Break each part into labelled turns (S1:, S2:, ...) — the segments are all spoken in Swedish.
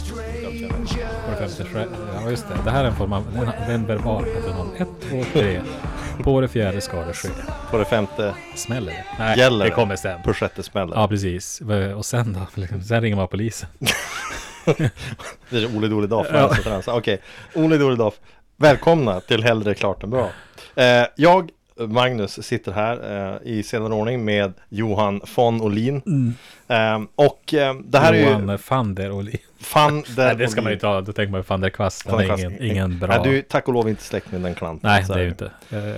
S1: Vår femte Shre- Ja just det, det här är en form av, den, den verbal patronal. Ett, två, tre. På det fjärde ska det ske.
S2: På det femte
S1: Smäller det? Nej,
S2: gäller
S1: det kommer sen.
S2: På sjätte smäller
S1: Ja precis. Och sen då? Liksom, Sen ringer man polisen.
S2: Det är Ole Dole Daff. Ja. Okej, Ole Dole Daff. Välkomna till Hellre klart än bra. Eh, jag, Magnus, sitter här eh, i sedan ordning med Johan von Olin. Eh, och eh, det här är ju
S1: Mm. Johan van der Olin.
S2: fan
S1: Nej, det ska man ju inte ha. Då tänker man ju van der Kvast. Han är ingen, ingen bra.
S2: Nej, du är tack och lov inte släkt med den klanten.
S1: Nej,
S2: så
S1: det är
S2: här.
S1: ju inte.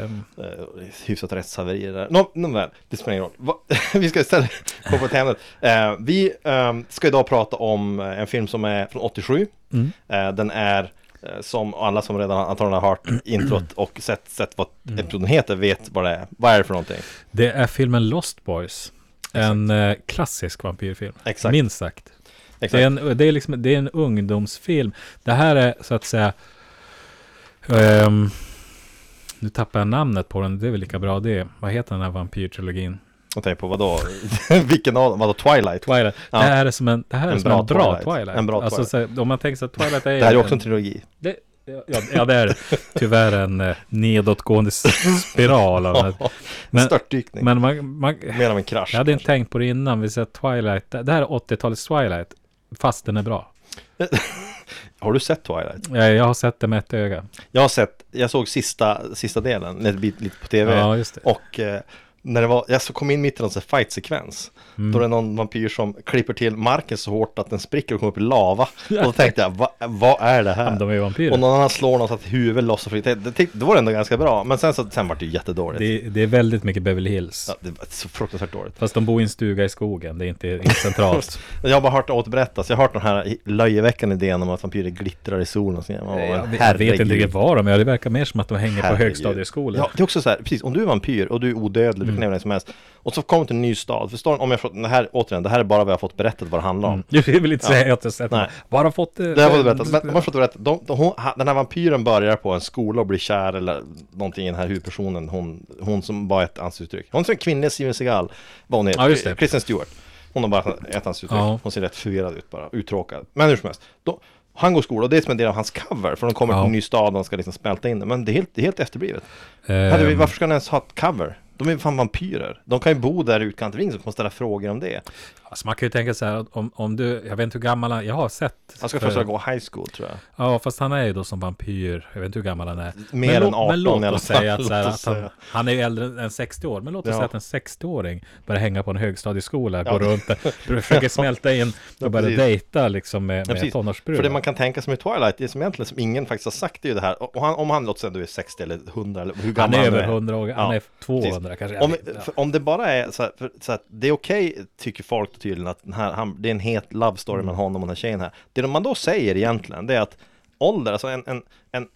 S1: Ehm,
S2: eh, hyfsat rättshaveri där. Nå, nåväl, det spelar ingen roll. Va, vi ska istället gå på ett ämne. Eh, vi eh, ska idag prata om eh, en film som är från 87.
S1: mm.
S2: Eh, den är eh, som alla som redan antagligen har hört introt och sett, sett vad
S1: Mm.
S2: episoden heter vet vad det är. Vad är det för någonting?
S1: Det är filmen Lost Boys. En eh, klassisk vampyrfilm.
S2: Exakt.
S1: Minst sagt.
S2: Exakt.
S1: Det är, en, det, är liksom, det är en ungdomsfilm. Det här är så att säga... ehm, nu tappar jag namnet på den. Det är väl lika bra det. Vad heter den här vampyrtrilogin?
S2: Och tänk på vadå? Vilken av dem? Vadå Twilight?
S1: Twilight.
S2: Ja.
S1: Det här är som en, det här är
S2: En
S1: som
S2: bra
S1: en bra
S2: Twilight.
S1: Twilight.
S2: En bra
S1: alltså, Så, om man tänker sig att Twilight är...
S2: Det här är också en trilogi.
S1: Det, ja, ja, det är tyvärr en eh, nedåtgående s- spiral. av det. Men-
S2: Störtdykning.
S1: Men man, man,
S2: Mer av en krasch.
S1: jag hade inte
S2: kanske.
S1: tänkt på det innan. Vi säger att Twilight, det det här är 80-talets Twilight. Fast den är bra. Eh,
S2: Har du sett Twilight?
S1: Jag, jag har sett det med ett öga.
S2: Jag har sett, jag såg sista, sista delen, lite, bit- lite på tv.
S1: Ja, just det.
S2: Och eh, när det var, jag så kom in mitt i någon sån här fight-sekvens.
S1: Mm.
S2: Då är det någon vampyr som klipper till marken så hårt att den spricker och kommer upp i lava. Och då tänkte jag, "Va- vad är det här?
S1: Men de är ju vampyrer.
S2: Och någon annan slår någon så att huvudet lossar. fritt. Det, det, tyck- det var ändå ganska bra. Men sen, så, sen var det ju jättedåligt. Det...
S1: Det, det är väldigt mycket Beverly Hills.
S2: Ja, det var så fruktansvärt dåligt.
S1: Fast de bor i en stuga i skogen. Det är inte, inte centralt.
S2: Men Jag har bara hört det återberättas. Jag har hört den här löjeväckande idén om att vampyrer glittrar i solen. Och så, man,
S1: Jag vet- jag vet inte riktigt var de är. Det verkar mer som att de hänger på
S2: Herregud.
S1: högstadieskolan. Mm.
S2: Ja, det är också så här, precis, om du är vampyr och du är odödlig, du kan leva vem som helst. Och så kommer du till en ny stad, förstår du? Om jag fått, det här, återigen, det här är bara vad jag har fått berättat vad det handlar om.
S1: Du vill inte säga att jag sett
S2: Nej.
S1: dem. Bara fått Mm. eh, det.
S2: Det här var det berättat, men om jag har fått berätta, de, de, hon, ha- den här vampyren börjar på en skola och blir kär eller någonting i den här huvudpersonen, hon, hon som bara ett ansiktsuttryck. Hon är som en kvinnlig Steven Seagal, vad hon heter,
S1: Ja, just det.
S2: Kristen Stewart. Hon har bara ett ansiktsuttryck,
S1: Ja.
S2: hon ser rätt förvirrad ut bara, uttråkad. Men hur som helst, då, han går i skola och det är som en del av hans cover, för de kommer
S1: Ja.
S2: till en ny stad och de ska liksom smälta in det, men det är helt, det är helt efterblivet.
S1: Ehm,
S2: Hade vi, varför ska ni ens ha ett cover? De är ju fan vampyrer. De kan ju bo där i utkanten, Det är ingen som kommer ställa frågor om det.
S1: Alltså man kan ju tänka så här att om, om du, jag vet inte hur gammal han, jag har sett.
S2: Han ska
S1: för-
S2: först gå high school tror jag.
S1: Ja, fast han är ju då som vampyr, jag vet inte hur gammal han är.
S2: Mer
S1: men,
S2: än
S1: låt-
S2: 18
S1: men låt
S2: i alla
S1: oss
S2: fall.
S1: säga att, så här,
S2: Låt
S1: att
S2: oss
S1: han,
S2: säga.
S1: han är ju äldre än 60 år, men låt oss
S2: Ja.
S1: säga att en 60-åring börjar hänga på en högstadieskola,
S2: Ja.
S1: går runt där, försöker smälta in och börjar
S2: precis.
S1: dejta liksom med,
S2: Ja,
S1: med
S2: precis.
S1: tonårsbrudar.
S2: För det man kan tänka sig med Twilight, det som egentligen som ingen faktiskt har sagt, det är ju det här. Och och han, om han låter sig ändå är 60 eller 100 eller hur
S1: han
S2: gammal
S1: är över 100 år, han
S2: Ja,
S1: är 200 kanske. jag
S2: Om,
S1: vet inte.
S2: för, om det bara är så, här, för, så att det är okej, tycker folk tydligen, att den här, han, det är en het love story mellan honom och den här tjejen här. Det man då säger egentligen, det är att ålder, alltså en, en, en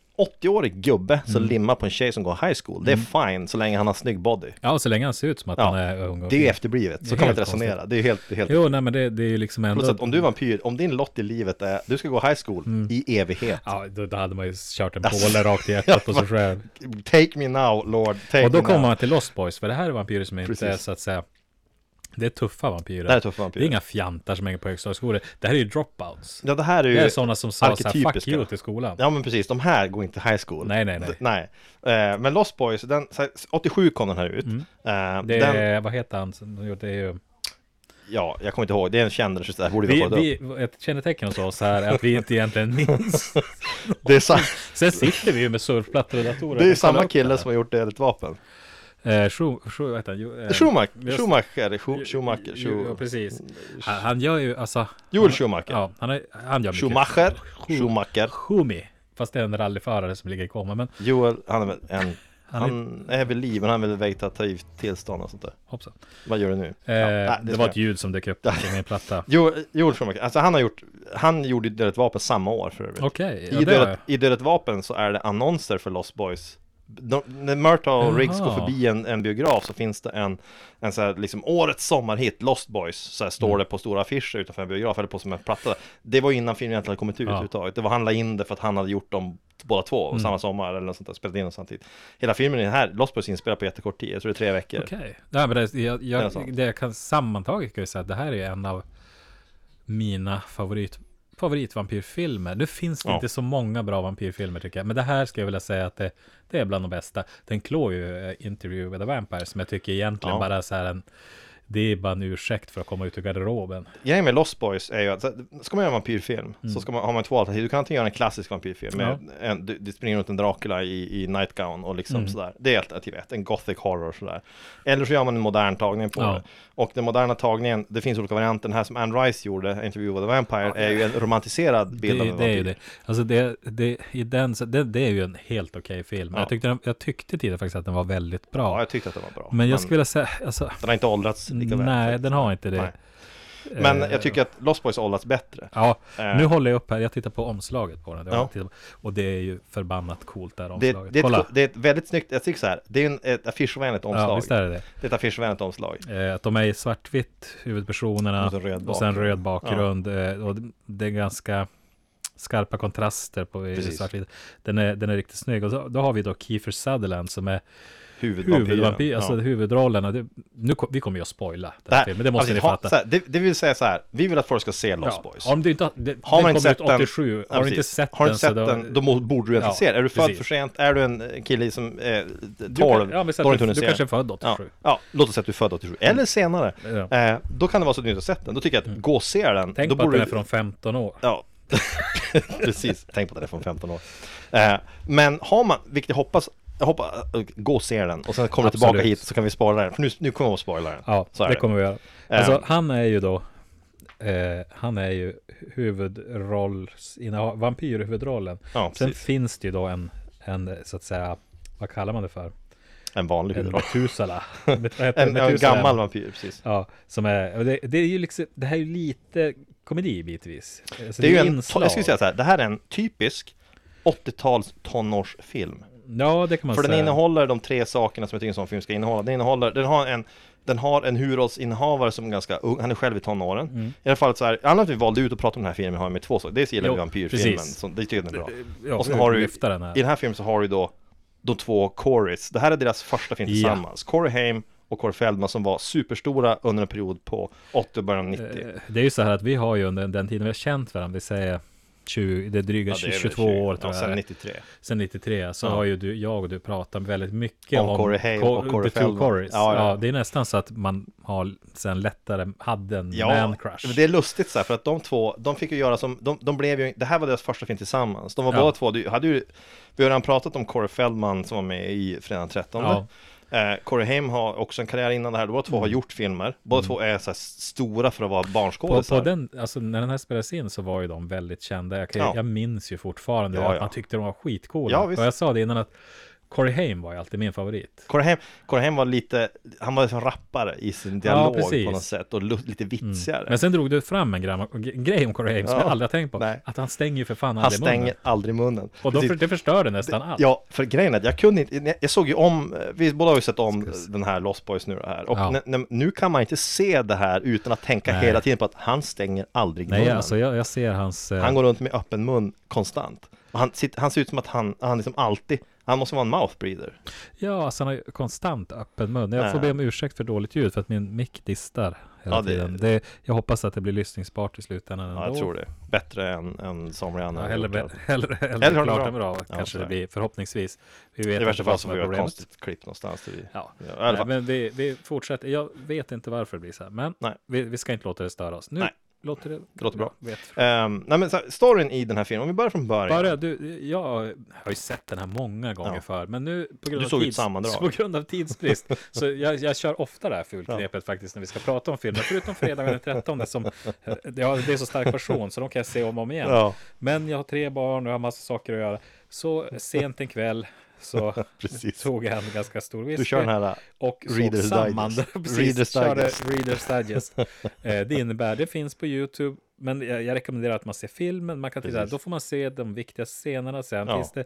S2: 80-årig gubbe som
S1: Mm.
S2: limmar på en tjej som går high school, det är fine så länge han har snygg body.
S1: Ja, och så länge han ser ut som att
S2: Ja,
S1: han är ung och
S2: Det är ju
S1: fin.
S2: efterblivet,
S1: Det är
S2: så kan man
S1: helt
S2: inte resonera.
S1: konstigt.
S2: Det är ju helt, det är helt
S1: Jo, nej men det, det är ju liksom ändå...
S2: Plus att om du är vampyr, om din lott i livet är, du ska gå high school
S1: Mm.
S2: i evighet.
S1: Ja, då, då hade man ju kört en
S2: Alltså,
S1: påle rakt i
S2: ja,
S1: hjärtat på
S2: vad-
S1: sig själv.
S2: Take me now, Lord, take
S1: Och då
S2: me now.
S1: kommer man till Lost Boys, för det här är vampyrer som inte
S2: Precis.
S1: är så att säga Det är tuffa vampyrer.
S2: Det här är tuffa vampyrer.
S1: Det är inga fjantar som hänger på högstadieskolor. Det här är ju dropouts.
S2: Ja, det här är ju
S1: Det är sådana som sa så här, fuck
S2: arketypiska.
S1: you till skolan.
S2: Ja men precis, de här går inte high school.
S1: Nej, nej, nej.
S2: D- nej. Eh, men Lost Boys, den, så här, 87 kom den här ut. Eh,
S1: Mm. det är,
S2: den,
S1: vad heter han som gjorde det? Är ju,
S2: ja, jag kommer inte ihåg, det är en känd regissör, det här borde vi,
S1: vi,
S2: ha vi upp.
S1: vi, ett kännetecken hos oss här är att vi inte egentligen minns.
S2: Det är, sa,
S1: Sen sitter vi ju med surfplattor och datorer.
S2: det är ju
S1: och kollar
S2: samma
S1: upp
S2: kille
S1: det
S2: som har gjort Dödligt Vapen.
S1: här. Eh, Schu- Schu- vad heter han? Jo, eh,
S2: Schumacher,
S1: just-
S2: Schumacher, Schu- Schumacher,
S1: Jo, Ja,
S2: Schu-
S1: precis. Han, han gör ju, alltså.
S2: Joel Schumacher.
S1: Ja, han, är, han gör mycket.
S2: Schumacher, Schumacher,
S1: Schumi. Fast det är en rallyförare som ligger i koma. Men
S2: Joel, han är väl en
S1: Han är-
S2: Han är vid liv, men han är väl vegetativt tillstånd och sånt där.
S1: Hoppsan.
S2: Vad gör du nu?
S1: Eh,
S2: Ja, nej,
S1: det
S2: ska
S1: var
S2: jag-
S1: ett ljud som dök upp
S2: Ja.
S1: på min platta.
S2: Jo, Joel Schumacher, alltså han har gjort, han gjorde ju Dödligt Vapen samma år för övrigt.
S1: Okej,
S2: I,
S1: ja, det var
S2: dödet, I Dödligt Vapen så är det annonser för Lost Boys. De, när Murta och Riggs
S1: Jaha.
S2: går förbi en, en biograf så finns det en, en så här, liksom årets sommarhit, Lost Boys. Så här
S1: Mm.
S2: står det på stora affischer utanför en biograf eller på som en platta. Det var innan filmen egentligen hade kommit ut
S1: Ja.
S2: överhuvudtaget. Det var han la in det för att han hade gjort dem båda två
S1: Mm.
S2: samma sommar eller något sånt där, spelat in dem samtidigt. Hela filmen är här, Lost Boys är inspelad på jättekort tid, jag tror det är tre veckor.
S1: Okej. Nej, men det, jag,
S2: Eller
S1: jag,
S2: sånt.
S1: det jag kan sammantaget kan jag säga att det här är en av mina favorit, favoritvampyrfilmer. Nu finns det
S2: Ja.
S1: inte så många bra vampyrfilmer tycker jag. Men det här skulle jag vilja säga att det, det är bland de bästa. Den klår ju eh, Interview with a Vampire som jag tycker egentligen
S2: Ja.
S1: bara så här en... Det är bara en ursäkt för att komma ut ur garderoben.
S2: Grejen med Lost Boys är ju att, så här, ska man göra en vampyrfilm
S1: Mm.
S2: så ska man, har man två alternativ. Du kan antingen göra en klassisk vampyrfilm med en, du, du springer runt en Dracula i, i nightgown och liksom
S1: Mm.
S2: sådär. Det är alternativ ett, en gothic horror sådär. Eller så gör man en modern tagning på
S1: Ja.
S2: det. Och den moderna tagningen, det finns olika varianter. Den här som Anne Rice gjorde, Interview with a Vampire, är ju en romantiserad bild av
S1: Det,
S2: en
S1: det är ju
S2: vampyr.
S1: det. Alltså det, det, i den, så det, det är ju en helt okej film.
S2: Ja.
S1: Jag, tyckte den, jag tyckte tidigare faktiskt att den var väldigt bra.
S2: Ja, jag tyckte att det var bra.
S1: men jag skulle vilja säga, alltså,
S2: Den har inte åldrats lika väl.
S1: nej, den har inte det.
S2: Nej. Men
S1: Eh,
S2: jag tycker att Lost Boys har åldrats bättre.
S1: Ja,
S2: Eh.
S1: nu håller jag upp här. Jag tittar på omslaget på den. Det var
S2: Ja.
S1: jag tittar på. Och det är ju förbannat coolt där
S2: Det,
S1: omslaget.
S2: det, är
S1: Kolla!
S2: ett, det är ett väldigt snyggt, jag tycker så här, det är en, ett affischvänligt omslag.
S1: Ja, visst är det det.
S2: Det är ett affischvänligt omslag.
S1: Eh, att de är i svartvitt, huvudpersonerna.
S2: Och så röd
S1: och sen
S2: bakgrund.
S1: röd bakgrund. Eh, och det- det är ganska skarpa kontraster på i
S2: Precis.
S1: svartvitt. Den är, den är riktigt snygg. Och så, då har vi då Kiefer Sutherland som är
S2: Huvudvampyren.
S1: huvudvampyr, alltså
S2: Ja.
S1: huvudrollen. Och Det, nu, kom- vi kommer ju att spoila den
S2: Det
S1: här
S2: här-
S1: filmen, det måste
S2: alltså,
S1: ni
S2: ha-
S1: fatta.
S2: så här, det, det vill säga så här, vi vill att folk ska se Lost Boys.
S1: Om du inte har, det,
S2: Har
S1: den
S2: man inte
S1: kom ut
S2: sett den-
S1: 87,
S2: Ja,
S1: har du
S2: precis.
S1: inte sett
S2: har du
S1: den
S2: inte sett
S1: då-
S2: den, då mo- borde du inte
S1: Ja,
S2: se den. Är du född
S1: precis.
S2: för sent? Är du en eh, kille som är eh, 12?
S1: Du, kan- ja, men så
S2: då
S1: att
S2: har inte
S1: du,
S2: hunnit
S1: du kanske
S2: se
S1: Mm. är
S2: den.
S1: född 87.
S2: Ja, ja, låt oss säga att du är född 87, eller senare.
S1: Ja.
S2: Eh, då kan det vara så att du inte har sett den. Då tycker jag att gå och se den.
S1: Mm. Tänk
S2: då
S1: på att
S2: borde
S1: den är
S2: du-
S1: från 15 år.
S2: Ja, precis. Tänk på att den är från 15 år. Eh, men har man, vilket jag hoppas, jag hoppas, eh, gå och se den. Och sen kommer du tillbaka
S1: Absolut.
S2: hit så kan vi spoila den. För nu, nu kommer vi att spoila den.
S1: Ja,
S2: så är
S1: det kommer vi göra.
S2: Eh,
S1: Alltså, han är ju då, eh, han är ju huvudrollsinnehav, vampyrhuvudrollen.
S2: Ja,
S1: Sen
S2: precis.
S1: finns det ju då en, en, så att säga, vad kallar man det för?
S2: En vanlig
S1: En
S2: huvudroll.
S1: Metusala. Met- vad heter det?
S2: En, en
S1: Metusala.
S2: gammal vampyr, precis.
S1: Ja, som är, och det, det är ju liksom, det här är ju lite komedi bitvis. Alltså,
S2: det är ju en,
S1: inslag.
S2: jag skulle säga så här, det här är en typisk 80-tals tonårsfilm.
S1: Ja, det kan man
S2: För
S1: säga.
S2: den innehåller de tre sakerna som jag tycker en sån film ska innehålla. Den innehåller, den har en, den har en huvudrollsinnehavare som är ganska ung, han är själv i tonåren.
S1: Mm.
S2: I alla fall så här, anledningen till att vi valde ut att prata om den här filmen har med två saker. Dels gillar
S1: Jo,
S2: vi vampyrfilmen,
S1: precis.
S2: som, det tycker jag den är bra.
S1: ja,
S2: och sen har du,
S1: lyfta den här.
S2: i den här filmen så har du då de två Corys. Det här är deras första film
S1: Ja.
S2: tillsammans. Corey Haim och Corey Feldman som var superstora under en period på 80 och början av 90.
S1: Eh, Det är ju så här att vi har ju under den tiden vi har känt varandra, vi säger 20, det är dryga
S2: Ja, det är väl
S1: 22
S2: tjugo-
S1: år
S2: ja,
S1: tror jag.
S2: Sen
S1: det är.
S2: 93.
S1: sen 93 så
S2: Ja.
S1: har ju du, jag och du pratat väldigt mycket om,
S2: Om Corey Haim
S1: Co-
S2: och Corey
S1: The Two
S2: Feldman.
S1: Corys. Ja,
S2: Ja, ja.
S1: det är nästan så att man har sen lättare hade en man crush.
S2: men det är lustigt så här, för att de två, de fick ju göra som, de, de blev ju, det här var deras första film tillsammans. De var
S1: Ja.
S2: båda två, du, hade ju, vi har redan pratat om Corey Feldman som var med i Fredag den 13.
S1: Ja. Mm.
S2: Eh, Corey Haim har också en karriär innan det här, båda två har gjort filmer. Båda två är så här, stora för att vara
S1: På,
S2: barnskådisar.
S1: på den, alltså när den här spelades in så var ju de väldigt kända. Jag, kan,
S2: Ja.
S1: jag minns ju fortfarande
S2: Ja,
S1: att
S2: ja.
S1: man tyckte de var skitcoola.
S2: Ja, visst.
S1: och jag sa det innan att Corey Haim var ju alltid min favorit.
S2: Corey Haim, Corey Haim var lite, han var som rappare i sin dialog
S1: precis. Mm.
S2: på något sätt och lu- lite vitsigare.
S1: Men sen drog du fram en, gram, en grej om Corey Haim som
S2: Ja.
S1: jag aldrig har tänkt på.
S2: Nej.
S1: Att han stänger ju för fan
S2: han
S1: aldrig
S2: stänger
S1: munnen.
S2: aldrig munnen.
S1: Och då
S2: Precis.
S1: för, det förstörde nästan allt.
S2: Ja, för grejen är att jag kunde inte, jag såg ju om, vi båda har ju sett om den här Lost Boys nu det här, och
S1: Ja.
S2: n- n- nu kan man inte se det här utan att tänka
S1: Nej.
S2: hela tiden på att han stänger aldrig
S1: Nej,
S2: munnen.
S1: alltså jag, jag ser hans... eh,
S2: Han går runt med öppen mun konstant. Och han, sitter, han ser ut som att han, han liksom alltid, han måste vara en mouth breather.
S1: Ja, alltså han har ju konstant öppen mun. Jag
S2: Nej.
S1: får be om ursäkt för dåligt ljud för att min mick distar hela
S2: Ja, det-
S1: tiden. Det, jag hoppas att det blir lyssningsbart i slutändan ändå.
S2: Ja, jag tror det. Bättre än, än somliga
S1: Ja,
S2: andra.
S1: hellre, hellre, hellre,
S2: har det
S1: klart
S2: bra.
S1: än bra,
S2: Ja,
S1: kanske
S2: så
S1: det
S2: är
S1: blir förhoppningsvis. Vi vet
S2: I värsta
S1: inte vad
S2: fall
S1: som
S2: så får
S1: är
S2: vi göra ett
S1: problemet.
S2: konstigt klipp någonstans. Där vi,
S1: Ja.
S2: i alla
S1: Nej,
S2: fall.
S1: men vi, vi fortsätter. Jag vet inte varför det blir så här, men
S2: Nej.
S1: vi, vi ska inte låta det störa oss. Nu
S2: Nej.
S1: låter det,
S2: låter bra.
S1: Vet.
S2: Ehm, nej, men så här, storyn i den här filmen, om vi börjar från början.
S1: Bara, du, jag har ju sett den här många gånger
S2: Ja.
S1: förr, men nu på grund,
S2: Du
S1: av,
S2: såg ju ett
S1: tids,
S2: sammandrag.
S1: på grund av tidsbrist. så jag, jag kör ofta det här fulknepet faktiskt när vi ska prata om filmer, förutom fredagen den 13 som, eh, ja, det är en så stark passion så de kan jag se om och om igen.
S2: Ja.
S1: Men jag har tre barn och jag har massa saker att göra. Så sent en kväll, så
S2: Precis.
S1: tog jag en ganska stor whisky.
S2: Du kör den här,
S1: och såg
S2: Reader's
S1: samman.
S2: Digest.
S1: Precis,
S2: Reader's
S1: körde
S2: Digest.
S1: Reader's Digest. Eh, Det innebär, det finns på YouTube, men jag, jag rekommenderar att man ser filmen. Man kan titta,
S2: Precis.
S1: då får man se de viktigaste scenerna. Sen
S2: Ja.
S1: finns det,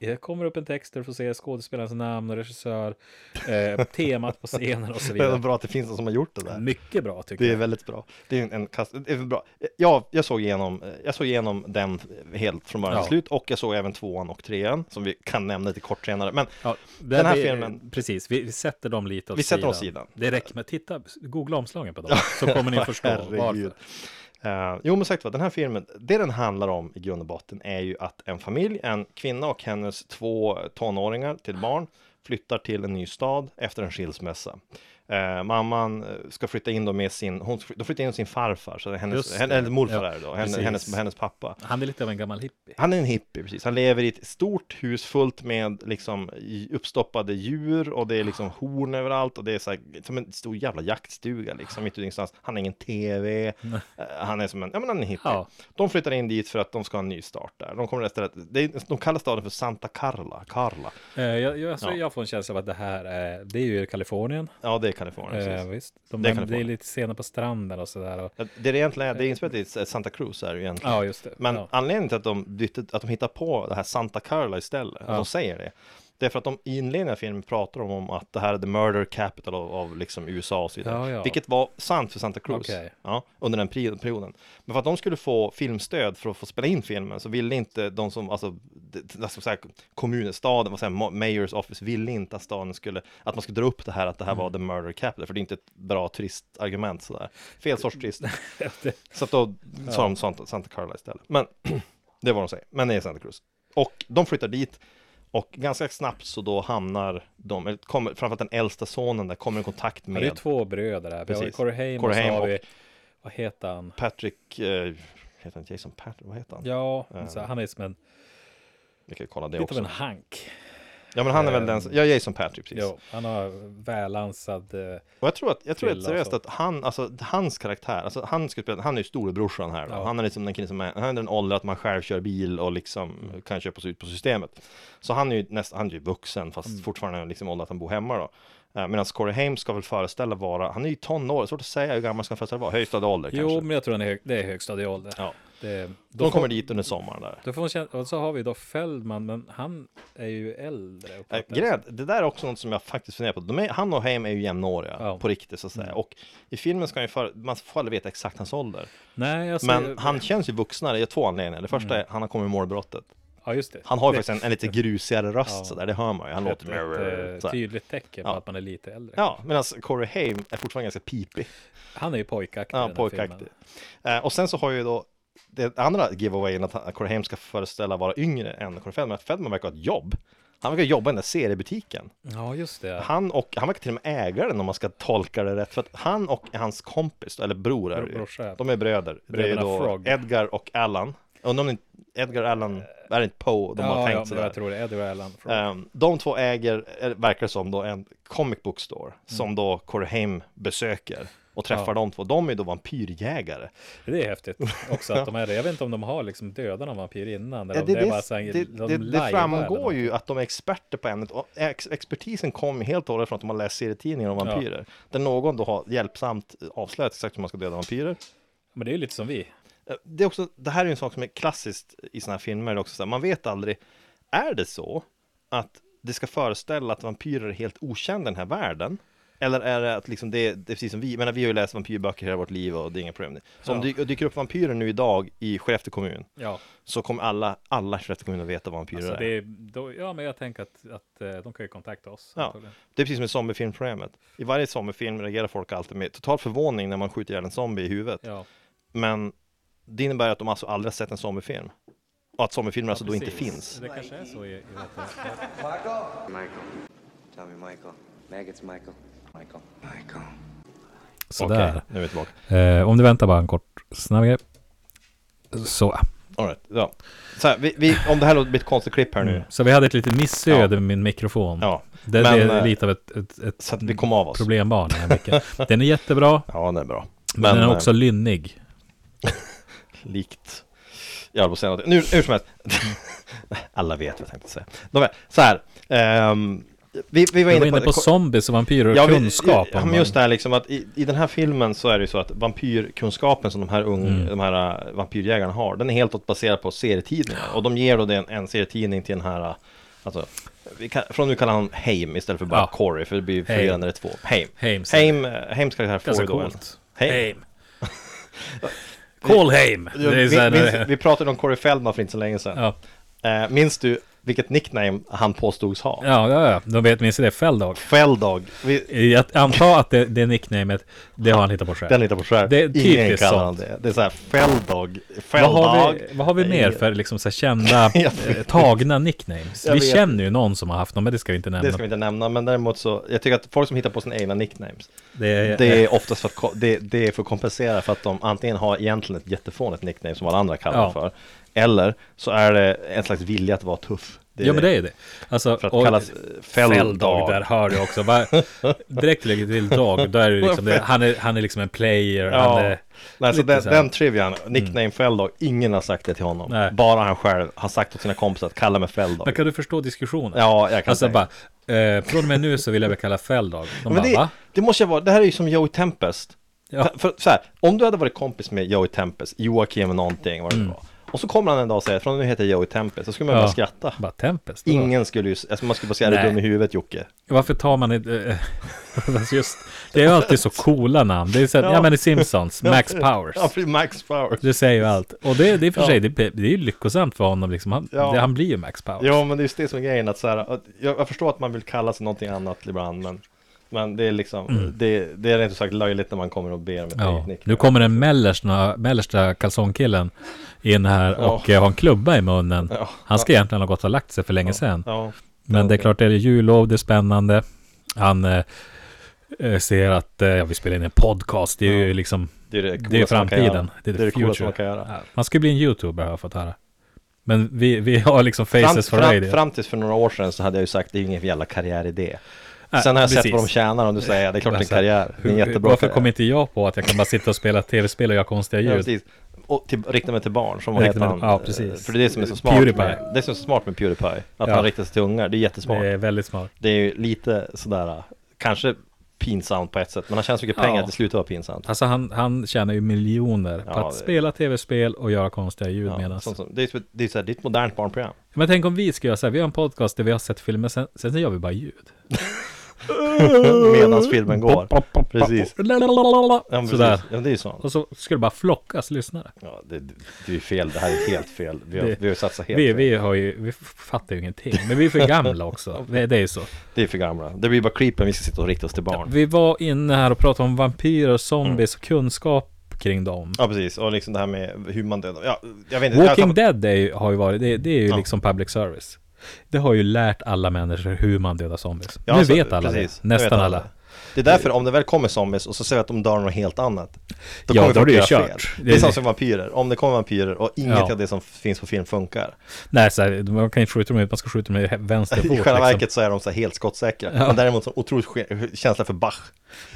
S1: det kommer upp en text där du får se skådespelarens namn och regissör, eh, temat på scenen och så
S2: det är
S1: vidare.
S2: bra att det finns någon som har gjort det där.
S1: Mycket bra tycker
S2: Det är
S1: jag.
S2: väldigt bra. Det är en, en kast, det är bra. Ja, jag såg igenom, eh, jag såg igenom den helt från början till
S1: Ja.
S2: slut och jag såg även tvåan och trean som vi kan nämna lite kort senare. Men
S1: Ja,
S2: den här
S1: vi,
S2: filmen-
S1: Precis, vi, vi sätter dem lite åt
S2: Vi
S1: sidan.
S2: sätter åt sidan.
S1: Det räcker med att titta, googla omslagen på dem, så kommer ni förstå varför.
S2: Herregud. Eh, jo, men sagt vad, den här filmen, det den handlar om i grund och botten är ju att en familj, en kvinna och hennes två tonåringar till barn flyttar till en ny stad efter en skilsmässa. Eh, mamman eh, ska flytta in då med sin, hon ska fly- de flyttar in med sin farfar, så det är hennes,
S1: Just det.
S2: hen- eller morfar
S1: Ja,
S2: är det då, hennes,
S1: precis.
S2: hennes, hennes pappa.
S1: Han är lite av en gammal hippie.
S2: Han är en hippie, precis. Han lever i ett stort hus fullt med liksom i- uppstoppade djur och det är liksom horn överallt och det är så här, som en stor jävla jaktstuga liksom, mitt ute ingenstans. Han har ingen TV, eh, han är som en, ja men han är en hippie.
S1: Ja.
S2: De flyttar in dit för att de ska ha en ny start där. De kommer istället, det är, de kallar staden för Santa Carla, Carla.
S1: Eh, Jag, jag, alltså,
S2: Ja.
S1: jag får en känsla av att det här är, det är ju i Kalifornien.
S2: Ja, det är Kalifornien,
S1: Eh,
S2: precis.
S1: visst. De, det,
S2: Det är
S1: är det är
S2: Kalifornien.
S1: lite senare på stranden och sådär. Och,
S2: Ja, Det är egentligen, det är inspelat i Santa Cruz är det ju egentligen.
S1: ja, just det.
S2: Men
S1: ja.
S2: anledningen till att de, bytte, att de hittar på det här Santa Carla istället, att
S1: Ja.
S2: de säger det, det är för att de i inledningen av filmen pratar de om att det här är the murder capital av, av liksom USA och så vidare.
S1: Ja, ja.
S2: Vilket var sant för Santa Cruz
S1: Okej.
S2: ja, under den pri- perioden. Men för att de skulle få filmstöd för att få spela in filmen så ville inte de som, alltså, det- det- vad ska man säga, kommunen, staden, vad säger, ma- Mayor's Office ville inte att staden skulle, att man skulle dra upp det här att det här
S1: Mm.
S2: var the murder capital, för det är inte ett bra turistargument sådär. Fel sorts turist. Så att då sa de Santa, Santa Carla istället. Men det var de säger. Men det är Santa Cruz. Och de flyttar dit. Och ganska snabbt så då hamnar de, eller kommer, framförallt den äldsta sonen där, kommer i kontakt
S1: Men det är
S2: med
S1: två bröder där. Vi har ju
S2: Precis.
S1: Corey Haim
S2: Corey
S1: och så
S2: Haim
S1: har vi,
S2: och-
S1: vad heter han?
S2: Patrick, eh, heter han Jason Patrick, vad heter han?
S1: Ja,
S2: Eh,
S1: så han är som en,
S2: Vi kan ju kolla det
S1: lite av en
S2: också.
S1: hank.
S2: Ja men han är väl
S1: eh,
S2: den, ja Jason Patrick precis.
S1: Jo, han har välansad, eh,
S2: Och jag tror att, jag tror
S1: Kille
S2: att seriöst
S1: alltså.
S2: att han, alltså hans karaktär, alltså han skulle spela, han är ju storebrorsan här då.
S1: Ja.
S2: Han är liksom den killen som är, han är den ålder att man själv kör bil och liksom
S1: Mm.
S2: kan köpa sig ut på systemet. Så han är ju nästan, han är ju vuxen fast
S1: Mm.
S2: fortfarande liksom ålder att han bor hemma då. Eh, Medan Corey Haim ska väl föreställa vara, han är ju tonår, svårt att säga hur gammal ska han föreställa vara, högsta ålder
S1: jo
S2: kanske.
S1: men jag tror han är, hög, det är högstadieålder.
S2: Ja.
S1: Det, då
S2: De
S1: får-
S2: kommer dit under sommaren där.
S1: Då får man känna, och så har vi då Feldman, men han är ju äldre.
S2: Äh, Gräd, det där är också något som jag faktiskt funderar på. De är, han och Haim är ju jämnåriga
S1: Ja. Mm.
S2: på riktigt så att säga. Och i filmen ska han ju för, man får aldrig veta exakt hans ålder.
S1: Nej, alltså,
S2: Men han känns ju vuxnare i två anledningar. Det första är han har kommit i målbrottet.
S1: ja, just det.
S2: Han har ju
S1: Det-
S2: faktiskt en, en lite grusigare röst
S1: Ja.
S2: sådär, det hör man ju. Han
S1: ett,
S2: låter
S1: ett, eh,
S2: såhär.
S1: tydligt tecken på
S2: Ja.
S1: att man är lite äldre.
S2: Ja, medan Corey Haim är fortfarande ganska pipig.
S1: Han är ju pojkaktig. i
S2: Ja,
S1: den här
S2: pojkaktig.
S1: filmen.
S2: Eh, och sen så har ju då det andra giveawayen att han- Corey Haim ska föreställa vara yngre än Corey Feldman. Att Feldman verkar ha ett jobb. Han verkar jobba i den där seriebutiken.
S1: Ja, just det.
S2: Han, och, han verkar till och med äga den om man ska tolka det rätt. För att han och hans kompis, eller bror är det ju.
S1: Brorsa, ja.
S2: De är bröder. Det är
S1: Bröderna
S2: då
S1: Frog.
S2: Edgar och Allan. Undrar om det inte- Edgar och Allan, är det inte Poe de
S1: ja,
S2: har
S1: ja,
S2: tänkt
S1: men
S2: sådär?
S1: jag tror det. Edward Allan. från-
S2: Ehm, de två äger, eh, verkar som då, en comic book store som då Corey Haim besöker och träffar
S1: Mm. Ja.
S2: de två. De är då vampyrjägare.
S1: Det är häftigt också att de är det. Jag vet inte om de har liksom dödat någon vampyr innan.
S2: Ja,
S1: Eller
S2: det,
S1: om det,
S2: det,
S1: är bara så här, de
S2: det, det, det
S1: lajvar eller
S2: framgår
S1: något.
S2: ju att de är experter på ämnet och ex, expertisen kom helt och hållet från att de har läst serietidningar om
S1: Ja.
S2: vampyrer. Där någon då har hjälpsamt avslöjat exakt hur man ska döda vampyrer.
S1: Men det är ju lite som vi.
S2: Eh, Det, är också, det här är ju en sak som är klassiskt i sådana här filmer, också, så här, man vet aldrig, är det så att det ska föreställa att vampyrer är helt okända i den här världen? Eller är det att liksom det, det är precis som vi, men vi har ju läst vampyrböcker hela vårt liv och det är inga problem. Så om
S1: Ja.
S2: det dyker upp vampyrer nu idag i Skellefteå kommun,
S1: Ja,
S2: så kommer alla, alla i Skellefteå kommun att veta vad vampyrer
S1: alltså
S2: är.
S1: det är, då, ja, men jag tänker att, att eh, de kan ju kontakta oss.
S2: Ja.
S1: antagligen.
S2: Det är precis som i zombiefilmprogrammet. I varje zombiefilm reagerar folk alltid med total förvåning när man skjuter ihjäl en zombie i huvudet.
S1: ja.
S2: Men det innebär att de alltså aldrig har sett en zombiefilm. Och att zombiefilmer alltså då inte
S1: precis.
S2: finns.
S1: Det kanske är så i, i vet du.
S3: Michael. Tell me, Michael. Maggot's Michael. Michael. Michael.
S1: Sådär.
S2: Okej, nu är vi tillbaka.
S1: Eh, om du väntar bara en kort snabb grej. Så.
S2: All right, ja. Så här, vi, vi, om det här låter- blir ett konstigt klipp här nu.
S1: Så vi hade ett litet missöde
S2: Ja.
S1: med min mikrofon.
S2: Ja,
S1: det,
S2: men,
S1: det är
S2: eh,
S1: lite av ett, ett, ett
S2: så att vi kom av oss.
S1: problembarn. Den, här micken. den är jättebra,
S2: Ja, den är bra.
S1: men, den är
S2: eh,
S1: också lynnig.
S2: likt... Jag höll på att säga något. Nu, hur som helst. Alla vet vad jag tänkte säga. Nåväl, så här. Ehm, vi, vi var
S1: Du
S2: inne,
S1: var inne på zombies och vampyrer och
S2: Ja, vi-
S1: kunskap.
S2: Ja,
S1: om
S2: men just det
S1: man-
S2: här liksom att i, i den här filmen så är det ju så att vampyrkunskapen som de här, unga,
S1: Mm.
S2: de här äh, vampyrjägarna har, den är helt åt baserad på serietidningar. Och de ger då den, en serietidning till den här, äh, alltså, vi kan, från nu kallar han Heim istället för bara
S1: Ja.
S2: Corey, för det blir
S1: Heim.
S2: förvirrande det är två. Heim.
S1: Heim, säger
S2: Heim, äh, Heims karaktär får
S1: Ganska
S2: ju då en...
S1: coolt.
S2: Heim.
S1: Heim. Call Heim. Det är
S2: Vi,
S1: så här-
S2: minns, vi pratade om Corey Feldman för inte så länge sedan.
S1: ja.
S2: Eh, minns du vilket nickname han påstods ha?
S1: Ja, ja, ja. De vet minst det. Felldog.
S2: Felldog. Vi,
S1: Jag antar att det, det nicknamet, det har han hittat på själv.
S2: Den hittar på skärm.
S1: Det är
S2: Ingen
S1: typiskt
S2: kallar
S1: sånt.
S2: han det. Det är så här Felldog.
S1: Vad har,
S2: Felldog.
S1: vi, vad har vi mer för liksom, så här, kända,
S2: Jag vet.
S1: eh, tagna nicknames?
S2: Jag
S1: Vi
S2: vet.
S1: känner ju någon som har haft dem, men det ska vi inte nämna.
S2: Det ska vi inte nämna, men däremot så, jag tycker att folk som hittar på sina egna nicknames,
S1: Det är-
S2: det är oftast för att, ko- det, det är för att kompensera för att de antingen har egentligen ett jättefånigt nickname som alla andra kallar
S1: Ja.
S2: för, eller så är det en slags vilja att vara tuff.
S1: ja, men det är ju det. Alltså,
S2: För att
S1: och-
S2: kallas
S1: Felldog,
S2: Felldog.
S1: där hör du också. Bara, direkt lägger du till dog, då är det liksom det, han, är, han är liksom en player. Han
S2: Ja,
S1: är,
S2: Nej, så
S1: lite
S2: den,
S1: så här. Mm.
S2: den trivian, nickname Felldog, ingen har sagt det till honom.
S1: Nej.
S2: Bara han själv har sagt åt sina kompisar att kalla mig Felldog.
S1: men kan du förstå diskussionen?
S2: Ja, jag kan
S1: alltså
S2: tänka.
S1: bara, eh, från och med nu så vill jag bli kallad Felldog. De
S2: Men
S1: bara,
S2: det,
S1: va?
S2: det måste jag vara, det här är ju som Joey Tempest.
S1: Ja.
S2: För, så här, om du hade varit kompis med Joey Tempest, Joakim någonting, vad det nu var. Och så kommer han en dag och säger, från nu heter jag Joey Tempest, så skulle man bara
S1: Mm. Ja.
S2: skratta.
S1: Bara Tempest. vadå?
S2: Ingen skulle ju, alltså man skulle bara säga, är du
S1: Nej.
S2: dum i huvudet Jocke?
S1: Varför tar man inte... eh, alltså just, det är ju alltid så coola namn. Det är så här,
S2: Ja.
S1: ja. men det är Simpsons, Max Powers.
S2: Ja, för Max Powers.
S1: Det säger ju allt. Och det, det är för
S2: Ja.
S1: sig, det, det är ju lyckosamt för honom liksom. Han,
S2: Ja.
S1: det, han blir ju Max Powers.
S2: Ja, men det är just det som är grejen, att så här, att jag, jag förstår att man vill kalla sig någonting annat ibland, men, men det är liksom, det, det är rent ut sagt löjligt när man kommer och ber om ett
S1: Mm. Ja.
S2: eget nickname.
S1: Nu kommer den mellersta, mellersta kalsongkillen in här
S2: Ja.
S1: och eh, har en klubba i munnen.
S2: Ja.
S1: Han ska egentligen ha gått och lagt sig för länge sedan.
S2: Ja.
S1: Men det är
S2: Ja.
S1: klart, det är jullov, det är spännande. Han eh, eh, ser att eh, ja, vi spelar in en podcast, det är ju liksom
S2: Det är det
S1: Det är
S2: coolaste man kan göra.
S1: framtiden. Det är det,
S2: coolaste
S1: future.
S2: man kan göra.
S1: Ja, Man ska bli en YouTuber har jag fått höra. Men vi, vi har liksom faces for
S2: fram,
S1: radio.
S2: fram, fram tills för några år sedan så hade jag ju sagt det är ju ingen jävla karriäridé.
S1: Nej,
S2: Sen har jag sett
S1: precis.
S2: vad de tjänar om du säger det är klart det är en
S1: Alltså,
S2: karriär. Det är en
S1: hur-
S2: jättebra
S1: Varför
S2: karriär.
S1: kom inte jag på att jag kan bara sitta och spela tv-spel och göra konstiga
S2: Ja,
S1: ljud?
S2: precis. Och till, rikta mig till barn, som vad
S1: Rikta
S2: heter
S1: mig-
S2: han?
S1: ja, precis.
S2: För det är det som är så smart.
S1: Pewdiepie.
S2: Med, det är som är så smart med Pewdiepie. Att
S1: Ja.
S2: han riktar sig till ungar, det är jättesmart.
S1: det
S2: Det är,
S1: är väldigt smart.
S2: ju lite sådär, kanske pinsamt på ett sätt, men han tjänar så mycket
S1: Ja.
S2: pengar att det slutar vara pinsamt.
S1: Alltså han, han tjänar ju miljoner på
S2: Ja,
S1: att
S2: det-
S1: spela tv-spel och göra konstiga ljud
S2: Ja,
S1: medan.
S2: sånt som, det är ju det är så här, det är ett modernt barnprogram.
S1: Men tänk om vi ska göra så här, vi har en podcast där vi har sett filmer, sen, sen så gör vi bara ljud. Mm.
S2: Medan filmen går. Precis.
S1: Lalalala.
S2: Ja, men precis.
S1: Sådär.
S2: Ja, men det är ju sånt.
S1: Och så skulle det bara flockas lyssnare.
S2: Ja, det, det är ju fel, det här är helt fel. Vi har,
S1: Det-
S2: vi har ju satsat helt
S1: Vi,
S2: fel.
S1: vi, har ju, vi fattar ju ingenting, men vi är för gamla också. Det, det är ju så.
S2: Det är för gamla. Det blir bara creepen, vi ska sitta och rikta oss till barn. Mm. Ja,
S1: Vi var inne här och pratade om vampyrer, zombies och kunskap kring dem.
S2: precis, och liksom det här med hur man dödar. Ja, jag vet inte.
S1: Walking
S2: jag,
S1: Dead är ju, har ju varit, det, det är ju
S2: alltså- Ja.
S1: liksom public service. Det har ju lärt alla människor hur man dödar zombies.
S2: Ja,
S1: nu
S2: alltså,
S1: vet alla
S2: precis.
S1: det,
S2: Nu vet
S1: nästan alla.
S2: Det är därför om det väl kommer zombies och så ser vi att de dör något helt annat. Då
S1: Ja,
S2: kommer
S1: då är
S2: folk
S1: det ju
S2: göra
S1: kört.
S2: fel.
S1: Det
S2: Det är
S1: är-
S2: samma som vampyrer. Om det kommer vampyrer och inget
S1: Ja.
S2: av det som finns på film funkar.
S1: Nej, så här, man kan ju skjuta dem ut, man ska skjuta dem med vänster fot.
S2: I själva
S1: liksom.
S2: verket så är de så här helt skottsäkra. Men däremot så otroligt ske- känsla för Bach.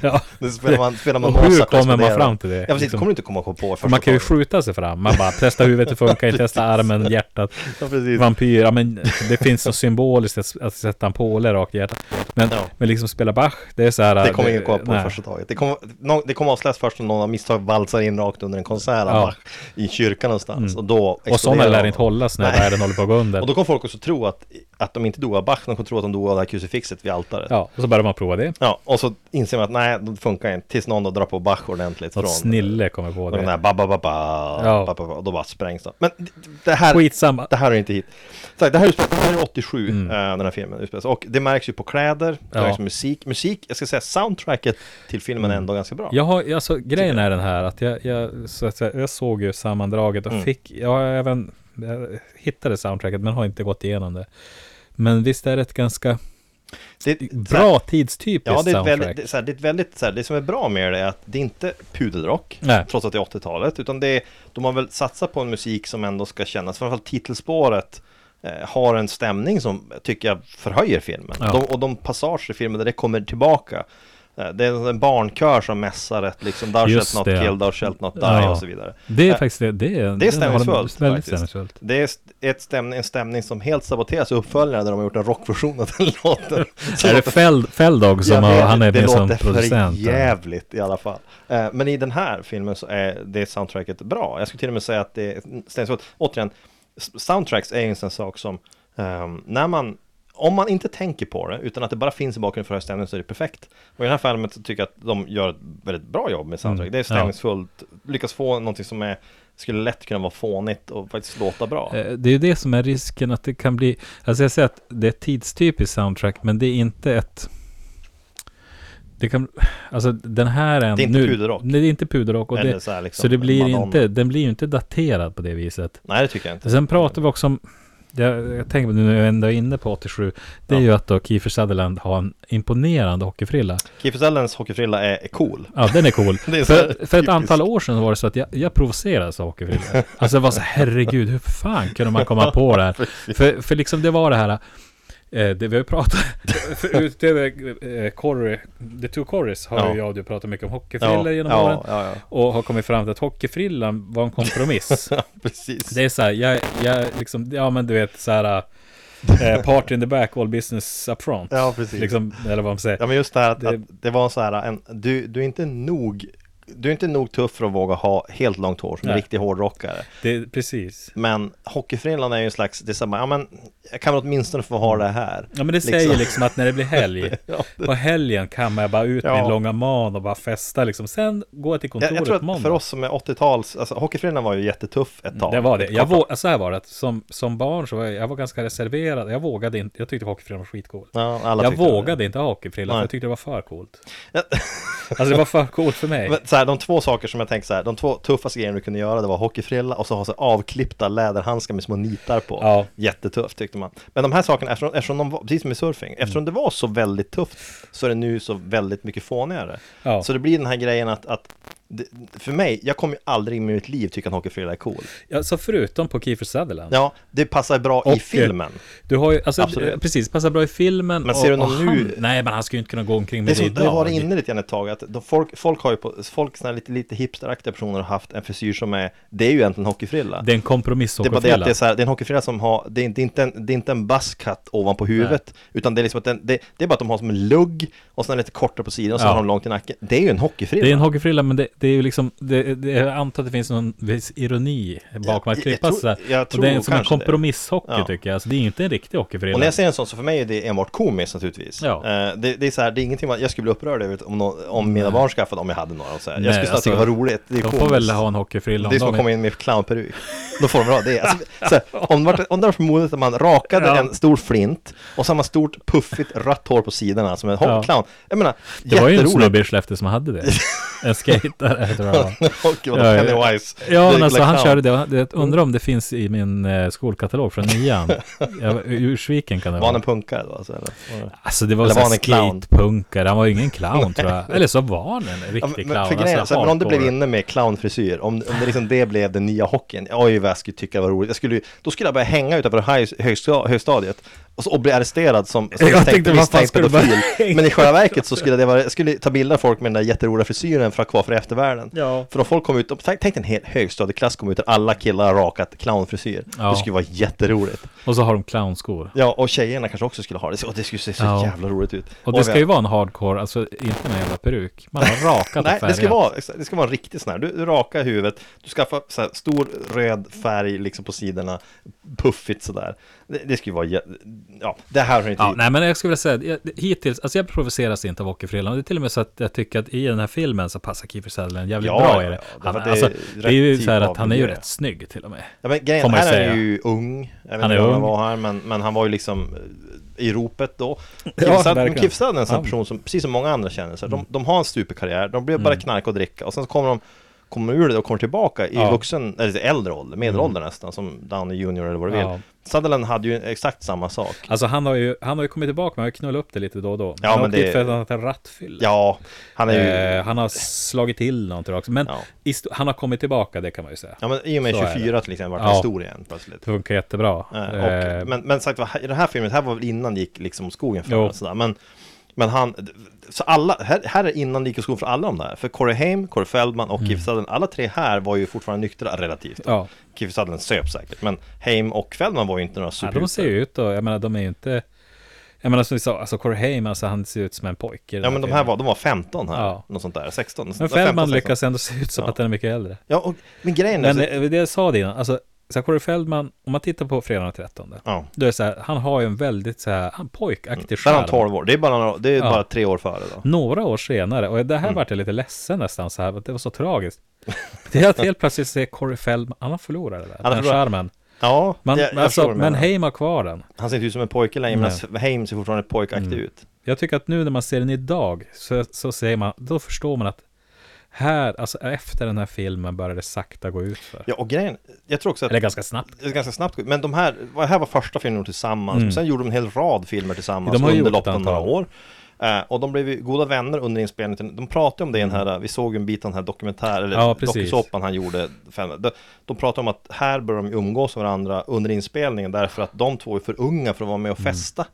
S1: Ja.
S2: Det spelar man, spelar man
S1: Och hur
S2: Mozart och
S1: kommer man
S2: exploderar.
S1: fram till det?
S2: Ja, precis,
S1: Liksom.
S2: det kommer du inte komma på första
S1: Man kan ju
S2: taget.
S1: skjuta sig fram, man bara testa huvudet, det funkar ju, testa armen, hjärtat.
S2: Ja, precis.
S1: Vampyr, ja men det finns något symboliskt att, att sätta en påle rakt i hjärtat. Men,
S2: Ja.
S1: men liksom spela Bach, det är så här...
S2: Det kommer ingen komma på
S1: nej.
S2: första taget. Det kommer, nå- det kommer avslöjas först om någon av misstag valsar in rakt under en konsert
S1: Ja. Mm.
S2: bara, i kyrkan någonstans. Och då
S1: Och sådana
S2: exploderar
S1: lär
S2: de.
S1: inte hållas när
S2: Nej.
S1: världen håller på att gå under.
S2: Och då kommer folk också tro att, att de inte dog av Bach, de kommer tro att de dog av det här krucifixet vid altaret. Ja.
S1: Ja, och så börjar man prova det.
S2: och så inser man att nej, det funkar inte, tills någon då drar på Bach ordentligt.
S1: Något snille kommer på
S2: Och den här
S1: det.
S2: ba ba ba ba,
S1: Ja.
S2: ba, ba, ba, och då bara sprängs de. Men d- det här,
S1: Skitsamma.
S2: det här är inte hit. Så här, det här är, det här är 87, eh, den här filmen utspelas. Och det märks ju på kläder, det
S1: Mm. Ja.
S2: märks på musik. Musik, jag ska säga soundtracket till filmen
S1: Mm.
S2: är ändå ganska bra.
S1: Jag har, alltså, grejen är den här att jag, jag, så att säga, jag såg ju sammandraget och
S2: Mm.
S1: fick, jag har även jag hittade soundtracket men har inte gått igenom det. Men visst är det ett ganska
S2: Det är ett- så här-
S1: bra tidstypiskt
S2: Ja, det är, ett
S1: soundtrack.
S2: väldigt, det, är så här, det är ett väldigt, så här, det som är bra med det är att det är inte pudelrock,
S1: Nej.
S2: trots att det är 80-talet, utan det är, de har väl satsat på en musik som ändå ska kännas, framförallt titelspåret eh, har en stämning som tycker jag förhöjer filmen.
S1: Ja.
S2: De, och de passager i filmen där det kommer tillbaka eh, det är en barnkör som mässar ett liksom Thou
S1: Just
S2: shalt not
S1: det.
S2: kill, thou shalt not die
S1: Ja.
S2: och så vidare.
S1: Det är
S2: Eh,
S1: faktiskt det. Det är,
S2: det är stämningsfullt,
S1: Väldigt
S2: faktiskt.
S1: stämningsfullt.
S2: Det är st- ett stämning, en stämning som helt saboteras i uppföljaren där de har gjort en rockversion av den låten. Så
S1: Är det
S2: låter-
S1: Feld, Feldog som
S2: Jag
S1: har,
S2: vet,
S1: han är
S2: det
S1: med som
S2: låter
S1: producent?
S2: för jävligt i alla fall. Eh, Men i den här filmen så är det soundtracket bra. Jag skulle till och med säga att det är stämningsfullt. Återigen, s- soundtracks är ju en sån sak som ehm, när man om man inte tänker på det, utan att det bara finns i bakgrunden för stämningen så är det perfekt. Och i den här filmen så tycker jag att de gör ett väldigt bra jobb med soundtrack.
S1: Mm,
S2: Det är
S1: ja.
S2: stämningsfullt, lyckas få någonting som är, skulle lätt kunna vara fånigt och faktiskt låta bra.
S1: Eh, Det är ju det som är risken att det kan bli, alltså jag säger att det är ett tidstypiskt soundtrack men det är inte ett det kan, alltså den här är en,
S2: Det är inte puderrock.
S1: Nej, det är inte puderrock och
S2: Eller
S1: det,
S2: så här liksom,
S1: så det blir
S2: Madonna.
S1: inte, den blir ju inte daterad på det viset.
S2: Nej, det tycker jag inte.
S1: Sen pratar vi också om, jag, jag tänker på nu när jag ändå är inne på 87, det är
S2: Ja.
S1: ju att då Kiefer Sutherland har en imponerande hockeyfrilla.
S2: Keefer Sellens hockeyfrilla är, är cool.
S1: Ja, den är cool.
S2: Det är så här
S1: För, för ett
S2: typiskt.
S1: antal år sedan var det så att jag, jag provocerades av hockeyfrillor. Alltså jag var så här, herregud, hur fan kunde man komma på det här? För, för liksom det var det här, eh, det vi har ju pratat, för utöver eh, Corry, The Two Corrys har
S2: Ja.
S1: ju jag och du pratat mycket om hockeyfrillor genom
S2: ja,
S1: åren.
S2: Ja, ja,
S1: Och har kommit fram till att hockeyfrillan var en kompromiss.
S2: ja. Precis.
S1: Det är så här, jag, jag liksom, ja men du vet så här, eh, party in the back, all business up front.
S2: Ja, precis.
S1: Liksom, eller vad man säger.
S2: Ja men just det här att
S1: Det-
S2: det, att det var så här en, du, du är inte nog Du är inte nog tuff för att våga ha helt långt hår som en
S1: Nej.
S2: riktig hårdrockare
S1: Det, precis.
S2: Men hockeyfrillan är ju en slags, det är samma, ja men Jag kan väl åtminstone få ha det här
S1: Ja men det säger liksom att när det blir helg
S2: Ja, det-
S1: På helgen kan man bara ut
S2: Ja.
S1: min långa man och bara festa liksom Sen går jag till
S2: jag,
S1: kontoret
S2: jag tror
S1: på måndag
S2: att för oss som är 80-tals, alltså hockeyfrillan var ju jättetuff ett tag
S1: Det var det,
S2: Ett
S1: jag
S2: kort
S1: vå- så här var det att som, som barn så var jag, jag var ganska reserverad Jag vågade inte, jag tyckte hockeyfrillan var skitcool
S2: tag. ja, alla
S1: Jag
S2: tyckte det.
S1: vågade inte ha hockeyfrilla för
S2: Nej.
S1: jag tyckte det var för coolt
S2: Ja.
S1: Alltså det var för coolt för mig
S2: Men så här, de två saker som jag tänker så här, de två tuffaste grejerna du kunde göra det var hockeyfrilla och så ha så här avklippta läderhandskar med små nitar på.
S1: Ja.
S2: Jättetufft tyckte man. Men de här sakerna, eftersom, eftersom de var, precis som i surfing,
S1: Mm.
S2: eftersom det var så väldigt tufft så är det nu så väldigt mycket fånigare.
S1: Ja.
S2: Så det blir den här grejen att, att det, för mig, jag kommer ju aldrig i mitt liv tycka att hockeyfrilla är cool.
S1: ja, Så förutom på Kiefer Sutherland
S2: Ja, det passar bra
S1: Och, eh,
S2: i filmen.
S1: Du har ju, alltså
S2: Absolut.
S1: eh, precis, passar bra i filmen
S2: Men ser
S1: och,
S2: du någon
S1: och han,
S2: nu-
S1: Nej men han ska ju inte kunna gå omkring
S2: Det, är
S1: med
S2: så, det var det
S1: idag.
S2: inne lite grann ett tag, att de, folk, folk har ju på, folk såna här lite, lite hipsteraktiga personer har haft en frisyr som är, det är ju egentligen hockeyfrilla.
S1: Det är en kompromiss
S2: Det är bara det att
S1: hockeyfrilla.
S2: det är, så här, det är en hockeyfrilla som har, det är inte, det är inte en, det är inte en buzzcut ovanpå huvudet, utan det är liksom att den, det, det är bara att de har som en lugg och sen lite kortare på sidan och så
S1: Ja.
S2: har de långt i nacken. Det är ju en hockeyfrilla.
S1: Det är en hockeyfrilla men det, det är ju liksom, det, det, jag antar att det finns någon viss ironi bakom
S2: Jag-
S1: att
S2: jag
S1: klippa
S2: tror-
S1: sådär.
S2: jag
S1: Och det är
S2: tror
S1: som en
S2: kanske det.
S1: kompromisshockey
S2: Ja.
S1: tycker jag, alltså det är ju inte en riktig hockeyfrilla.
S2: och när jag ser en sån så för mig är det enbart komiskt naturligtvis.
S1: Ja.
S2: Eh, det, det är så här, det är ingenting man, jag skulle bli upprörd över om, nå- om mina barn skaffade, om jag hade några och så här.
S1: Nej,
S2: Jag skulle snarare
S1: alltså,
S2: tycka det var roligt, det är
S1: de
S2: komiskt.
S1: får väl ha en hockeyfrilla
S2: det är som
S1: om de
S2: att komma in med clownperuk. Då får de bra det. Alltså, så här, om det var- om det var för modigt att man rakade
S1: Ja.
S2: en stor flint och så har man stort puffigt rött hår på sidorna som en
S1: Ja.
S2: clown. Jag menar,
S1: Det var ju en
S2: jätteroligt.
S1: snubbe i Skellefteå som hade det. En skatare tror jag det var.
S2: Och vadå,
S1: Ja, ja.
S2: Pennywise?
S1: Ja,
S2: The
S1: men alltså
S2: Black
S1: han
S2: liksom Clown.
S1: körde det. Och det- Undrar om det finns i min eh, skolkatalog från nian. Jag, var- Ursviken kan det
S2: Var han en
S1: vara.
S2: punkare då? Alltså, eller?
S1: Alltså det var
S2: eller
S1: såhär
S2: var han en clown?
S1: skatepunkare, han var ju ingen clown tror jag. Eller så var han en riktig
S2: Ja, men,
S1: clown. alltså,
S2: men för grejen, är så här, men om det blev
S1: hardcore.
S2: inne med clownfrisyr, om, om det, liksom det blev den nya hockeyn, oj vad jag skulle tycka det var roligt. Jag skulle, ju- då skulle jag börja hänga utanför hög- högsta- högstadiet och, så, och bli arresterad som, som
S1: Jag tänkte, vad fan
S2: misstänkt
S1: skulle du börja
S2: pedofil.
S1: hänga?
S2: Men i själva verket så skulle det vara, jag skulle ta bilder av folk med den där jätteroliga frisyren för att ha kvar för eftervärlden.
S1: Ja.
S2: För om folk kom ut, och- tänk, tänk en hel högstadieklass kom ut och alla killar har rakat clownfrisyr.
S1: Ja.
S2: Det skulle vara jätteroligt.
S1: Och så har de clownskor.
S2: Ja, och tjejerna kanske också skulle ha det. Så, det skulle se så
S1: Ja.
S2: jävla roligt ut.
S1: Och
S2: Oj,
S1: det ska
S2: vad-
S1: ju vara en hardcore, alltså inte en jävla peruk. Man har rakat
S2: Nej,
S1: och
S2: det ska,
S1: färgat.
S2: vara, exakt, det ska vara en riktig sån här. Du, du rakar huvudet, du skaffar så här stor röd färg liksom på sidorna, puffigt sådär. Det, det ska ju vara, jä- ja, det här hör inte
S1: Ja,
S2: hit.
S1: nej men jag skulle vilja säga, jag, hittills, alltså jag provoceras inte av hockeyfrillan. Det är till och med så att jag tycker att i den här filmen så passar Kiefer Sutherland jävligt
S2: Ja,
S1: bra
S2: ja,
S1: i det.
S2: ja, därför
S1: Han,
S2: att det är
S1: alltså, det är ju
S2: rätt
S1: så här
S2: typ
S1: att
S2: av
S1: han är ju
S2: miljö.
S1: rätt snygg till och med.
S2: Ja, men
S1: får
S2: grejen,
S1: man ju
S2: här är
S1: säga.
S2: han ju ung, jag
S1: Han
S2: vet han
S1: är
S2: inte hur
S1: ung.
S2: han var här, men, men han var ju liksom eh, i ropet då.
S1: Ja,
S2: Kifsad
S1: verkligen.
S2: är en sån
S1: Ja. Mm.
S2: här person som, precis som många andra kändisar, de, de har en superkarriär, de blir bara knarka och dricka och sen så kommer de kommer ur det och kommer tillbaka i
S1: Ja. Mm.
S2: vuxen, eller äldre ålder, medelålder nästan, som Downey Junior eller vad du vill.
S1: Ja.
S2: Sutherland hade ju exakt samma sak.
S1: Alltså han har ju, han har ju kommit tillbaka, men han har ju knullat upp det lite då och då. han
S2: Ja,
S1: har
S2: men
S1: åkt dit
S2: det-
S1: för att han har haft en rattfylla.
S2: Ja, han är ju...
S1: Eh, han har slagit till någon tror jag också. Men
S2: Ja.
S1: i sto- han har kommit tillbaka, det kan man ju säga.
S2: Ja, men i och med
S1: så är
S2: 24 till exempel vart
S1: Ja.
S2: han stor igen plötsligt.
S1: Det funkar jättebra.
S2: Eh,
S1: Eh,
S2: Och, men, men sagt var, i den här filmen, det här var väl innan det gick liksom åt skogen för
S1: Jo.
S2: honom, sådär. Men Men han, så alla, här, här är innan lika skon för alla de där. För Corey Haim, Corey Feldman och Keith Sutherland, alla tre här var ju fortfarande nyktra relativt.
S1: Mm. Ja.
S2: Keith Sutherland söp säkert, men Haim och Feldman var ju inte några
S1: Ja, de ser
S2: superhjältar.
S1: Typ ju ut och jag menar de är ju inte... Jag menar som vi sa, alltså Corey Haim, alltså han ser ut som en pojke. i den
S2: Ja, men de här
S1: filmen.
S2: var, de var 15 här,
S1: Ja.
S2: något sånt där, 16.
S1: Men
S2: 15,
S1: Feldman
S2: 16.
S1: lyckas ändå se ut som
S2: Ja.
S1: att han är mycket äldre.
S2: Ja, och, men grejen är...
S1: Men
S2: så-
S1: eh, det jag sa det innan, alltså så här, Corey Feldman, om man tittar på fredagen den 13,
S2: ja.
S1: då är det så här, han har ju en väldigt så här, han pojkaktig
S2: Mm, Där är
S1: skärm.
S2: han 12 år, det är bara, några- det är
S1: Ja.
S2: bara tre år före då.
S1: Några år senare, och det här
S2: Mm.
S1: vart jag lite ledsen nästan så här, att det var så tragiskt. Det är att helt plötsligt se Corey Feldman, han har förlorat det där,
S2: har
S1: den
S2: förlorat.
S1: charmen.
S2: Ja,
S1: Man,
S2: jag, jag förstår
S1: alltså,
S2: vad du menar.
S1: men Haim har kvar den.
S2: Han ser inte ut som en pojke längre, men Haim ser fortfarande pojkaktig
S1: Mm.
S2: ut.
S1: Jag tycker att nu när man ser den idag så, så säger man, då förstår man att här, alltså efter den här filmen började det sakta gå ut för.
S2: Ja, och grejen, jag tror också att...
S1: Eller ganska snabbt.
S2: Det är ganska snabbt, men de här, det här var första filmen de gjorde tillsammans, sen gjorde de en hel rad filmer tillsammans
S1: Mm. De har
S2: under
S1: gjort
S2: loppet
S1: ett
S2: av några
S1: antal.
S2: år. Eh, och de blev ju goda vänner under inspelningen, de pratade om det i den här, vi såg ju en bit av den här dokumentären, eller
S1: Mm. Ja, precis.
S2: dokusåpan han gjorde. De, de pratade om att här bör de umgås med varandra under inspelningen, därför att de två är för unga för att vara med och festa.
S1: Mm.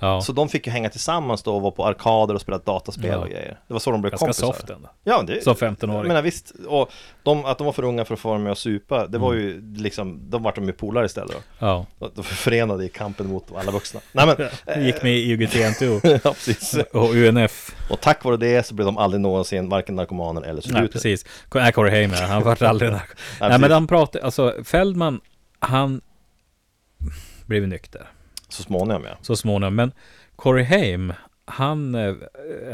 S1: Ja,
S2: Så de fick ju hänga tillsammans då och vara på arkader och spela dataspel
S1: Ja.
S2: och grejer. Det var så de blev
S1: ganska
S2: kompisar.
S1: soft ändå.
S2: Ja, det,
S1: Som 15-åring.
S2: Jag menar visst, och de, att de var för unga för att få vara med och supa, det var
S1: Mm.
S2: ju liksom, de vart de ju polare istället då.
S1: Ja,
S2: De var förenade i kampen mot alla vuxna. Nej men,
S1: Jag gick med i UGT-NTO
S2: ja precis.
S1: och UNF.
S2: Och tack vare det så blev de aldrig någonsin varken narkomaner eller
S1: Nej,
S2: suduter.
S1: precis. Nej, Corey Haim, ja, han vart aldrig nark- Nej, men
S2: precis.
S1: han pratar, alltså Feldman, han blev nykter
S2: Så småningom ja.
S1: så småningom. Men Corey Haim, han, eh,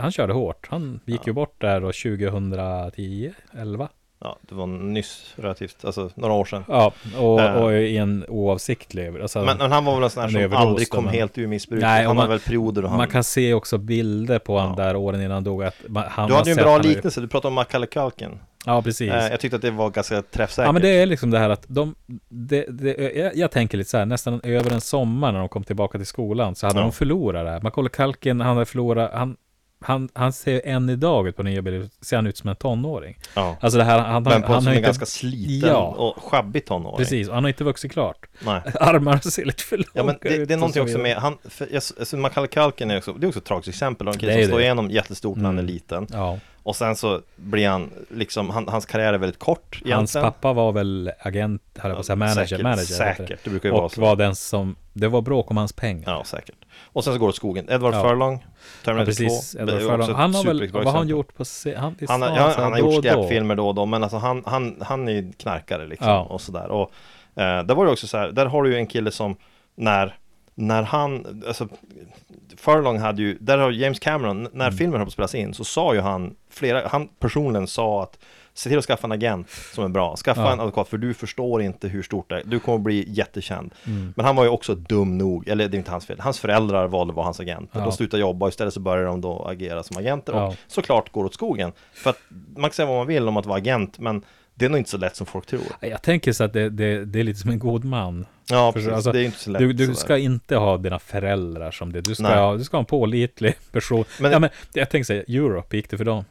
S1: han körde hårt. Han gick ju bort där då 2010, 11.
S2: Ja, det var nyss relativt, alltså några år sedan.
S1: Ja,
S2: Eh.
S1: och, och i en oavsiktlig... Alltså,
S2: Men, men han var väl en sån här
S1: En
S2: som
S1: överdos
S2: aldrig
S1: då,
S2: kom
S1: men-
S2: helt ur missbruket.
S1: Nej, och
S2: Han har
S1: man-
S2: väl perioder och han...
S1: Man kan se också bilder på han
S2: Ja.
S1: där åren innan han dog. Att man, han
S2: Du
S1: har
S2: hade ju en
S1: sett
S2: bra
S1: han har ju-
S2: liknelse, du pratade om Macaulay Culkin.
S1: Ja, precis.
S2: Eh, jag tyckte att det var ganska träffsäkert.
S1: Ja men det är liksom det här att de, det, det, jag, jag tänker lite så här, nästan över en sommar när de kom tillbaka till skolan så hade
S2: Ja.
S1: de förlorat det här. Macaulay Culkin, han har förlorat, han, han, han ser än idag ut på nya bilder, ser han ut som en tonåring.
S2: Ja.
S1: Alltså det här, han,
S2: Men
S1: han,
S2: på
S1: han
S2: som
S1: har
S2: är
S1: inte,
S2: ganska sliten
S1: Ja.
S2: och sjabbig tonåring.
S1: precis, och han har inte vuxit klart.
S2: Nej.
S1: Armarna ser lite för långa
S2: Ja men det,
S1: ut
S2: det är
S1: och
S2: någonting
S1: så
S2: också
S1: vidare.
S2: med, han, för, jag, alltså, man kallar kalken är också, det är också ett tragiskt exempel, han
S1: Det är
S2: kille som
S1: det. Mm.
S2: slår igenom jättestort när han är liten
S1: Ja,
S2: och sen så blir han, liksom, han, hans karriär är väldigt kort
S1: hans
S2: egentligen.
S1: pappa var väl agent, höll jag på att säga, manager,
S2: Säkert,
S1: manager. heter
S2: säkert, det brukar ju
S1: och
S2: vara så.
S1: var den som, det var bråk om hans pengar.
S2: Ja, säkert. Och sen så går det åt skogen, Edward
S1: Ja.
S2: Furlong,
S1: Ja,
S2: Terminator 2,
S1: precis, Edward
S2: det är också
S1: Furlong.
S2: ett
S1: Han har väl,
S2: superbra
S1: vad har han
S2: exempel.
S1: gjort på se- han, visst
S2: Han, har-
S1: sa
S2: ja,
S1: så här
S2: han har
S1: då och
S2: gjort
S1: då.
S2: skräpfilmer då och då, men alltså han, han, han är ju knarkare liksom
S1: Ja.
S2: och sådär. Och eh, där var det också så här, där har du ju en kille som när, när han, alltså Furlong hade ju, där har James Cameron, n- när
S1: Mm.
S2: filmen höll på att spelas in så sa ju han, flera, han personligen sa att se till att skaffa en agent som är bra, skaffa
S1: Ja.
S2: en advokat för du förstår inte hur stort det är, du kommer bli jättekänd.
S1: Mm.
S2: Men han var ju också dum nog, eller det är inte hans fel, hans föräldrar valde att vara hans agenter,
S1: Ja.
S2: de slutade jobba och istället så började de då agera som agenter och
S1: Ja.
S2: såklart går åt skogen. För att man kan säga vad man vill om att vara agent, men det är nog inte så lätt som folk tror.
S1: Jag tänker så att det, det, det är lite som en god man.
S2: Ja,
S1: Förstår
S2: precis.
S1: du? Alltså,
S2: det är ju inte så lätt.
S1: Du, du
S2: sådär.
S1: ska inte ha dina föräldrar som det. Du ska,
S2: Nej.
S1: ha, du ska ha en pålitlig person.
S2: Men-
S1: ja, men jag tänker säga, Europe, gick det för dem?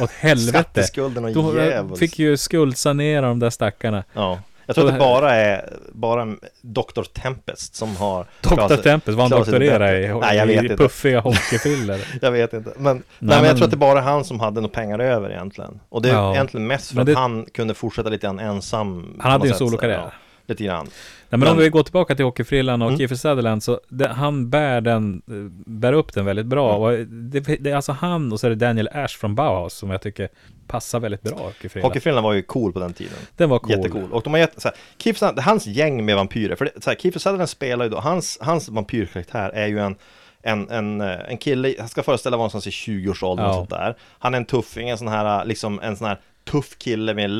S1: Åt helvete.
S2: Skatteskulden och
S1: De
S2: djävuls.
S1: fick ju skuldsanera de där stackarna.
S2: Ja. Jag tror
S1: Så
S2: att det
S1: det här-
S2: bara är, bara en Dr. Tempest som har... klarat
S1: Dr.
S2: sig-
S1: Tempest, var han
S2: klarat sig
S1: doktorerade
S2: bättre. Nej, jag vet
S1: i, i
S2: inte.
S1: puffiga hockeyfrillor?
S2: Jag vet inte. Men, nej, men jag
S1: men-
S2: tror att det bara är han som hade några pengar över egentligen. Och det är
S1: Ja.
S2: egentligen mest för
S1: Men
S2: att
S1: det-
S2: han kunde fortsätta lite grann ensam.
S1: Han hade
S2: på
S1: ju en
S2: något sätt,
S1: solokarriär.
S2: sådär, ja. Lite grann.
S1: Nej, men,
S2: Men-
S1: om vi går tillbaka till hockeyfrillan och
S2: Mm.
S1: Kiefer Sutherland så det, han bär den, eh, bär upp den väldigt bra.
S2: Mm.
S1: Och det, det är alltså han och så är det Daniel Ash från Bauhaus som jag tycker passar väldigt bra hockeyfrillan.
S2: Hockeyfrillan var ju cool på den tiden.
S1: Den var cool.
S2: Jättecool. Och de har gett, så här, Keith Sutherland, hans gäng med vampyrer, för det, så här, Keith Sutherland spelar ju då, hans, hans vampyrkaraktär är ju en en, en, eh, en kille, han ska föreställa vara någonstans i 20-årsåldern och
S1: Ja.
S2: sånt där. Han är en tuffing, en sån här, eh, liksom en sån här tuff kille med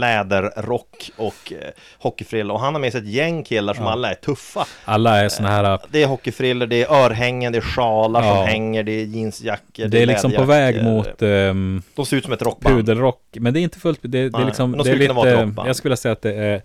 S2: läderrock och eh, hockeyfrilla och han har med sig ett gäng killar som alla är tuffa.
S1: Alla är såna här,
S2: Det är hockeyfrillor, det är örhängen, det är sjalar
S1: Ja.
S2: som hänger, det är jeansjackor,
S1: det är liksom på väg
S2: läderjackor.
S1: mot ehm,
S2: De ser ut som ett rockband.
S1: pudelrock, men det är inte fullt, det, det
S2: Nej,
S1: är liksom,
S2: men de
S1: det är
S2: skulle kunna vara ett
S1: lite,
S2: rockband.
S1: jag skulle vilja säga att det är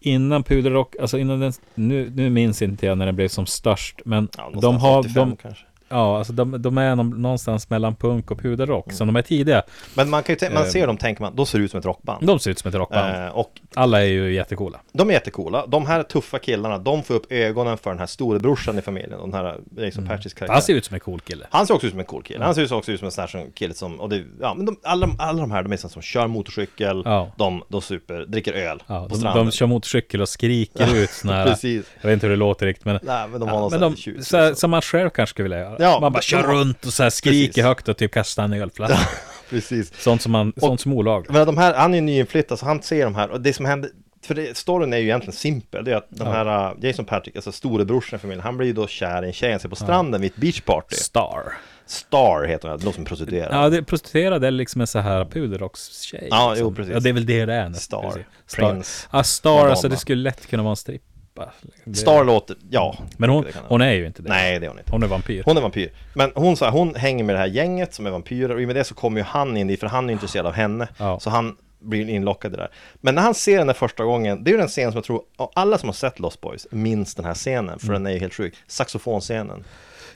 S1: innan pudelrock, alltså innan den, nu, nu minns inte jag när den blev som störst, men
S2: Ja,
S1: de
S2: någonstans
S1: har,
S2: 85
S1: de,
S2: kanske.
S1: ja, alltså de, de är någon- någonstans mellan punk och puderrock.
S2: Mm.
S1: Så de är tidiga.
S2: Men man, kan ju tän- man
S1: Eh.
S2: ser dem, tänker man, då ser det ut som ett rockband.
S1: De ser ut som ett rockband.
S2: Eh, och
S1: Alla är ju jättecoola.
S2: de är jättecoola. De här tuffa killarna, de får upp ögonen för den här storebrorsan i familjen. Den här liksom Patchys karaktär.
S1: Mm. Han ser ut som en cool kille.
S2: Han ser också ut som en cool kille. Han ser också ut som en sån här som kille som, och det, ja men de, alla, alla de här, de är sådana som kör motorcykel,
S1: Ja.
S2: de, de super, dricker öl
S1: Ja,
S2: på
S1: de,
S2: stranden.
S1: de kör motorcykel och skriker ut såna här,
S2: Precis.
S1: Jag vet inte hur det låter riktigt men
S2: Nej, men de har
S1: ja,
S2: någon
S1: men
S2: sån
S1: de,
S2: här tjus- liksom.
S1: så här, Som man själv kanske skulle vilja göra
S2: Ja,
S1: Man bara
S2: de-
S1: kör
S2: de-
S1: runt och så här skriker
S2: Precis.
S1: högt och typ kastar en ölflaska
S2: Precis.
S1: Sånt som man, sånt som olag
S2: Men de här, han är ju nyinflyttad så han ser de här och det som händer för det, storyn är ju egentligen simpel, det är att de här uh, Jason Patrick, alltså storebrorsan i familjen, han blir ju då kär i en tjej han ser på stranden vid ett beachparty.
S1: Star
S2: Star heter hon, de som prostituerar.
S1: Ja, det, prostituerad är liksom en så här puderrockstjej
S2: Ja,
S1: liksom.
S2: jo, precis.
S1: Ja, det är väl det det är nu.
S2: Star,
S1: Precis.
S2: Prince,
S1: Ja, Star, alltså
S2: Madonna.
S1: det skulle lätt kunna vara en strippa det,
S2: Star låter, ja.
S1: Men hon,
S2: det kan det
S1: hon är ju inte det
S2: vara. Nej, det är hon inte.
S1: Hon är vampyr
S2: Hon är vampyr. Men hon, så här, hon hänger med det här gänget som är vampyrer och i och med det så kommer ju han in dit för han är intresserad av henne.
S1: Ja.
S2: Så han blir inlockad i det där. Men när han ser henne första gången, det är ju den scen som jag tror, ja, alla som har sett Lost Boys minns den här scenen, för
S1: Mm.
S2: den är ju helt sjuk. Saxofonscenen.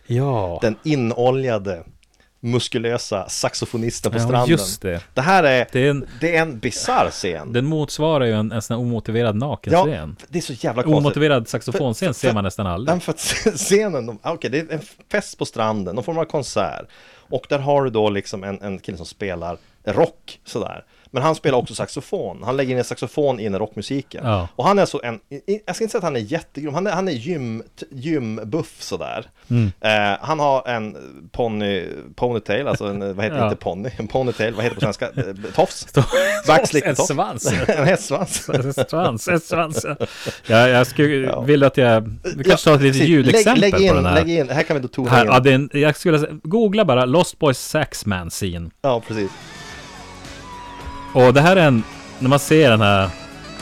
S1: Ja
S2: Den inoljade, muskulösa saxofonisten på
S1: Ja,
S2: stranden.
S1: just det.
S2: Det här är,
S1: Det är en-
S2: det är en bisarr scen.
S1: Den motsvarar ju en, en sån här omotiverad
S2: ja,
S1: nakenscen
S2: det är så jävla konstigt.
S1: Omotiverad saxofonscen
S2: För- för-
S1: ser man nästan aldrig.
S2: Nej, för att scenen, de, ah, okej, det är en fest på stranden, någon form av konsert. Och där har du då liksom en, en kille som spelar rock, sådär. Men han spelar också saxofon, han lägger in en saxofon in i rockmusiken.
S1: Ja.
S2: Och han är så en, i- i- jag ska inte säga att han är jättegrom, han är, han är gym, t- gymbuff sådär.
S1: Mm.
S2: Eh, han har en ponny, ponytail, alltså en, vad heter det,
S1: Ja.
S2: inte ponny, en ponytail, vad heter det på svenska? Eh, Tofs?
S1: En
S2: Backslick-tofs?
S1: svans.
S2: en hästsvans?
S1: En svans, en svans. Ja, jag skulle vilja att jag... Vi kanske tar ett litet
S2: precis.
S1: ljudexempel
S2: lägg, lägg in,
S1: på den här.
S2: Lägg in, här kan vi då tona
S1: Här,
S2: in.
S1: ja, det är en, jag skulle säga, googla bara Lost Boys Saxman scene.
S2: ja, precis.
S1: Och det här är en, när man ser den här,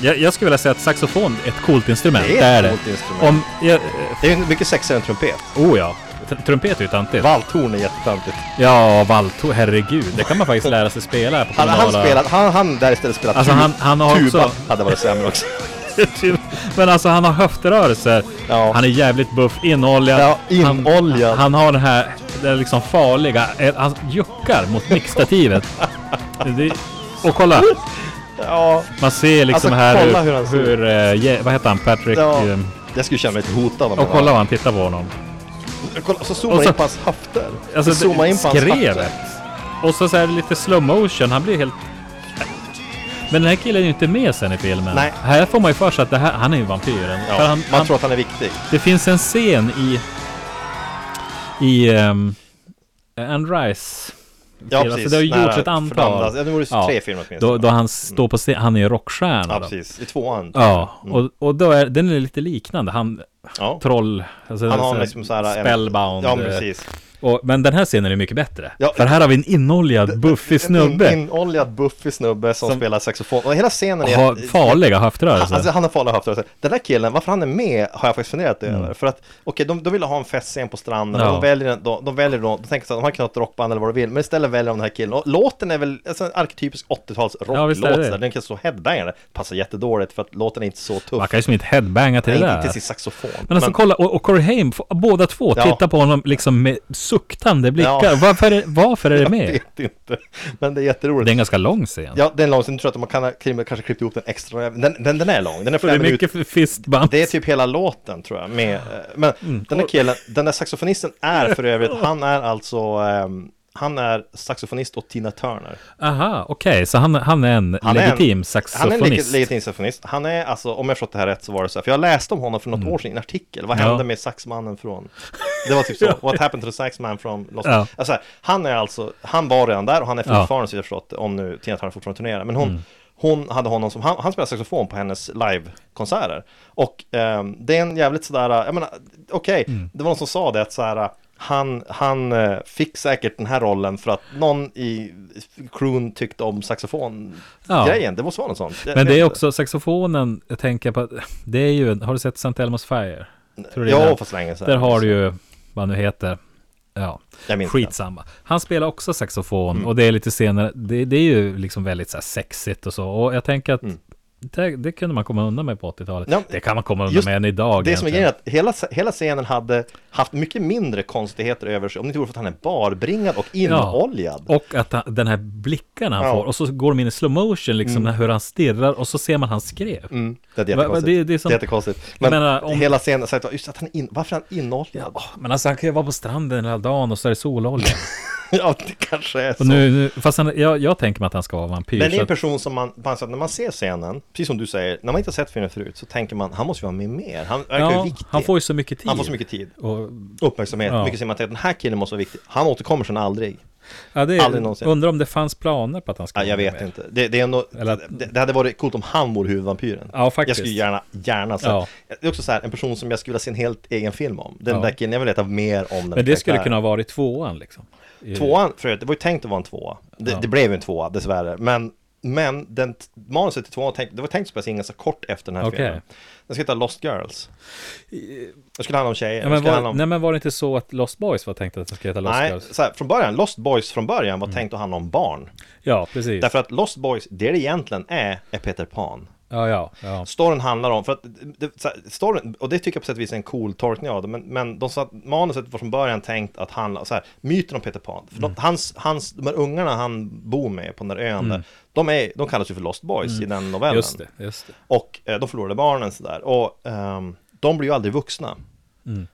S1: jag, jag skulle vilja säga att saxofon är ett coolt instrument.
S2: Det är
S1: Det
S2: ett
S1: är,
S2: coolt
S1: det.
S2: instrument.
S1: Om, jag,
S2: Det är ju mycket sexigare än trumpet.
S1: oh ja, Tr- trumpet är ju tantigt.
S2: Valthorn är jättetöntigt.
S1: Ja, valto, herregud, det kan man faktiskt lära sig spela här på
S2: Hade han
S1: kommunala-
S2: spelat, han, han där istället spelat
S1: Alltså,
S2: tu-
S1: han- han har
S2: tuba
S1: också-
S2: hade varit sämre också.
S1: Men alltså han har höftrörelser.
S2: Ja.
S1: Han är jävligt buff, inoljad.
S2: Ja, inoljad.
S1: Han, han har den här, den liksom farliga, eh, han juckar mot mixtativet. det, och kolla,
S2: Ja,
S1: man ser liksom
S2: Alltså,
S1: här
S2: kolla
S1: hur,
S2: hur han ser
S1: hur, eh, Je- vad heter han, Patrick?
S2: ja.
S1: eh,
S2: Jag skulle känna mig lite hotad om
S1: Och
S2: jag
S1: kolla
S2: var-
S1: vad han tittar på honom.
S2: kolla så zoomar
S1: Och
S2: så,
S1: så-
S2: in på hans höfter.
S1: Alltså
S2: zoomar in på hans höfter.
S1: skrevet. Och så, så här lite slow motion, han blir helt... Men den här killen är ju inte med sen i filmen.
S2: Nej.
S1: Här får man ju för sig att det här, han är ju vampyren.
S2: Ja,
S1: För han,
S2: man
S1: han,
S2: tror att han är viktig.
S1: Det finns en scen i... I... Um, Anne Rice.
S2: Ja,
S1: Alltså, det har ju
S2: Nära
S1: gjorts ett antal.
S2: fördömdas. Ja, det vore
S1: Ja.
S2: tre filmer åtminstone. Mm.
S1: Då, då han står på scen, han är ju rockstjärna.
S2: ja,
S1: då.
S2: precis. Mm. I tvåan.
S1: Ja, och, och då är den är lite liknande. Han
S2: Ja.
S1: troll, alltså,
S2: Han
S1: så
S2: har
S1: här
S2: liksom så här en-
S1: spellbound.
S2: Ja,
S1: eh,
S2: precis.
S1: Och, men den här scenen är mycket bättre.
S2: Ja.
S1: För här har vi en inoljad, buffig
S2: En
S1: snubbe.
S2: inoljad buffig snubbe som,
S1: Som-
S2: spelar saxofon. Och hela scenen är...
S1: Har farliga höftrörelser.
S2: Alltså han har farliga höftrörelser. Den där killen, varför han är med har jag faktiskt funderat över. För att, okej, de, de vill ha en festscen på stranden och
S1: Mm. Ja.
S2: de väljer, en- de, de väljer då, de tänker så att de har kunnat ha ett rockband eller vad de vill, men istället väljer de den här killen. Och låten är väl alltså, en arketypisk 80-tals
S1: Ja, visst är
S2: rocklåt,
S1: det.
S2: ja, den kan stå headbangare. Passar jättedåligt för att låten är inte så tuff.
S1: Man kan ju som inte headbanga till
S2: Nej,
S1: det
S2: inte
S1: där.
S2: till sin saxofon.
S1: Men alltså kolla, och, och Corey Haim, f- båda två,
S2: Ja.
S1: titta på honom liksom med suktande blickar.
S2: Ja.
S1: Varför, är, varför är det
S2: jag
S1: med?
S2: vet inte. Men det är jätteroligt.
S1: Det är en ganska lång scen.
S2: Ja, det är en lång scen, jag tror att man kan, ha- kanske klippt ihop den extra. Den, den, den är lång, den är
S1: För det
S2: flera
S1: är
S2: minuter.
S1: mycket fistbump.
S2: Det är typ hela låten tror jag. Med, eh, men den där killen, den där saxofonisten är för övrigt, han är alltså, ehm, han är saxofonist åt Tina Turner.
S1: Aha, okej, så han, han är en
S2: Han är
S1: legitim
S2: en- Han är en leg-
S1: saxofonist.
S2: legitim saxofonist. Han är alltså, om jag förstått det här rätt så var det så här, för jag läste om honom för något år sedan i en artikel. Vad
S1: Mm. Ja.
S2: hände med saxmannen från, det var typ så, What happened to the saxman from Los
S1: Ja.
S2: alltså, Han är alltså, han var redan där och han är
S1: Ja. Mm.
S2: fortfarande, så jag förstått, det, om nu Tina Turner fortfarande turnerar. Men hon, hon hade honom som, han, han spelade saxofon på hennes livekonserter. Och ehm, det är en jävligt sådär, jag menar, okej,
S1: Mm.
S2: det var någon som sa det att såhär, han, han eh, fick säkert den här rollen för att någon i crewn tyckte om
S1: Ja.
S2: saxofon-grejen. Det måste vara något sånt. Jag
S1: Men det
S2: vet
S1: är
S2: inte.
S1: också saxofonen, jag tänker på, att- det är ju, har du sett St. Elmo's Fire? Tror du det är
S2: Ja,
S1: den?
S2: fast länge sedan.
S1: Där har du ju, vad nu heter, ja,
S2: liksom. Jag minns Mm.
S1: skitsamma. Han spelar också saxofon och det är lite senare, det, det är ju liksom väldigt så här sexigt och så. Och jag tänker att det, det kunde man komma undan med på 80-talet.
S2: Mm. Ja,
S1: det kan man komma undan
S2: just
S1: med än idag.
S2: Det som är
S1: egentligen.
S2: grejen är att hela, hela scenen hade haft mycket mindre konstigheter över sig om det inte vore för att han är barbringad och inoljad.
S1: Och att han, den här blicken han
S2: Ja.
S1: får och så går de in i slow motion liksom hur han stirrar och så ser man hans skrev.
S2: Mm, det
S1: Va-
S2: är
S1: va-
S2: jättekonstigt.
S1: det- det är som-
S2: jättekonstigt.
S1: Jag
S2: Men
S1: menar, om-
S2: hela scenen, så att, just att han in, varför är han inoljad?
S1: Åh, Men alltså han kan ju vara på stranden hela dagen och så är det sololja.
S2: ja, det kanske är så.
S1: Och nu, nu, fast han, jag, jag tänker mig att han ska vara vampyr.
S2: Men det är
S1: så
S2: en
S1: att,
S2: person som man, på något sätt, när man ser scenen, precis som du säger, när man inte har sett filmen förut så tänker man, han måste ju vara med mer. Han verkar ju
S1: ja,
S2: viktig.
S1: han får ju så mycket tid.
S2: Han får så mycket tid,
S1: Och,
S2: uppmärksamhet,
S1: Ja.
S2: mycket ser man till att den här killen måste vara viktig. Han återkommer sen aldrig.
S1: ja, det
S2: Aldrig någonsin.
S1: är, undrar om det fanns planer på att han
S2: Ja,
S1: skulle
S2: jag
S1: vara
S2: vet
S1: med.
S2: inte. Det, det, är ändå,
S1: Eller att-
S2: det, det hade varit coolt om han vore huvudvampyren.
S1: Ja, faktiskt.
S2: Jag skulle gärna, gärna se.
S1: Ja.
S2: Det är också så här, en person som jag skulle vilja se en helt egen film om. Den
S1: Ja.
S2: där killen, jag vill veta mer om den
S1: Men det skulle
S2: karaktären.
S1: kunna ha varit tvåan liksom. I-
S2: Tvåan, för övrigt, det var ju tänkt att vara en tvåa. Det,
S1: Ja.
S2: det blev ju en tvåa, dessvärre. Men, men den t- manuset till tvåan, var tänkt- det var tänkt att spelas in ganska kort efter den här
S1: Okej.
S2: filmen. Den ska heta Lost Girls. Det skulle handla om tjejer.
S1: Ja,
S2: det
S1: men
S2: skulle handla
S1: var,
S2: om...
S1: nej men var det inte så att Lost Boys var tänkt att det skulle heta Lost
S2: Nej,
S1: Girls? Mm.
S2: så här, från början, Lost Boys från början var tänkt att handla om barn.
S1: Ja, precis.
S2: Därför att Lost Boys, det det egentligen är, är Peter Pan.
S1: Ja, ja, ja.
S2: Storyn handlar om, för att det, så här, storyn, och det tycker jag på sätt och vis är en cool tolkning av det, men, men de sa att manuset var från början tänkt att handla, så här, myten om Peter Pan, för
S1: Mm.
S2: de, hans, hans, de här ungarna han bor med på den där ön där, de, är, de kallas ju för Lost Boys i den novellen.
S1: Mm. Just det, just det.
S2: Och eh, de förlorade barnen sådär, och ehm, de blir ju aldrig vuxna.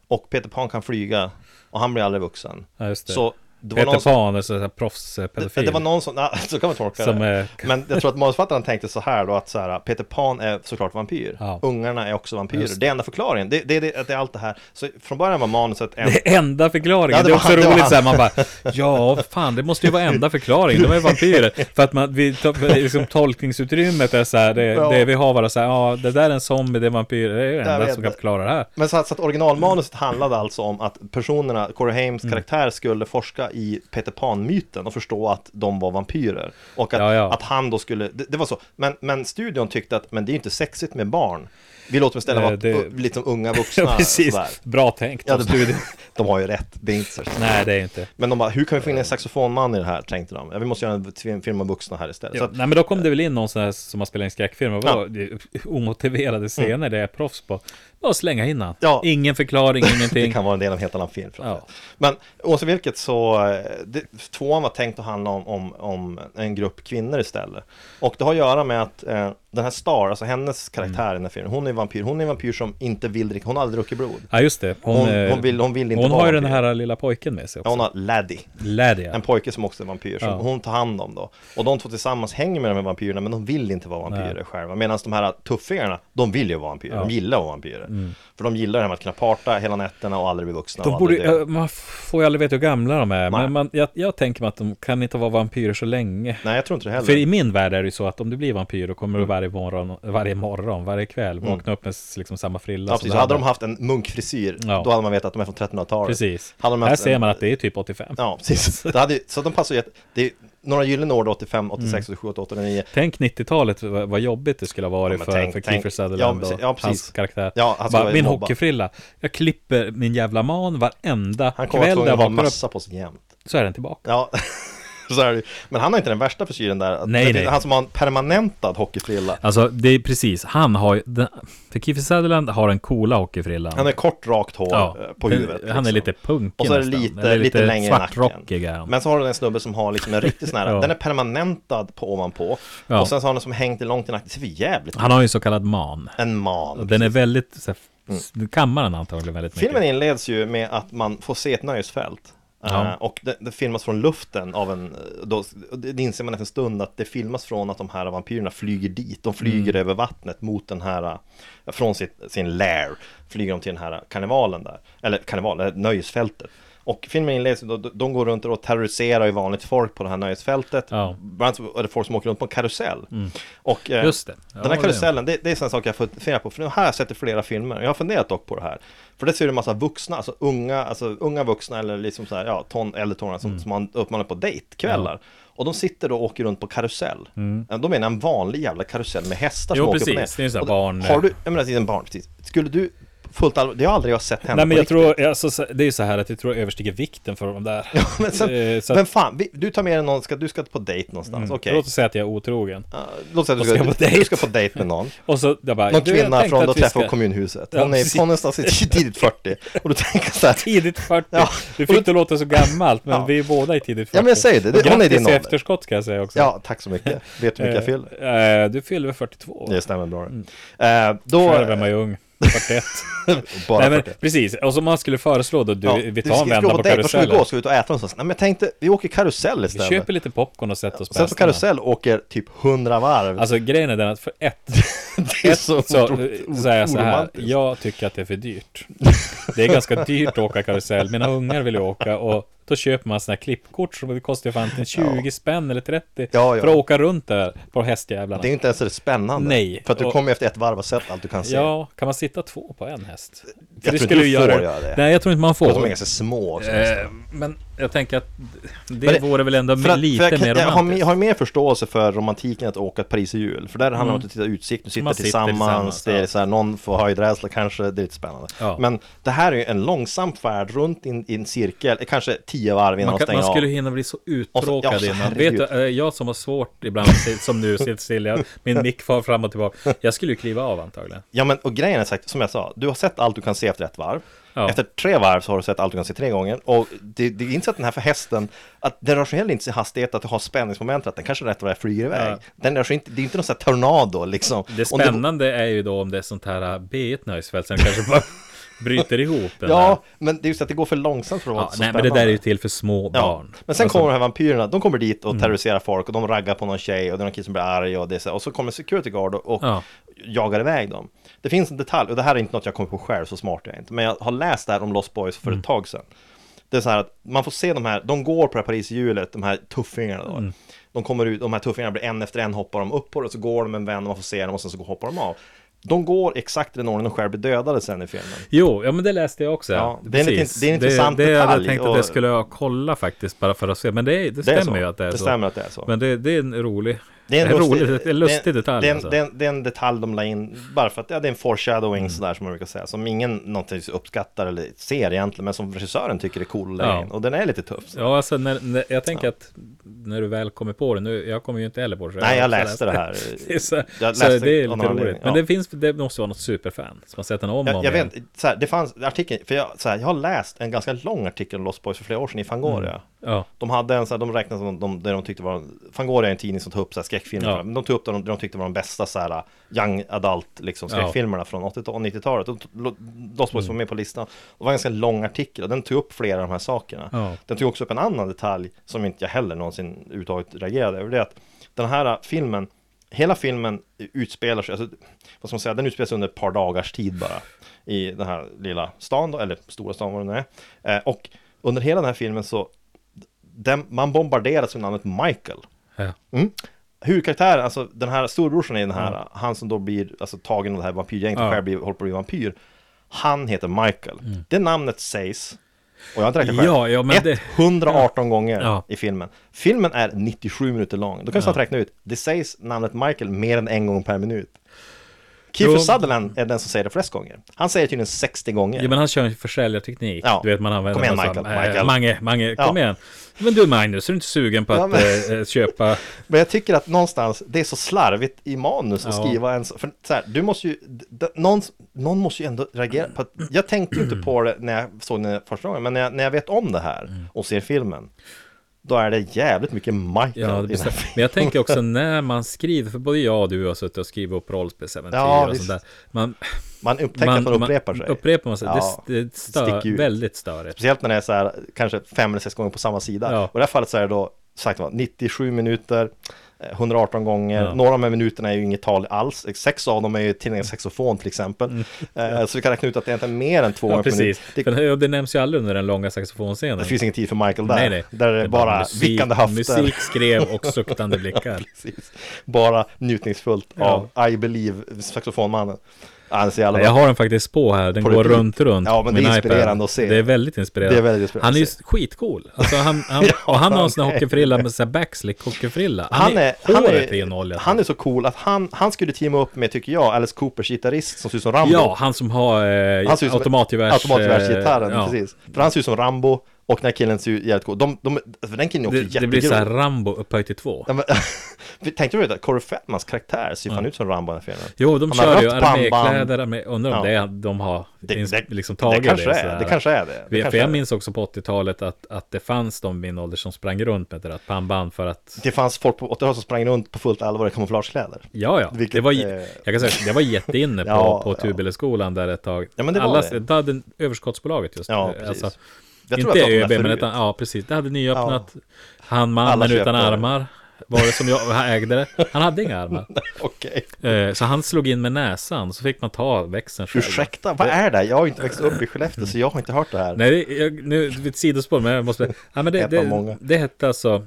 S2: Och Peter Pan kan flyga, och han blir aldrig vuxen.
S1: Mm. Ja, just det.
S2: Så det var någon
S1: Peter
S2: som,
S1: Pan är sån här proffspedofil.
S2: det, det var någon som, nej, så kan man tolka
S1: Som,
S2: det.
S1: eh,
S2: Men jag tror att manusförfattaren tänkte så här då att så här, Peter Pan är såklart vampyr.
S1: Ja.
S2: Ungarna är också vampyrer.
S1: Just
S2: Det är enda förklaringen. Det, det, det, att det är allt det här. Så från början var manuset en...
S1: Det är enda förklaringen,
S2: Ja, det
S1: det, är
S2: var
S1: också
S2: han, det var
S1: roligt
S2: han.
S1: så här, man bara Ja, fan, det måste ju vara enda förklaringen, de är vampyrer För att man, vi, to- liksom tolkningsutrymmet är så här, det,
S2: Ja.
S1: det vi har bara så här, ja, det där är en zombie, det är vampyrer, det är det
S2: Jag
S1: enda
S2: vet
S1: som kan
S2: det.
S1: förklara det här
S2: Men så att, så att originalmanuset handlade alltså om att personerna, Corey Hames
S1: Mm.
S2: karaktär skulle forska i Peter Pan-myten och förstå att de var vampyrer. Och att,
S1: Ja, ja.
S2: att han då skulle, det, det var så. Men, men studion tyckte att, men det är ju inte sexigt med barn. Vi låter dem istället
S1: Eh,
S2: vara
S1: det-
S2: u- lite som unga vuxna.
S1: Ja, precis,
S2: sådär.
S1: bra tänkt
S2: Ja,
S1: av
S2: det,
S1: studion
S2: de har ju rätt, det är inte så
S1: Nej, det är inte
S2: Men de bara, hur kan vi få
S1: Eh.
S2: in en saxofonman i det här, tänkte de. Ja, vi måste göra en tv- film om vuxna här istället.
S1: Jo,
S2: Så att,
S1: Nej men då kom det väl in någon sån här som har spelat in skräckfilm och var omotiverade scener, det är jag proffs på Bara slänga in han,
S2: Mm. Ja.
S1: ingen förklaring,
S2: det
S1: ingenting
S2: kan vara en del av en helt annan film. för att
S1: Ja.
S2: säga. Men oavsett vilket så, eh, det, tvåan var tänkt att handla om, om, om en grupp kvinnor istället. Och det har att göra med att eh, den här Star, alltså hennes karaktär i den här filmen, hon är en vampyr. Hon är en vampyr som inte vill dricka, hon har aldrig druckit blod.
S1: Ja just det, hon,
S2: Hon-
S1: eh,
S2: hon vill- hon vill inte
S1: hon
S2: vara
S1: har ju den
S2: vampyr.
S1: här lilla pojken med sig också
S2: Ja, hon har Laddie.
S1: Ladia.
S2: En pojke som också är vampyr, som
S1: Ja.
S2: hon tar hand om då. Och de två tillsammans hänger med de här vampyrerna, men de vill inte vara vampyrer
S1: Nej.
S2: själva. Medan de här tuffingarna, de vill ju vara vampyrer,
S1: Ja. Mm.
S2: de gillar att vara vampyrer. För de gillar det här med att kunna parta hela nätterna och aldrig bli vuxna.
S1: De
S2: och
S1: borde,
S2: aldrig dö.
S1: eh, man får ju aldrig veta hur gamla de är,
S2: Nej.
S1: men man, jag, jag tänker mig att de kan inte vara vampyrer så länge.
S2: Nej, jag tror inte det heller. Mm.
S1: För i min värld är det ju så att om du blir vampyr då kommer du varje morgon, varje morgon, varje kväll vakna upp med s- liksom samma frilla som
S2: ja, precis.
S1: du
S2: Hade de haft en munkfrisyr,
S1: Ja.
S2: då hade man vetat att de är från 1300-talet.
S1: Precis.
S2: Hade de
S1: Här
S2: haft
S1: ser
S2: en-
S1: man att det är typ 85.
S2: Ja, precis. Det hade, ju- så att de passar ju jätte... Det är några gyllene år då, 85, 86,
S1: Mm.
S2: 87, 88, 89.
S1: Tänk 90-talet, v- vad jobbigt det skulle ha varit
S2: Ja, men
S1: för,
S2: tänk-
S1: för
S2: tänk-
S1: Kiefer Sutherland
S2: ja, precis-
S1: och
S2: ja, precis.
S1: hans karaktär.
S2: Ja, han ska
S1: Bara,
S2: vara
S1: min
S2: mobbad."
S1: hockeyfrilla, jag klipper min jävla man varenda
S2: Han kommer att
S1: kväll
S2: vara
S1: där jag
S2: tvungen att
S1: vaknar
S2: ha
S1: upp,
S2: mössa på sig jämt.
S1: så är den tillbaka.
S2: Ja, så är det ju. Men han har inte den värsta frisyren där.
S1: Nej,
S2: det finns
S1: nej.
S2: Han som har en permanentad hockeyfrilla.
S1: Alltså det är precis, han har ju, den- för Kiefer Sutherland har den coola hockeyfrillan.
S2: Han har kort, rakt hår
S1: Ja,
S2: eh, på
S1: den-
S2: huvudet.
S1: han är lite punkig
S2: Och så är det
S1: nästan.
S2: lite,
S1: Eller
S2: lite,
S1: lite
S2: längre i
S1: svartrockig är
S2: nacken.
S1: han.
S2: Men så har du den snubben som har liksom en riktig sån här,
S1: Ja.
S2: den är permanentad på ovanpå.
S1: Ja.
S2: Och sen så har han den som hängt långt i nacken, det ser för jävligt ut.
S1: Han har ju en så kallad man.
S2: En man.
S1: Den är väldigt, så här, kammaren antagligen väldigt
S2: Mm. Filmen
S1: mycket.
S2: inleds ju med att man får se ett nöjesfält.
S1: Ja.
S2: Eh, och det, det filmas från luften av en, eh, då, det det inser man efter en stund att det filmas från att de här vampyrerna flyger dit. De flyger
S1: Mm.
S2: över vattnet mot den här, eh, från sitt, sin lair, flyger de till den här karnevalen där. Eller karneval, eh, nöjesfältet. Och filmen inleds, då, då- de går runt och terroriserar ju vanligt folk på det här nöjesfältet.
S1: Ja. Mm.
S2: Bland annat så är det folk som åker runt på en karusell. Och, eh,
S1: Just det. Ja,
S2: den här
S1: det-
S2: karusellen, det, det är en sak jag funderar på, för nu har jag sett i flera filmer, jag har funderat dock på det här. För det ser du en massa vuxna, alltså unga, alltså unga vuxna eller liksom så här, ja, ton, äldre tonåringar
S1: Mm.
S2: som, som man uppmanar på dejtkvällar. Och de sitter då och åker runt på karusell. Mm. De menar jag en vanlig jävla karusell med hästar
S1: Jo,
S2: som åker
S1: precis.
S2: upp och ner.
S1: Det är ju så här
S2: Och
S1: barn-
S2: Har du, jag menar det är en barn, precis. Skulle du fullt allvar, det har aldrig jag sett hända
S1: Nej men
S2: på
S1: jag tror, alltså, så- det är ju så här att jag tror jag överstiger vikten för de där.
S2: Ja, men sen,
S1: Eh, så att- Mm.
S2: vem fan, vi, du tar med dig någon, ska, du ska på dejt någonstans, okej.
S1: Låt oss säga att jag är otrogen.
S2: Ah, Låt säga att du
S1: Och ska
S2: ska,
S1: på
S2: du,
S1: dejt.
S2: du ska på dejt med någon.
S1: Och så, jag bara,
S2: Någon
S1: du, jag
S2: kvinna
S1: tänkte
S2: från då
S1: att vi
S2: träffar
S1: ska-
S2: kommunhuset.
S1: Ja,
S2: Hon är
S1: precis.
S2: från någonstans i tidigt 40. Och du tänker så här,
S1: Tidigt 40.
S2: Ja.
S1: Du fick det låta så gammalt, men
S2: Ja.
S1: vi är båda i tidigt 40.
S2: Ja, men jag säger det. Det-
S1: Och
S2: hon är
S1: grattis
S2: din
S1: i
S2: ålder.
S1: efterskott kan jag säga också.
S2: ja tack så mycket. Vet du hur mycket jag
S1: Eh,
S2: fyller?
S1: eh, du fyller väl 42?
S2: Det stämmer bra. Eh, då...
S1: Själv är man ju ung. 41.
S2: bara
S1: Nej men
S2: 40.
S1: precis, och som man skulle föreslå då, du,
S2: Ja,
S1: vi
S2: ska-
S1: tar en
S2: ska
S1: vända
S2: gå
S1: på
S2: dejt, Vad ska vi
S1: karusellen.
S2: gå? Ska vi ut och äta någonstans? Nej men jag tänkte, vi åker karusell
S1: Vi
S2: istället.
S1: köper lite popcorn och sätter oss på
S2: Sen på
S1: hästarna.
S2: karusell åker typ 100 varv.
S1: Alltså grejen är den att för ett,
S2: det är
S1: ett
S2: så,
S1: så,
S2: så,
S1: så, är jag så här, jag tycker att det är för dyrt. Det är ganska dyrt att åka karusell, mina ungar vill ju åka och då köper man såna här klippkort som det kostar ju fan en 20 spänn eller 30
S2: Ja, ja.
S1: för att åka runt där på hästjävlarna.
S2: Det är ju inte ens det spännande.
S1: Nej.
S2: För att du
S1: Och-
S2: kommer efter ett varv och sett allt du kan se.
S1: Ja, kan man sitta två på en häst? För
S2: tror inte du
S1: ju
S2: får göra det.
S1: Nej, jag tror inte man
S2: Och de är
S1: får.
S2: ganska små också.
S1: Eh, men jag tänker att det,
S2: det-
S1: vore väl ändå
S2: För att,
S1: lite
S2: för jag, kan-
S1: mer
S2: jag har, mer-
S1: romantiskt.
S2: jag har mer förståelse för romantiken att åka ett Paris i jul För där handlar det om att titta utsikt, du sitter,
S1: Man sitter
S2: tillsammans,
S1: tillsammans,
S2: Det är
S1: ja.
S2: så här, någon får höjdrädsla kanske, det är lite spännande
S1: Ja.
S2: Men det här är ju en långsam färd runt i en- i en cirkel, eh, kanske tio varv innan
S1: Man,
S2: man,
S1: kan,
S2: stänger
S1: man skulle
S2: av
S1: hinna bli så
S2: Och
S1: uttråkad
S2: så- ja, så
S1: innan. Vet
S2: herregud.
S1: du, eh, jag som har svårt ibland, som nu, Cecilia, min mick far fram och tillbaka. Jag skulle ju kliva av antagligen.
S2: Ja men och grejen är sagt, som jag sa, du har sett allt du kan se efter ett varv
S1: Ja.
S2: Efter tre varv så har du sett allt du kan se tre gånger Och det, det är inte så att den här för hästen att Den rör sig heller inte i hastighet att du har spänningsmomentet Att den kanske rätt vad det är flyger iväg
S1: Ja.
S2: Den rör sig inte, det är inte någon sån här tornado liksom
S1: Det
S2: Om det-
S1: spännande är ju då om det är sånt här eh, B1 nöjesfält som kanske bara bryter ihop. Den
S2: Ja,
S1: där.
S2: men det är just att det går för långsamt för att vara
S1: ja
S2: så
S1: nej, men
S2: spännande.
S1: det där är ju till för små barn.
S2: Men sen
S1: Alltså, Mm.
S2: kommer de här vampyrerna, de kommer dit och terroriserar folk och de raggar på någon tjej och det är någon kille som blir arg och det är så här, Och så kommer security guard och, och
S1: Ja.
S2: jagar iväg dem. Det finns en detalj, och det här är inte något jag kommer på själv, så smart är jag inte. Men jag har läst det här om Lost
S1: Mm.
S2: Boys för ett tag sedan. Det är så här att man får se de här, de går på det här Parishjulet, de här tuffingarna då.
S1: Mm.
S2: De kommer ut, de här tuffingarna blir en efter en hoppar de upp på det, och så går de en vänd och man får se dem och sen så hoppar de av. De går exakt i den ordning de själv blir dödade sen i filmen.
S1: Jo, ja men det läste jag också.
S2: Ja, det är en lite-
S1: Precis.
S2: det är en intressant
S1: det, det hade
S2: detalj
S1: jag tänkt att
S2: och-
S1: jag skulle jag kolla faktiskt bara för att se. Men det, är- det
S2: Det är
S1: stämmer
S2: så.
S1: ju att det är
S2: Det
S1: så.
S2: stämmer att det är så.
S1: Men det, det är en rolig,
S2: Det är en,
S1: rolig,
S2: lustig,
S1: det är en lustig
S2: det,
S1: detalj.
S2: Det är, en,
S1: alltså. Mm.
S2: det, är en, det är en detalj de la in, bara för att ja, det är en foreshadowing sådär som man brukar säga, som ingen någonting uppskattar eller ser egentligen, men som regissören tycker är cool att lägga
S1: Ja.
S2: in. Och den är lite tuff. Så.
S1: Ja, alltså när, när, jag tänker att när du väl kommer på det, nu, jag kommer ju inte heller på det. så
S2: Nej, jag
S1: har
S2: läste det här.
S1: Det är så,
S2: Jag
S1: så
S2: läste
S1: det är
S2: av
S1: lite
S2: någon anledning,
S1: roligt. Men
S2: ja.
S1: det finns, det måste vara något superfan som har sett den om och
S2: Jag,
S1: om
S2: jag
S1: igen.
S2: vet, så det fanns artikeln, för jag, så jag har läst en ganska lång artikel om Lost Boys för flera år sedan i Fangoria.
S1: Ja,
S2: De hade en så här, de räknade som de, det de tyckte var, Fangoria är en tidning som tar upp så här skräckfilmer,
S1: Ja.
S2: men de tog upp de, de tyckte var de bästa så här young adult liksom
S1: Ja.
S2: skräckfilmerna från 80 och 90-talet. Och Lo- Lost Boys var med på listan. Det var en ganska lång artikel och den tog upp flera av de här sakerna.
S1: Ja.
S2: Den tog också upp en annan detalj som inte jag heller någonsin överhuvudtaget reagerade över, det är att den här äh, filmen Hela filmen utspelar sig, alltså, vad ska man säga, den utspelar sig under ett par dagars tid bara I den här lilla stan då, eller stora stan vad det nu är eh, Och under hela den här filmen så den, man bombarderas med namnet Michael.
S1: ja.
S2: Mm. Huvudkaraktären, alltså den här storbrorsan i den här, han som då blir alltså, tagen av det här vampyrgänget och
S1: Ja. Mm.
S2: själv blir, håller på att bli vampyr. Han heter Michael. Det namnet sägs, och jag har inte räknat
S1: Ja, ja, men det-
S2: 118 gånger
S1: Ja.
S2: i filmen. Filmen är 97 minuter lång. Då kan jag ja. räkna ut, det sägs namnet Michael mer än en gång per minut. Kiefer
S1: Jo.
S2: Sutherland är den som säger det flest gånger. Han säger tydligen 60 gånger.
S1: ja, men han kör ju försäljarteknik.
S2: Ja.
S1: Du vet, man använder
S2: Kom igen,
S1: massa- Eh,
S2: Michael, Michael.
S1: Mange, Mange,
S2: Ja.
S1: kom igen. Men du Magnus, är du inte sugen på att
S2: Ja, men-
S1: eh, köpa?
S2: Men jag tycker att någonstans, det är så slarvigt i manus att
S1: Ja.
S2: skriva en så- för så här, du måste ju, d- d- någon, någon måste ju ändå reagera på att, jag tänkte ju inte på det när jag såg den första gången, men när jag, när jag vet om det här
S1: Mm.
S2: och ser filmen, då är det jävligt mycket Michael
S1: Ja,
S2: i
S1: det
S2: den här
S1: bestämt.
S2: filmen.
S1: Men jag tänker också när man skriver, för både jag och du har suttit och skrivit upp rollspelsäventyr
S2: Ja,
S1: och
S2: visst.
S1: sånt där. Man,
S2: Man upptäcker att man upprepar sig.
S1: Upprepar man sig,
S2: Ja,
S1: det, det
S2: sticker
S1: stör,
S2: ut.
S1: väldigt störigt.
S2: Speciellt när det är så här, kanske fem eller sex gånger på samma sida.
S1: Ja.
S2: Och i det här fallet så är det då, sagt var, 97 minuter, eh, 118 gånger.
S1: Ja.
S2: Några av de här minuterna är ju inget tal alls. Sex av dem är ju till en saxofon till exempel. Eh, Så vi kan räkna ut att det inte är mer än två
S1: Mm. Ja,
S2: gånger per minut.
S1: precis.
S2: Det,
S1: För det, det nämns ju aldrig under den långa saxofonscenen.
S2: det finns ingen tid för Michael där.
S1: Nej, nej.
S2: Där är det bara, vickande höfter.
S1: Musik skrev och suktande blickar.
S2: Precis. Bara njutningsfullt
S1: Ja.
S2: av I believe saxofonmannen. Han är så jävla
S1: Jag
S2: bra.
S1: har den faktiskt på här, den
S2: På
S1: går
S2: repeat.
S1: runt runt
S2: Ja, men
S1: min
S2: det är
S1: iPad.
S2: inspirerande att se.
S1: Det är väldigt inspirerande
S2: Det är väldigt inspirerande
S1: Han är ju
S2: att se.
S1: skitcool alltså han, han,
S2: Ja,
S1: Och han har en sån här
S2: han är-
S1: hockeyfrilla med sån här backslick hockeyfrilla
S2: Han är, han,
S1: håret är en
S2: är,
S1: olja
S2: han är så cool att han, han skulle teama upp med, tycker jag, Alice Coopers gitarrist som ser ut som Rambo.
S1: Ja, han som har eh,
S2: Han ser ut som-
S1: automatgevärs
S2: Automatgevärsgitarren,
S1: eh, ja.
S2: precis. För han ser ut som Rambo och den här killen ser ut jävligt cool. De, de, för den killen är också
S1: det,
S2: jättegrov.
S1: det blir så här Rambo upphöjt till två
S2: Ja, men- Tänkte du på det? Corey Feldmans karaktär ser fan ut som Rambo i den här filmen.
S1: Jo, de
S2: Han har
S1: kör ju
S2: rött pannband.
S1: armékläder, armé, undrar om
S2: Ja.
S1: det är de har ins- liksom tagit
S2: det,
S1: det,
S2: kanske är,
S1: sådär.
S2: det kanske är det. det
S1: för
S2: kanske är
S1: jag
S2: det.
S1: minns också på 80-talet att, att det fanns de i min ålder som sprang runt med det där pannband för att
S2: Det fanns folk på 80-talet som sprang runt på fullt allvar i kamouflagekläder.
S1: Ja, ja.
S2: Vilket,
S1: det var,
S2: eh,
S1: Jag kan säga att det var jätteinne på,
S2: Ja,
S1: på
S2: ja.
S1: Tubeleskolan där ett tag.
S2: Ja, men det var
S1: Alla,
S2: det.
S1: hade överskottsbolaget just.
S2: Ja,
S1: eh,
S2: precis.
S1: alltså,
S2: Jag tror
S1: inte
S2: jag pratade om
S1: ÖB,
S2: det
S1: men
S2: förut.
S1: utan, ja, precis. Det hade nyöppnat. Han
S2: Alla
S1: mannen
S2: köpte
S1: utan
S2: det.
S1: armar var det som jag ägde det. Han hade inga armar.
S2: Okej.
S1: Eh, Så han slog in med näsan, så fick man ta växeln själv.
S2: Ursäkta, vad är det? Jag har ju inte växt upp i Skellefteå så jag har inte hört det här.
S1: Nej, det- jag, nu, det är ett sidospår, men jag måste... Ja, men det,
S2: Ett av
S1: det,
S2: många.
S1: det hette alltså...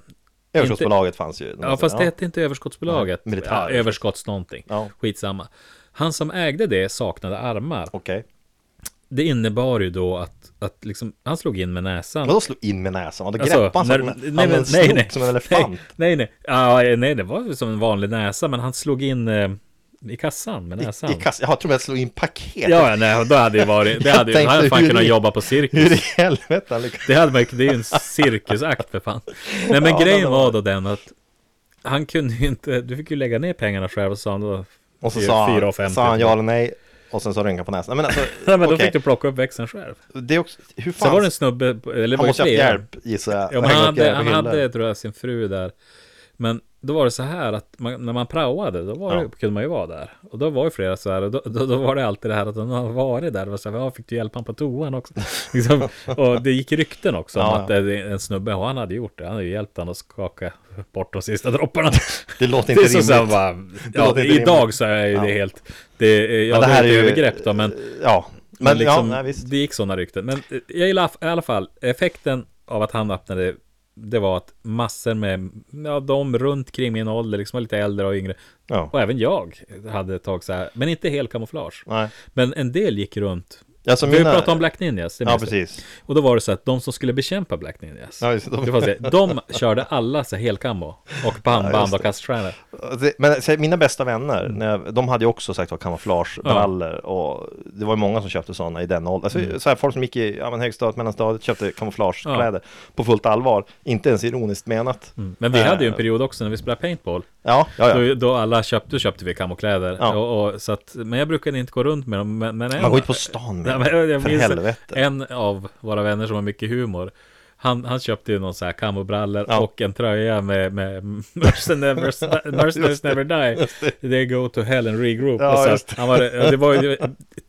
S2: Överskottsbolaget fanns ju.
S1: Ja, fast det hette inte överskottsbolaget.
S2: Nej, militär.
S1: Ja, överskotts någonting.
S2: Ja.
S1: Skitsamma. Han som ägde det saknade armar.
S2: Okej. Okay.
S1: det innebar ju då att, att liksom, han slog in med näsan.
S2: Vadå slog in med näsan? Vadå
S1: Alltså,
S2: greppade han
S1: när-
S2: som en- han med en snok som en elefant?
S1: Nej, nej, nej. Ja, eh, nej, det var ju som en vanlig näsa, men han slog in eh, i kassan med näsan.
S2: I kass... Jag tror jag slog in paket.
S1: Ja, ja, nej, då hade det varit, det
S2: Jag
S1: hade ju, han
S2: tänkte,
S1: hade fan
S2: hur
S1: kunnat
S2: i-
S1: jobba på cirkus.
S2: Hur i helvete han lyckades?
S1: Det hade man ju- det är ju en cirkusakt för fan. Nej, men
S2: Ja,
S1: grejen
S2: men det
S1: var...
S2: var-
S1: då den att han kunde ju inte, du fick ju lägga ner pengarna själv och sa han då.
S2: Och så
S1: fyra-
S2: sa
S1: fyra och
S2: han,
S1: femtio.
S2: sa han ja eller nej och sen så rynkade han på näsan. Men alltså,
S1: Nej, men då
S2: okej.
S1: fick du plocka upp växeln själv.
S2: det är också, hur fan?
S1: Sen var det en snubbe, eller det var
S2: han
S1: ju
S2: måste ha haft
S1: flera.
S2: hjälp gissar jag.
S1: Ja, men han,
S2: Hängde upp
S1: hade,
S2: grejer på
S1: han
S2: hyllor.
S1: hade, tror jag, sin fru där. Men då var det så här att man, när man praoade, då var det,
S2: Ja.
S1: kunde man ju vara där. Och då var ju flera så här, och då, då, då var det alltid det här att de har varit där. Det var så här, ja, fick du hjälpa honom på toan också? liksom, och det gick rykten också om
S2: Ja,
S1: att eh, det- en snubbe, och han hade gjort det. Han hade ju hjälpt honom att skaka bort de sista dropparna.
S2: Det låter
S1: Det
S2: inte
S1: är så,
S2: rimligt.
S1: så här, bara, ja,
S2: låter inte
S1: idag
S2: rimligt.
S1: så är ju det
S2: Ja.
S1: helt, det, ja,
S2: Men
S1: det,
S2: det här
S1: är
S2: är
S1: ett
S2: ju-
S1: övergrepp då, men
S2: Ja, men,
S1: men liksom,
S2: ja, nej, visst.
S1: det gick sådana rykten. Men eh, jag gillar i alla fall effekten av att han öppnade. Det var att massor med, ja, de runt kring min ålder, liksom lite äldre och yngre.
S2: Ja.
S1: Och även jag hade ett tag så här, men inte helt kamouflage.
S2: Nej.
S1: Men en del gick runt.
S2: Alltså,
S1: Vi
S2: mina-
S1: pratade om Black Ninjas, det
S2: Ja,
S1: minns du.
S2: precis.
S1: Och då var det så att de som skulle bekämpa Black Ninjas,
S2: Ja, just det.
S1: det var så, de körde alla så här helkammo och pannband
S2: det.
S1: och kaststjärnor.
S2: Alltså, Det- Men så, här, mina bästa vänner,
S1: Mm.
S2: när jag, de hade ju också sagt kamouflagebrallor och det var ju många som köpte sådana i den åldern. Alltså,
S1: Mm.
S2: så här, folk som gick i ja, men högstadiet, mellanstadiet köpte kamouflagekläder på fullt allvar. Inte ens ironiskt menat.
S1: Mm. Men vi
S2: Eh,
S1: hade ju en period också när vi spelade paintball.
S2: Ja, ja, Ah, ja.
S1: Då, då alla köpte, köpte vi kamokläder.
S2: Ja.
S1: Och, och, så att, men jag brukade inte gå runt med dem. Men, men en,
S2: Man går inte på stan
S1: Nej,
S2: med
S1: men jag, jag
S2: För
S1: minns Eh,
S2: helvete.
S1: En av våra vänner som har mycket humor. Han, han köpte ju någon så här kamobrallor
S2: Ja.
S1: och en tröja med, med Mercenaries Never, Mercenaries never Die. They go to hell and regroup.
S2: Ja,
S1: och så,
S2: just
S1: att han var, det var ju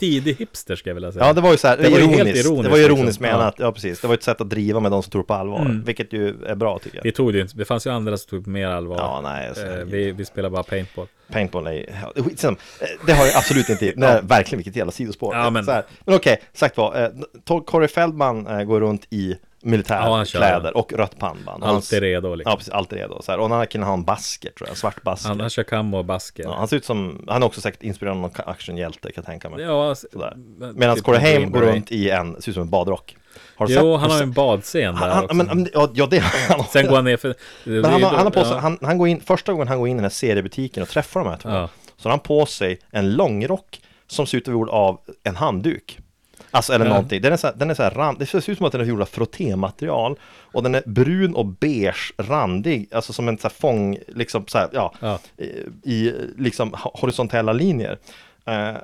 S1: tidig hipster ska jag vilja säga.
S2: Ja, det var ju så här, det,
S1: var
S2: var
S1: ju helt
S2: ironiskt.
S1: ironiskt,
S2: Det var ju
S1: liksom.
S2: ironiskt
S1: Ja. Mm.
S2: menat, ja. precis. Det var ett sätt att driva med de som tror på allvar, vilket ju är bra tycker jag.
S1: Vi tog det ju inte, det fanns ju andra som tog mer allvar.
S2: Ja, nej, alltså,
S1: eh,
S2: herregud.
S1: vi, vi spelade bara paintball.
S2: Paintball är, ja, skitsamma. Eh, det har jag absolut inte, nej, verkligen vilket jävla sidospår.
S1: Ja, men-
S2: Så här. men okej, sagt vad, eh, Tor- Corey Feldman eh, går runt i
S1: Ja, han kör.
S2: militärkläder och rött pannband. Han-
S1: Alltid redo liksom.
S2: Ja, precis, alltid redo. Så här. Och den här killen har en basker tror jag, en svart basker.
S1: Han, han kör kammo och basker.
S2: Ja, han ser ut som, han är också säkert inspirerad av någon actionhjälte kan jag tänka mig.
S1: Ja, alltså,
S2: Sådär.
S1: men-
S2: Medan
S1: typ
S2: Corey
S1: en
S2: Haim
S1: Green
S2: går
S1: Beret.
S2: runt i en, ser ut som en badrock. Har du
S1: Jo,
S2: sett-
S1: han har
S2: du
S1: ju en badscen där
S2: Han, han,
S1: också.
S2: men, men, ja, ja, det han har.
S1: Sen går han ner för...
S2: men han, har- han har på sig, han, han går in, första gången han går in i den här seriebutiken och träffar de här två,
S1: Ja.
S2: så har han på sig en långrock som ser ut att vara gjord av en handduk. Alltså eller
S1: Ja.
S2: någonting, den är så här, den är så här rand, det ser ut som att den är gjord av frottématerial och den är brun och beige, randig, alltså som en så här fång, liksom så här, ja,
S1: Ja.
S2: eh, i liksom ho- horisontella linjer. Eh,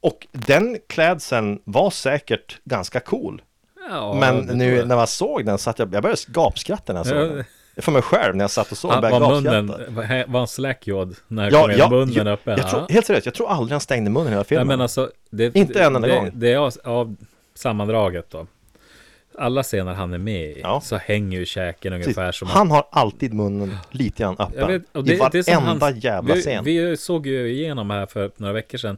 S2: och den klädseln var säkert ganska cool.
S1: Ja,
S2: Men
S1: det
S2: nu
S1: tror jag.
S2: när man såg den satt jag, jag började gapskratta när jag såg
S1: Ja.
S2: den. För mig själv när jag satt och såg,
S1: Han,
S2: började
S1: var
S2: gapskratta.
S1: munnen... var- här- Var han slackjod när
S2: Ja,
S1: kom
S2: ja,
S1: ja, munnen
S2: jag,
S1: uppe?
S2: jag tror, helt seriöst, jag tror aldrig han stängde munnen hela
S1: Nej,
S2: filmen.
S1: men alltså, det,
S2: Inte en enda
S1: det,
S2: gång.
S1: Det är av, av sammandraget då. Alla scener han är med i
S2: Ja.
S1: så hänger ju käken
S2: Precis.
S1: ungefär som...
S2: han har alltid munnen lite grann öppen.
S1: Jag vet, och
S2: I
S1: det, det är som
S2: varenda
S1: hans,
S2: jävla
S1: vi,
S2: scen. Mm.
S1: Vi såg ju igenom här för några veckor sedan.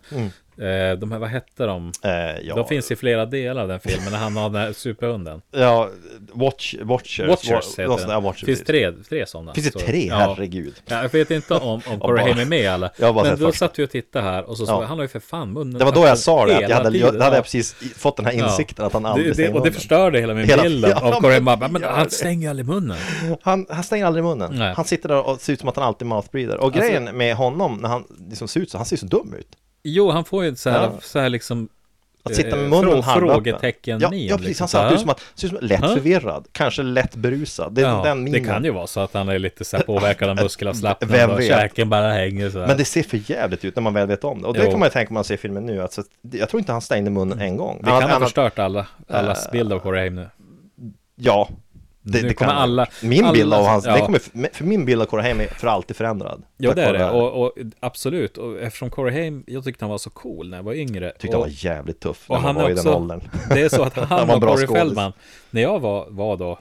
S1: Eh, de här, vad hette de?
S2: Eh, ja,
S1: De finns i flera delar den filmen, när han har den här superhunden.
S2: ja, watch, watchers.
S1: Watchers
S2: Någon
S1: heter
S2: sån
S1: den.
S2: där watchers,
S1: finns
S2: precis.
S1: tre, tre sådana.
S2: Finns det
S1: Så-
S2: tre?
S1: Ja.
S2: Herregud.
S1: Ja, jag vet inte om, om Corey
S2: bara-
S1: Haim är med eller.
S2: Jag har bara
S1: Men
S2: sett
S1: då
S2: första.
S1: satt vi och tittade här och så sa
S2: Ja.
S1: vi, han har ju för fan munnen
S2: Det var då jag sa det, att
S1: hela
S2: jag hade, jag,
S1: tiden.
S2: då hade
S1: Ja.
S2: jag precis i- fått den här insikten att han
S1: Det-
S2: aldrig
S1: det,
S2: stänger
S1: Och det
S2: munnen.
S1: förstörde hela min
S2: Hela-
S1: bild
S2: Ja,
S1: av
S2: men-
S1: Corey Haim. Bara, Men
S2: gör
S1: han
S2: det.
S1: stänger ju aldrig munnen.
S2: Han, han stänger aldrig munnen.
S1: Nej. Alltså-
S2: Han sitter där och ser ut som att han alltid mouthbreather. Och grejen med honom, när han liksom ser ut så, han ser så dum ut.
S1: Jo, han får ju så här,
S2: Ja.
S1: så här liksom
S2: Att sitta
S1: eh,
S2: med munnen
S1: frå-
S2: halvöppen.
S1: Frågetecken
S2: ja,
S1: min,
S2: ja, precis.
S1: liksom.
S2: Han ser ut
S1: Ja.
S2: som att, ser ut som lätt
S1: Ja.
S2: förvirrad, kanske lätt brusad. Det, är
S1: Ja,
S2: den
S1: det
S2: minen.
S1: kan ju vara så att han är lite så här påverkad av
S2: Vem
S1: muskelavslappnad och
S2: vet?
S1: käken bara hänger så här.
S2: Men det ser för jävligt ut när man väl vet om det. Och det
S1: Jo.
S2: kan man ju tänka om man ser filmen nu. Alltså, jag tror inte han stängde munnen en gång.
S1: Det
S2: Han-
S1: kan ha
S2: han- Äh.
S1: förstört alla, allas bild av Corey Haim nu.
S2: Ja. Det,
S1: Nu
S2: det
S1: kommer
S2: kan
S1: alla-
S2: Min
S1: alla-
S2: bild av hans,
S1: ja.
S2: det kommer, för- för min bild av Korheim är för alltid förändrad.
S1: Ja,
S2: Tack
S1: det är
S2: vare
S1: det.
S2: här.
S1: Och, och absolut. Och eftersom Corey Haim, jag tyckte han var så cool när jag var yngre.
S2: Tyckte
S1: och,
S2: han var jävligt tuff när
S1: och
S2: han
S1: han är
S2: var i den
S1: också,
S2: åldern.
S1: det är så att
S2: Han
S1: han
S2: var en
S1: och
S2: bra
S1: Corey
S2: skådis.
S1: Feldman, när jag var, var då,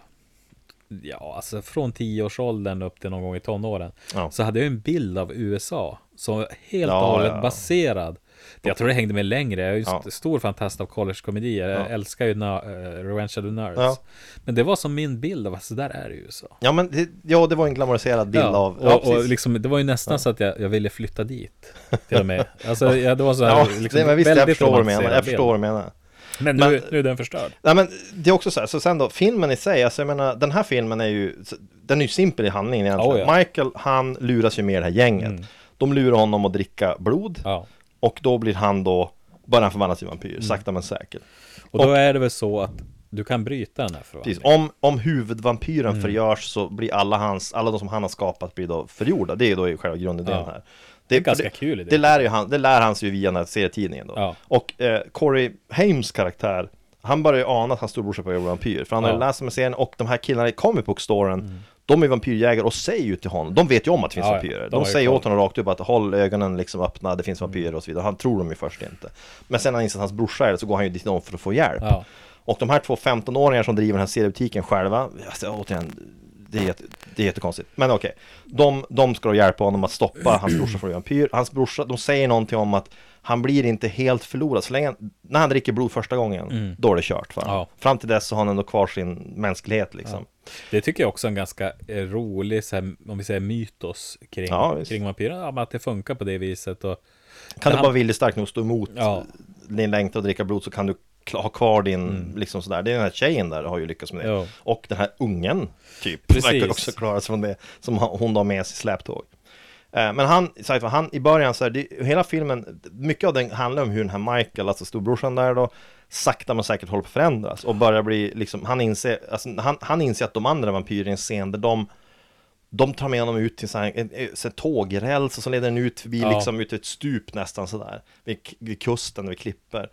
S1: ja alltså från 10-årsåldern upp till någon gång i tonåren,
S2: Ja.
S1: så hade jag en bild av USA som var helt
S2: Ja,
S1: och hållet
S2: ja, ja.
S1: baserad. Jag tror det hängde med längre, jag är ju
S2: Ja.
S1: st- stor fantast av collegekomedier, jag
S2: Ja.
S1: älskar ju na- eh, Revenge of the Nerds.
S2: Ja.
S1: Men det var som min bild av att så där är det i USA.
S2: Ja, men det, ja, det var en glamoriserad bild av...
S1: Och, och
S2: precis.
S1: liksom, det var ju nästan så att jag, jag ville flytta dit. Till och med. Alltså, ja, det var så här,
S2: ja,
S1: liksom,
S2: det, men visst, jag
S1: väldigt
S2: förstår vad du menar.
S1: romantiserad
S2: Jag
S1: bild.
S2: förstår vad du menar.
S1: Men nu,
S2: Men-
S1: nu är den förstörd.
S2: Nej men det är också så här, så sen då, filmen i sig, alltså jag menar den här filmen är ju, den är ju simpel i handlingen egentligen.
S1: Oh, ja. Mm.
S2: Michael, han luras ju med det här gänget. De lurar honom att dricka blod
S1: Ja. Mm.
S2: och då blir han då, börjar han förvandlas till vampyr, sakta men säkert.
S1: Och då är det väl så att du kan bryta den här
S2: Precis.
S1: förvandlingen.
S2: Om, om huvudvampyren
S1: Mm.
S2: förgörs så blir alla hans, alla de som han har skapat blir då förgjorda. Det är då i själva grundidén
S1: Ja.
S2: här.
S1: är ganska kul idé.
S2: Det lär, ju han, det lär han sig ju via den här serietidningen då.
S1: Ja.
S2: Och eh, Corey Hames karaktär, han börjar ju ana att hans storbrorsa börjar bli vampyr. För han har ju
S1: Ja. Mm.
S2: läst med serien och de här killarna i comic book storen De är vampyrjägare och säger ju till honom, de vet ju om att det finns
S1: Ja, ja.
S2: vampyrer.
S1: De
S2: De
S1: har ju
S2: säger
S1: koll. Mm.
S2: åt honom rakt upp att håll ögonen liksom öppna, det finns vampyrer och så vidare. Han tror dem ju först inte. Men sen när han inser att hans brorsa är det så går han ju dit någon för att få hjälp.
S1: Ja.
S2: Och de här två 15-åringar som driver den här seriebutiken själva, alltså, återigen, det är, jätte- det är jättekonstigt. Men okej, de, de ska då hjälpa honom att stoppa hans brorsa från att bli vampyr. Hans brorsa, de säger någonting om att han blir inte helt förlorad. Så länge, han- när han dricker blod första gången, då är det kört. För han.
S1: Ja.
S2: Fram till dess så har han ändå kvar sin mänsklighet liksom.
S1: Det tycker jag också är en ganska eh, rolig, så här, om vi säger mytos kring,
S2: Ja, visst.
S1: kring vampyren. Ja, men att det funkar på det viset. Och,
S2: Kan du
S1: han-
S2: bara vilja starkt nog stå emot
S1: Ja.
S2: din längtan att dricka blod så kan du kla- ha kvar din, liksom sådär. Det är den här tjejen där har ju lyckats med det.
S1: Mm. Ja.
S2: Och den här ungen, typ,
S1: Precis.
S2: verkar också klara sig från det som ha- hon har med sig i släptåg. Eh, Men han, sagt vad, han i början så här, det, hela filmen, mycket av den handlar om hur den här Michael, alltså storbrorsan där då, sakta men säkert håller på att förändras och börjar bli liksom, han inser, alltså, han, han inser att de andra vampyrerna i en scen där de de tar med honom ut till så här, en, en, så här tågräls och så leder den ut förbi
S1: Ja.
S2: liksom ut ett stup nästan sådär vid, k- vid kusten, vid klippor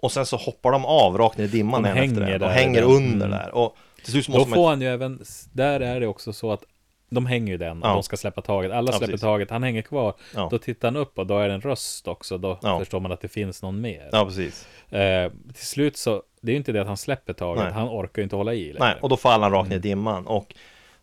S2: Och sen så hoppar de av rakt ner i dimman
S1: De
S2: igen efter
S1: hänger
S2: det. De
S1: där.
S2: hänger
S1: Mm.
S2: under där och till slut så
S1: då
S2: måste man
S1: får han ju även, där är det också så att de hänger ju den och
S2: Ja.
S1: de ska släppa taget. Alla
S2: Ja,
S1: släpper
S2: precis.
S1: taget, han hänger kvar.
S2: Ja.
S1: Då tittar han upp och då är det en röst också. Då
S2: Ja.
S1: förstår man att det finns någon mer.
S2: Ja precis
S1: Eh, till slut så, det är ju inte det att han släpper taget,
S2: Nej.
S1: han orkar ju inte hålla i längre.
S2: Nej, och då faller han rakt ner i dimman och,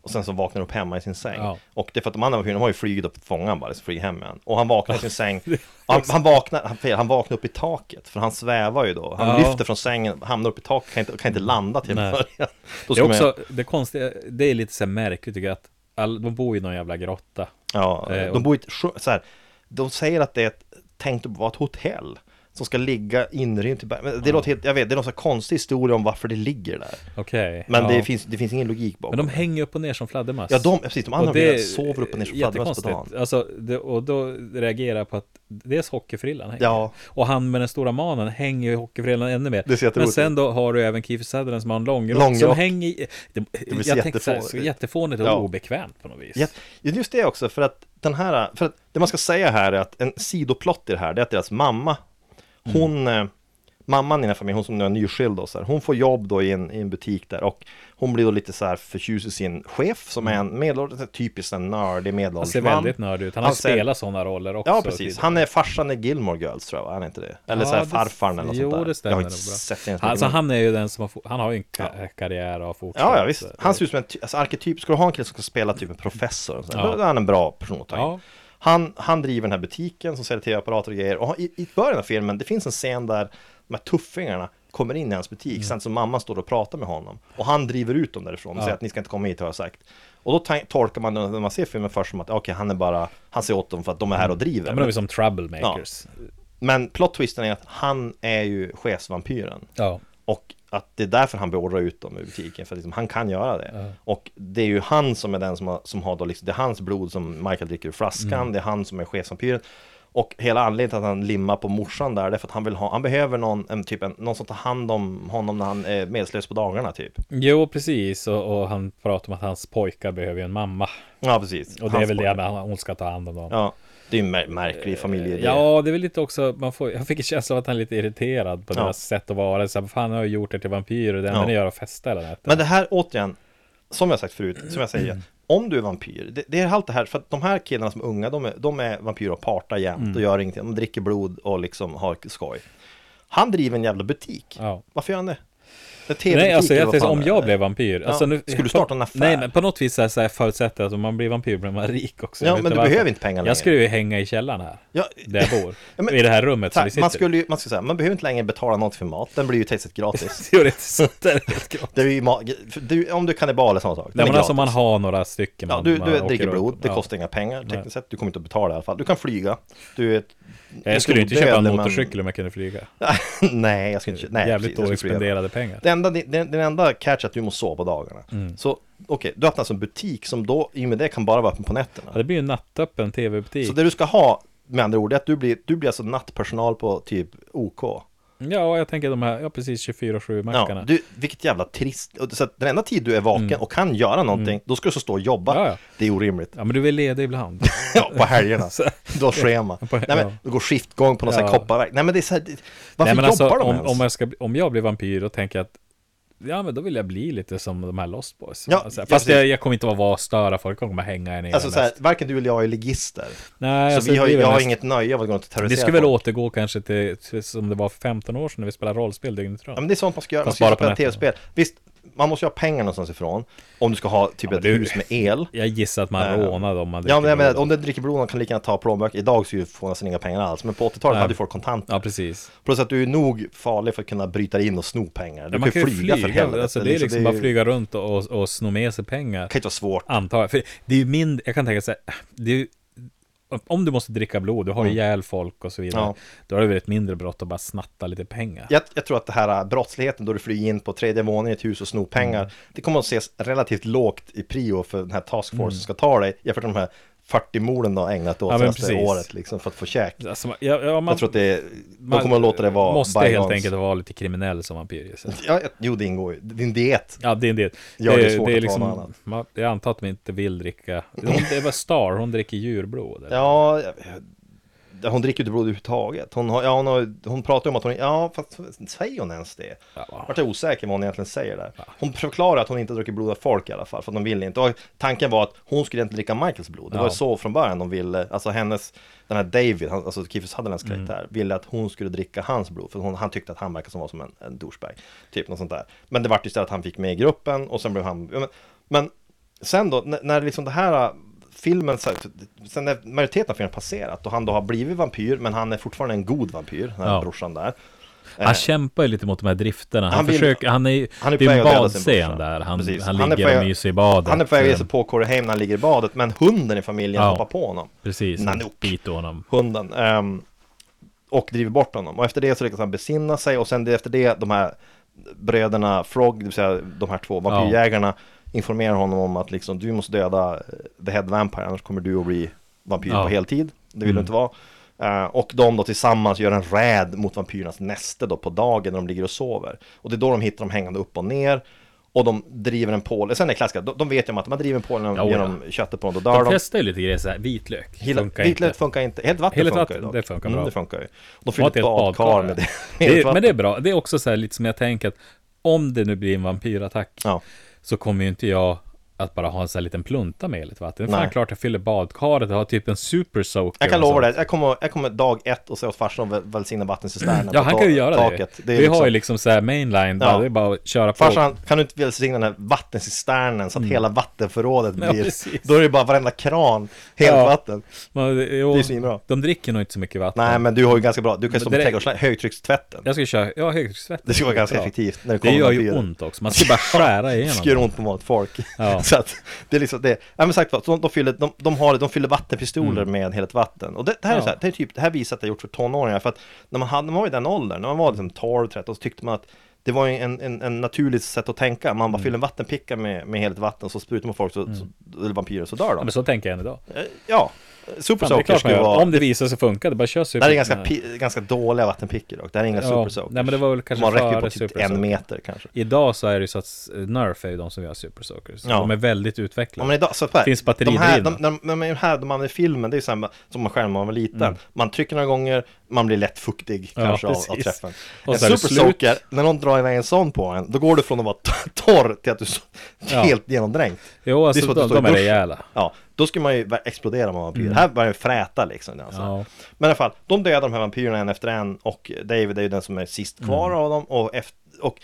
S2: och sen så vaknar han upp hemma i sin säng.
S1: Mm. Ja.
S2: Och det är för att de andra vampyrerna har ju flugit upp fångan bara, liksom flugit hem med han. Och han vaknar i sin säng. Och Han, han, vaknar, han, fel, han vaknar upp i taket, för han svävar ju då. Han
S1: Ja.
S2: lyfter från sängen, hamnar upp i taket, kan inte, kan inte landa till
S1: Nej.
S2: början.
S1: det
S2: Då ska
S1: är
S2: man-
S1: också, det konstiga, det är lite så här märkligt tycker jag att all, de bor ju i någon jävla grotta.
S2: Ja,
S1: Eh, och-
S2: de bor i ett sjö- så här, De säger att det är ett, tänkt att vara ett hotell som ska ligga inrymt i berg- men det låter helt, jag vet, det är någon så här konstig historia om varför det ligger där.
S1: Okej.
S2: Men
S1: ja.
S2: det, finns, det finns ingen logik bakom.
S1: Men de hänger upp och ner som fladdermöss.
S2: ja, de, precis, de andra
S1: Och det
S2: det, sover upp och ner som fladdermöss på
S1: jättekonstigt.
S2: dagen.
S1: Alltså, det, och då reagerar jag på att dels hockeyfrillan hänger.
S2: Ja.
S1: Och han med den stora manen hänger ju i hockeyfrillan ännu mer.
S2: Det ser
S1: Men
S2: jätteroligt
S1: sen då har du även Kiefer Sutherland som har en långrock.
S2: Långrock.
S1: Som hänger i... Det,
S2: blir så
S1: jag tänkte så här,
S2: jättefånigt.
S1: så jättefånigt och
S2: Ja.
S1: obekvämt på något vis.
S2: Ja, just det också, för att den här, för att det man ska säga här är att en sidoplott i det här, det är att deras mamma,
S1: Mm.
S2: hon, eh, mamman i den här familjen, hon som nu är nyskild då, så här, hon får jobb då i en, i en butik där och hon blir då lite så här förtjust i sin chef som är en medelålders, en typisk en nördig
S1: Mm. Han
S2: medelålders
S1: ser väldigt nördig ut. Han, har
S2: Han ser-
S1: spelat sådana roller också.
S2: Ja, precis.
S1: tidigare.
S2: Han är farsan i Gilmore Girls tror jag, va? han är inte det? Eller
S1: Ja,
S2: så här
S1: det-
S2: farfarn eller något
S1: jo,
S2: sånt där.
S1: det stämmer
S2: jag har
S1: nog
S2: inte
S1: bra.
S2: sett det.
S1: Alltså han är ju den som har, fo- han har ju en ka- karriär och fortsatt.
S2: Ja, ja visst.
S1: Så-
S2: alltså, Han ser ut som en ty- alltså, arketyp. Ska du ha en kille som ska spela typ en professor? Och sådär,
S1: Ja.
S2: Då är han en bra person att ta in.
S1: Ja.
S2: Han, han driver den här butiken som säljer tv-apparater och grejer. Och han- i, i början av filmen, det finns en scen där de här tuffingarna kommer in i hans butik,
S1: Mm.
S2: sen så mamma står och pratar med honom. Och han driver ut dem därifrån och säger att ni ska inte komma hit har jag sagt. Och då ta- tolkar man den- när man ser filmen först som att okej, han är bara, han ser åt dem för att de är här och driver.
S1: Mm. Ja, men de är som troublemakers.
S2: Men plot twisten är att han är ju chefsvampyren.
S1: Ja.
S2: Och att det är därför han beordrar ut dem ur butiken, för liksom, han kan göra det. Och det är ju han som är den som har, som har då liksom, det är hans blod som Michael dricker ur flaskan,
S1: Mm.
S2: det är han som är chefsvampyren. Och hela anledningen till att han limmar på morsan där, det är för att han vill ha, han behöver någon, en, typ, en, någon som tar hand om honom när han är medslös på dagarna typ.
S1: Jo, precis. Och, och han pratar om att hans pojkar behöver ju en mamma.
S2: Ja, precis.
S1: Och det
S2: Hans
S1: är väl
S2: pojke.
S1: det med hon ska ta hand om dem.
S2: Ja, det är ju en mär- märklig familjeidé.
S1: Eh, Ja, det är väl lite också, man får, jag fick en känsla av att han är lite irriterad på
S2: Ja.
S1: deras sätt att vara. Så här, fan, jag har ju gjort er till vampyrer, det enda
S2: Ja.
S1: ni gör är att festa hela natten.
S2: Men det här återigen, som jag sagt förut, som jag säger, om du är vampyr, det, det är allt det här, för att de här killarna som är unga, de är, de är vampyrer och partar jämt
S1: Mm.
S2: och gör ingenting, de dricker blod och liksom har skoj. Han driver en jävla butik.
S1: Ja.
S2: Varför gör han det? det är TV-butik
S1: Nej, alltså
S2: eller
S1: jag
S2: vad
S1: tänkte
S2: fan
S1: om
S2: det
S1: jag
S2: är.
S1: blev vampyr. Alltså, nu,
S2: Skulle du starta en affär?
S1: Nej, men på något vis så här, så här förutsätter jag att om man blir vampyr blir man rik också.
S2: Ja,
S1: Jag vet
S2: men du
S1: varför.
S2: behöver inte pengar längre.
S1: Jag skulle ju hänga i källaren här,
S2: Ja.
S1: där jag bor.
S2: Ja, men-
S1: I det här rummet
S2: Så
S1: som
S2: här,
S1: vi sitter
S2: man
S1: i.
S2: skulle ju, man skulle säga, man behöver inte längre betala något för mat, den blir ju tekniskt gratis.
S1: Teoretiskt är det helt gratis.
S2: det är ju ma- för du, om du är kannibal eller sådana saker. den
S1: Nej,
S2: är
S1: men alltså
S2: gratis.
S1: man har några stycken.
S2: Ja,
S1: man-
S2: du,
S1: man
S2: du
S1: åker
S2: dricker
S1: runt.
S2: blod, det
S1: Ja.
S2: kostar inga pengar tekniskt sett, du kommer inte att betala i alla fall. Du kan flyga, du är ett,
S1: Jag skulle ju inte
S2: odödlig,
S1: köpa en
S2: men-
S1: motorcykel om jag kunde flyga.
S2: nej, jag skulle inte nej,
S1: Jävligt
S2: precis, jag
S1: dåligt
S2: skulle göra
S1: spenderade
S2: det.
S1: pengar.
S2: Det enda, det, det- den enda catch är att du måste sova på dagarna.
S1: Mm.
S2: Så okej, du öppnar alltså en butik som då i och med det kan bara vara öppen på nätterna.
S1: Ja, det blir ju en nattöppen tv-butik.
S2: Så det du ska ha med andra ord är att du blir, du blir alltså nattpersonal på typ OK.
S1: Ja, jag tänker de här, ja precis 24-7 mackarna. Mm.
S2: Ja, du, vilket jävla trist. och Så att den enda tid du är vaken och kan göra någonting, då ska du så stå och jobba.
S1: Ja, ja.
S2: Det är orimligt.
S1: Ja, men du är ledig ibland.
S2: Ja, på helgerna.
S1: Så-
S2: Du har schema.
S1: På-
S2: Nej, men,
S1: ja.
S2: du går skiftgång på någon sån här
S1: Ja.
S2: kopparverk. Nej men det är så här, det-
S1: Nej,
S2: varför
S1: men
S2: jobbar
S1: alltså,
S2: de
S1: om,
S2: ens?
S1: om, jag ska, bli- om jag blir vampyr, då tänker jag att Ja, men då vill jag bli lite som de här Lost Boys.
S2: Ja,
S1: Alltså,
S2: ja,
S1: fast
S2: precis.
S1: jag, jag kommer inte att vara störa folk, jag kommer hänga er ner.
S2: Alltså
S1: mest.
S2: så här, varken du eller jag är ligister.
S1: Nej,
S2: Så
S1: alltså,
S2: vi har,
S1: det blir väl
S2: jag har
S1: mest-
S2: inget nöje av att gå runt och terrorisera
S1: Det skulle väl
S2: folk.
S1: återgå kanske till, till som det var för 15 år sedan när vi spelade rollspel dygnet runt.
S2: Ja men det är sånt man ska göra, man
S1: Fast
S2: ska ju
S1: bara på
S2: spela
S1: nätterna.
S2: tv-spel Visst, man måste ju ha pengar någonstans ifrån Om du ska ha typ
S1: men
S2: ett
S1: det-
S2: hus med el
S1: Jag gissar att man
S2: Ja.
S1: rånade om man
S2: Ja men
S1: dricker
S2: jag menar,
S1: blod.
S2: om du dricker blod man kan lika gärna ta plånböcker Idag så får man nästan inga pengar alls Men på 80-talet
S1: Nej.
S2: hade ju folk kontanter
S1: Ja, precis.
S2: Plus att du är nog farlig för att kunna bryta in och sno pengar Du
S1: Ja,
S2: kan ju flyga, för helvete
S1: Alltså, det är liksom
S2: ju-
S1: bara flyga runt och, och, och sno med sig pengar.
S2: Det kan ju inte vara svårt
S1: Antar jag. För det är ju mindre, jag kan tänka så här, det är ju, om du måste dricka blod, du har ju ihjäl folk och så vidare.
S2: Mm. Ja.
S1: Då är det väl ett mindre brott att bara snatta lite pengar.
S2: jag, jag tror att det här äh, brottsligheten då du flyger in på tredje våningen i ett hus och snor pengar
S1: Mm.
S2: Det kommer att ses relativt lågt i prio för den här taskforce som ska ta dig Jämfört med de här 40 morden du har ägnat åt
S1: Mm. Ja, men
S2: senaste
S1: precis.
S2: året liksom för att få käk
S1: Alltså, man- ja, ja, man,
S2: jag tror att det är, de kommer att låta det vara
S1: Måste helt
S2: bygons.
S1: enkelt vara lite kriminell som vampyr. ju, så.
S2: Ja, ja, jo, det ingår ju. Din diet.
S1: Ja, det är en del.
S2: Ja, det är svårt att ta något annat.
S1: man, Jag antar att man inte vill dricka. Hon, det var Star, hon dricker djurblod. eller?
S2: Ja, jag- hon dricker ju inte blod överhuvudtaget. Hon, har, ja, hon, har, hon pratar ju om att hon, ja fast säger hon ens det?
S1: Ja.
S2: Jag vart osäker vad hon egentligen säger där. Hon förklarar att hon inte dricker blod av folk i alla fall, för att de vill inte. Och tanken var att hon skulle egentligen dricka Michaels blod. Det var
S1: Ja.
S2: ju så från början de ville, alltså hennes, den här David, han, alltså Kiefer Sutherlands
S1: Mm.
S2: karaktär, ville att hon skulle dricka hans blod, för hon, han tyckte att han verkade som var som en, en douchebag. Typ något sånt där. Men det vart ju istället att han fick med i gruppen och sen blev han, ja, men, men sen då, när, när liksom det här äh, filmen, så här, sen när majoriteten av filmen passerat och han då har blivit vampyr, men han är fortfarande en god vampyr, den här
S1: Ja.
S2: brorsan där.
S1: Han kämpar ju lite mot de här drifterna. Han,
S2: Han vill-
S1: försöker, han är ju,
S2: Han är på
S1: det är
S2: väg
S1: en
S2: att döda sin
S1: badscen
S2: brorsa.
S1: där. Han,
S2: Precis.
S1: han
S2: är på
S1: ligger
S2: väg-
S1: och myser i badet. Mm.
S2: Han är på väg att ge sig på Corey Haim när han ligger i badet, men hunden i familjen
S1: Ja.
S2: hoppar på honom.
S1: Precis,
S2: Nanook.
S1: biter honom.
S2: Hunden. ehm, och driver bort honom. Och efter det så lyckas han besinna sig och sen det- efter det, de här bröderna Frog, det vill säga de här två vampyrjägarna, informerar honom om att liksom, du måste döda eh, The Head Vampire, annars kommer du att bli vampyr
S1: Ja. Mm.
S2: på heltid. Det vill du inte vara. Eh, och de då tillsammans gör en räd mot vampyrernas näste då på dagen när de ligger och sover. Och det är då de hittar dem hängande upp och ner. Och de driver en påle, sen är det klassiska, de, de vet ju om att man driver en påle
S1: Ja, ja.
S2: genom köttet på dem, då dör
S1: De testar ju lite grejer så här, vitlök.
S2: Hela,
S1: funkar
S2: vitlök
S1: inte.
S2: funkar inte, helt vatten
S1: Helt
S2: funkar
S1: vatten,
S2: ju dock.
S1: det funkar
S2: mm,
S1: bra.
S2: det funkar ju. De
S1: De har
S2: fyller
S1: ett
S2: ett
S1: helt
S2: badkar
S1: badkar.
S2: med det.
S1: Det
S2: Helt
S1: är, men
S2: vatten.
S1: det är bra. Det är också så här lite som jag tänker att om det nu blir en vampyrattack
S2: Ja.
S1: så kommer ju inte jag att bara ha en sån här liten plunta med lite vatten. Det är
S2: Nej.
S1: fan klart jag fyller badkaret och har typ en super soaker.
S2: Jag kan
S1: och
S2: lova
S1: sånt.
S2: dig, jag kommer, jag kommer dag ett och säga åt farsan att väl- välsigna vattencisternen
S1: Ja,
S2: på
S1: han
S2: ta-
S1: kan ju göra
S2: taket.
S1: det.
S2: är
S1: Vi
S2: liksom-
S1: har ju liksom så här mainline, bara,
S2: Ja.
S1: det är bara att köra på.
S2: Farsan, kan du inte välsigna den här vattencisternen så att hela vattenförrådet
S1: Mm. Ja,
S2: blir...
S1: precis.
S2: då är det bara varenda kran, helt
S1: Ja.
S2: vatten.
S1: Man, eh, jo,
S2: Det är svinbra.
S1: De dricker nog inte så mycket vatten.
S2: Nej, men du har ju ganska bra. Du kan
S1: Men
S2: stå på
S1: det-
S2: trädgårdsnä, högtryckstvätten.
S1: Jag ska köra, ja högtryckstvätt.
S2: Det ska vara ganska
S1: Bra.
S2: effektivt när det
S1: Det
S2: kommer
S1: gör
S2: till
S1: ju
S2: bilen.
S1: ont också, man ska bara skära
S2: Det
S1: igenom.
S2: ska göra ont på vanligt folk.
S1: Ja.
S2: så att det är liksom det. Nej men sagt vad, så de, de, fyller, de, de, har, de fyller vattenpistoler med helt vatten. Och det, det här är
S1: Mm. Ja.
S2: så här, det, är typ, det här visar att det är gjort för tonåringar. För att när man, hade, när man var i den åldern, när man var liksom 12, 13, så tyckte man att det var ju en, en, en naturligt sätt att tänka. Man bara
S1: Mm.
S2: fyller en vattenpicka med, med helt vatten, så sprutar man folk, så, så, eller vampyrer, så dör
S1: Ja,
S2: de.
S1: men så tänker jag än idag.
S2: Eh, Ja, super
S1: Fan, det är
S2: soaker
S1: klart man
S2: skulle
S1: gör.
S2: vara...
S1: Om det visar sig funka, det bara kör super.
S2: Det här är ganska, pi, ganska dåliga vattenpickor dock. Det här är inga super soakers.
S1: Nej men det var väl kanske
S2: man räcker ju på
S1: före
S2: typ
S1: super
S2: en
S1: soakers.
S2: meter kanske.
S1: Idag så är det ju så att eh, Nerf är ju de som gör super soakers.
S2: Ja.
S1: De är väldigt
S2: Ja,
S1: utvecklade.
S2: men idag, så här,
S1: Finns
S2: de här, de,
S1: batteridrivna.
S2: de, de, de här de använder i filmen, det är samma som man själv när man var liten. Man trycker några gånger, man blir lätt fuktig
S1: Mm. Ja,
S2: kanske av, av
S1: precis.
S2: träffen.
S1: Och
S2: en
S1: så är det
S2: super
S1: slut.
S2: soaker, när någon drar iväg en sån på en, då går du från att vara t- torr till att du är så-
S1: Ja.
S2: helt genomdränkt.
S1: Jo, alltså
S2: som att
S1: de,
S2: du står
S1: de
S2: i
S1: är
S2: duschen.
S1: rejäla. Mm.
S2: Ja, då skulle man ju ver- explodera om man var vampyr. Här börjar man fräta liksom. Alltså.
S1: Ja.
S2: Men i alla fall, de dödar de här vampyrerna en efter en och David är ju den som är
S1: Mm.
S2: sist kvar av dem. Och, efter, och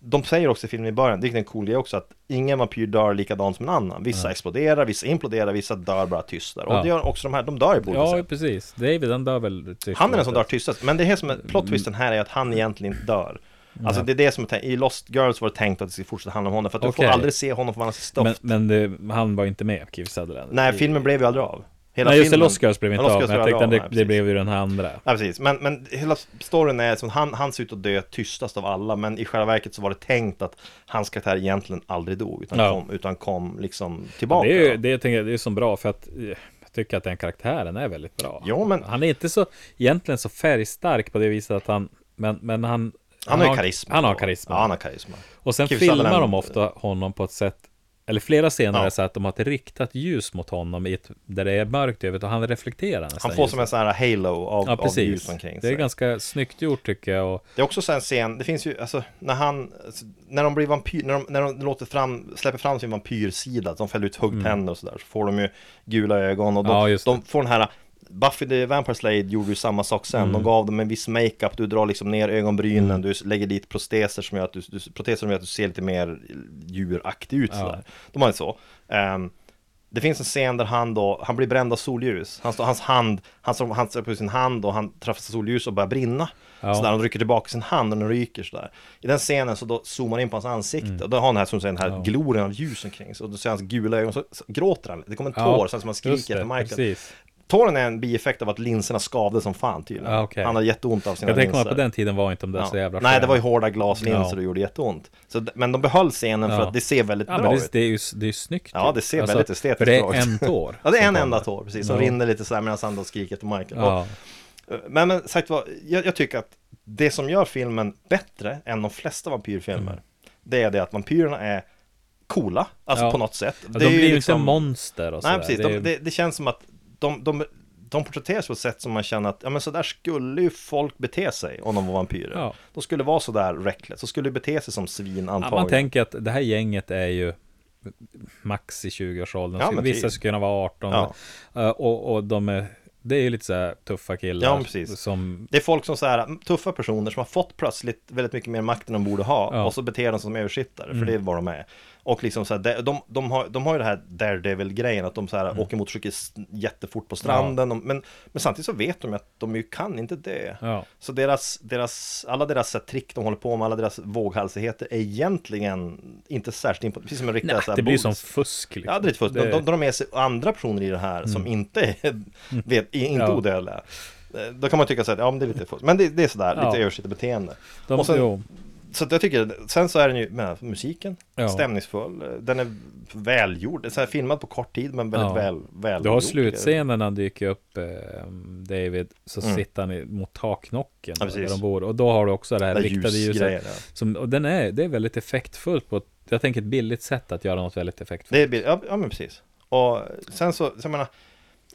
S2: de säger också i filmen i början, vilket är en cool grej också, att ingen vampyr dör likadant som en annan. Vissa exploderar, vissa imploderar, vissa dör bara tystare. Och
S1: Ja.
S2: det gör också de här, de dör ju på olika
S1: Ja,
S2: sätt.
S1: precis. David, han dör väl typ tyst.
S2: Han är den som dör tystast, men det här som är
S1: Mm.
S2: plot twisten här är att han egentligen inte dör. Alltså det är det som är tänkt, i Lost Girls var det tänkt att det skulle fortsätta handla om honom, för att du
S1: Okej.
S2: får aldrig se honom för han är stoft.
S1: Men, men det, han var ju inte med, Keith Sutherland.
S2: Nej,
S1: I-
S2: filmen blev ju aldrig av. Hela
S1: Nej, just det,
S2: filmen-
S1: Lost Girls blev inte
S2: Lost
S1: av,
S2: Girls
S1: men jag
S2: blev
S1: tänkte att
S2: aldrig
S1: det,
S2: av, nej,
S1: det blev ju den här andra.
S2: Ja precis, men, men hela storyn är som han, han ser ut att dö tystast av alla Men i själva verket så var det tänkt att hans karaktär egentligen aldrig dog Utan,
S1: Ja.
S2: kom, utan kom liksom tillbaka
S1: Det är ju, det, jag tänker, det är så bra för att eh, jag tycker att den karaktären är väldigt bra.
S2: Jo, men-
S1: Han är inte så, egentligen så färgstark på det viset att han, men, men han...
S2: Han har ju karisma
S1: Han har karisma.
S2: Ja, han har karisma
S1: Och sen
S2: Keith
S1: filmar
S2: Sutherland-
S1: de ofta honom på ett sätt, eller flera scener
S2: Ja.
S1: är så att de har ett riktat ljus mot honom i ett, där det är mörkt över och han reflekterar nästan.
S2: Han får som
S1: ljuset.
S2: en sån här halo av,
S1: Ja,
S2: av ljus
S1: precis.
S2: omkring
S1: Det är
S2: sig
S1: ganska snyggt gjort tycker jag. Och,
S2: Det är också så här en scen, det finns ju, alltså när han, alltså, när de blir vampyr, när de, när de låter fram, släpper fram sin vampyrsida, att de fäller ut huggtänder och sådär, så får de ju gula ögon och de,
S1: Mm. Ja, just det.
S2: de får den här Buffy the Vampire Slayer gjorde ju samma sak sen, de gav dem en viss makeup, du drar liksom ner ögonbrynen, du lägger dit proteser som gör att du, du, proteser som gör att du ser lite mer djuraktig ut sådär. De har ju så. Ehm, det finns en scen där han då, han blir bränd av solljus. Han står, hans hand, han står, han står på sin hand och han träffar solljus och börjar brinna.
S1: Ja.
S2: Sådär, han rycker tillbaka sin hand och den ryker sådär. I den scenen så då zoomar man in på hans ansikte och då har han här, som du säger, den här gloren av ljus omkring sig. Och då ser hans gula ögon, så, så gråter han. Det kommer en
S1: Ja,
S2: tår, sen som han
S1: just
S2: skriker
S1: det,
S2: efter Michael.
S1: precis.
S2: Tåren är en bieffekt av att linserna skavde som fan tydligen.
S1: Ja, Ah, okej.
S2: Han har jätteont av sina
S1: jag tänker
S2: linser.
S1: man på den tiden var inte de där
S2: Ja.
S1: så jävla
S2: Nej, det
S1: sköna.
S2: var ju hårda glaslinser
S1: Ja.
S2: och det gjorde jätteont. Så, d- men de behöll scenen för
S1: Ja.
S2: att det ser väldigt
S1: Ja,
S2: bra
S1: men
S2: ut.
S1: det, det är ju det är ju snyggt.
S2: Ja,
S1: ju.
S2: det ser väldigt estetiskt
S1: för det
S2: bra
S1: är
S2: ut.
S1: en tår.
S2: Ja, det är en
S1: som
S2: enda
S1: kommer.
S2: tår, precis, som
S1: Ja.
S2: rinner lite så här medan han då skriker till Michael. Och- eh,
S1: Ja.
S2: Men, men sagt var, jag, jag tycker att det som gör filmen bättre än de flesta vampyrfilmer,
S1: Mm.
S2: det är det att vampyrerna är coola, alltså
S1: Ja.
S2: på något sätt.
S1: Ja,
S2: Det
S1: de
S2: är ju
S1: blir ju
S2: liksom-
S1: inte monster och
S2: Nej,
S1: sådär.
S2: precis.
S1: Det
S2: Det,
S1: är
S2: de,
S1: ju-
S2: det, det känns som att de, de, de porträtteras på ett sätt som man känner att, ja men sådär skulle ju folk bete sig om de var vampyrer.
S1: Ja.
S2: De skulle vara sådär reckless, de skulle bete sig som svin
S1: Ja,
S2: antagligen.
S1: man tänker att det här gänget är ju max i 20-årsåldern.
S2: Ja,
S1: Så
S2: men
S1: Vissa
S2: typ.
S1: skulle kunna vara 18.
S2: Ja.
S1: Eh, Och, och de är, det är ju lite så här tuffa killar.
S2: Ja, men precis.
S1: Som,
S2: Det är folk som så här, mm, tuffa personer som har fått plötsligt väldigt mycket mer makt än de borde ha
S1: Ja. Mm.
S2: och så beter de sig som översittare, för det är vad de är. Och liksom så här, de, de, de, har, de har ju det här Daredevil-grejen, att de så
S1: Mm.
S2: här åker motorcykel s- jättefort på stranden, och, men, men samtidigt så vet de ju att de ju kan inte det.
S1: Ja.
S2: Så deras, deras, alla deras så här, trick de håller på med, alla deras våghalsigheter är egentligen inte särskilt imponerande, precis som en riktig
S1: nej,
S2: så här
S1: det blir ju
S2: bodis.
S1: som fusk. Liksom.
S2: Ja, det är lite fusk. De,
S1: Det- Mm.
S2: de drar med sig andra personer i det här som inte är, vet, är inte
S1: Ja.
S2: odödliga. Eh, Då kan man tycka så här, ja men det är lite fusk. Men det, det är sådär,
S1: Ja.
S2: lite översittligt beteende.
S1: de,
S2: och sen-
S1: jo,
S2: Så att jag tycker, sen så är den ju, men, alltså, musiken,
S1: Ja.
S2: stämningsfull, eh, den är välgjord, den är så här filmad på kort tid men väldigt
S1: Ja.
S2: väl, väl
S1: du har slutscenen när han dyker upp, eh, David, så
S2: Mm.
S1: sitter han i- mot taknocken
S2: Ja,
S1: där
S2: precis.
S1: de bor. Och då har du också det här
S2: Där
S1: riktade
S2: ljusgrejen,
S1: ljuset.
S2: ja.
S1: Som, och den är, det är väldigt effektfullt på ett, jag tänker ett billigt sätt att göra något väldigt effektfullt.
S2: Det är, bild- ja, ja men precis. Och sen så, så jag menar,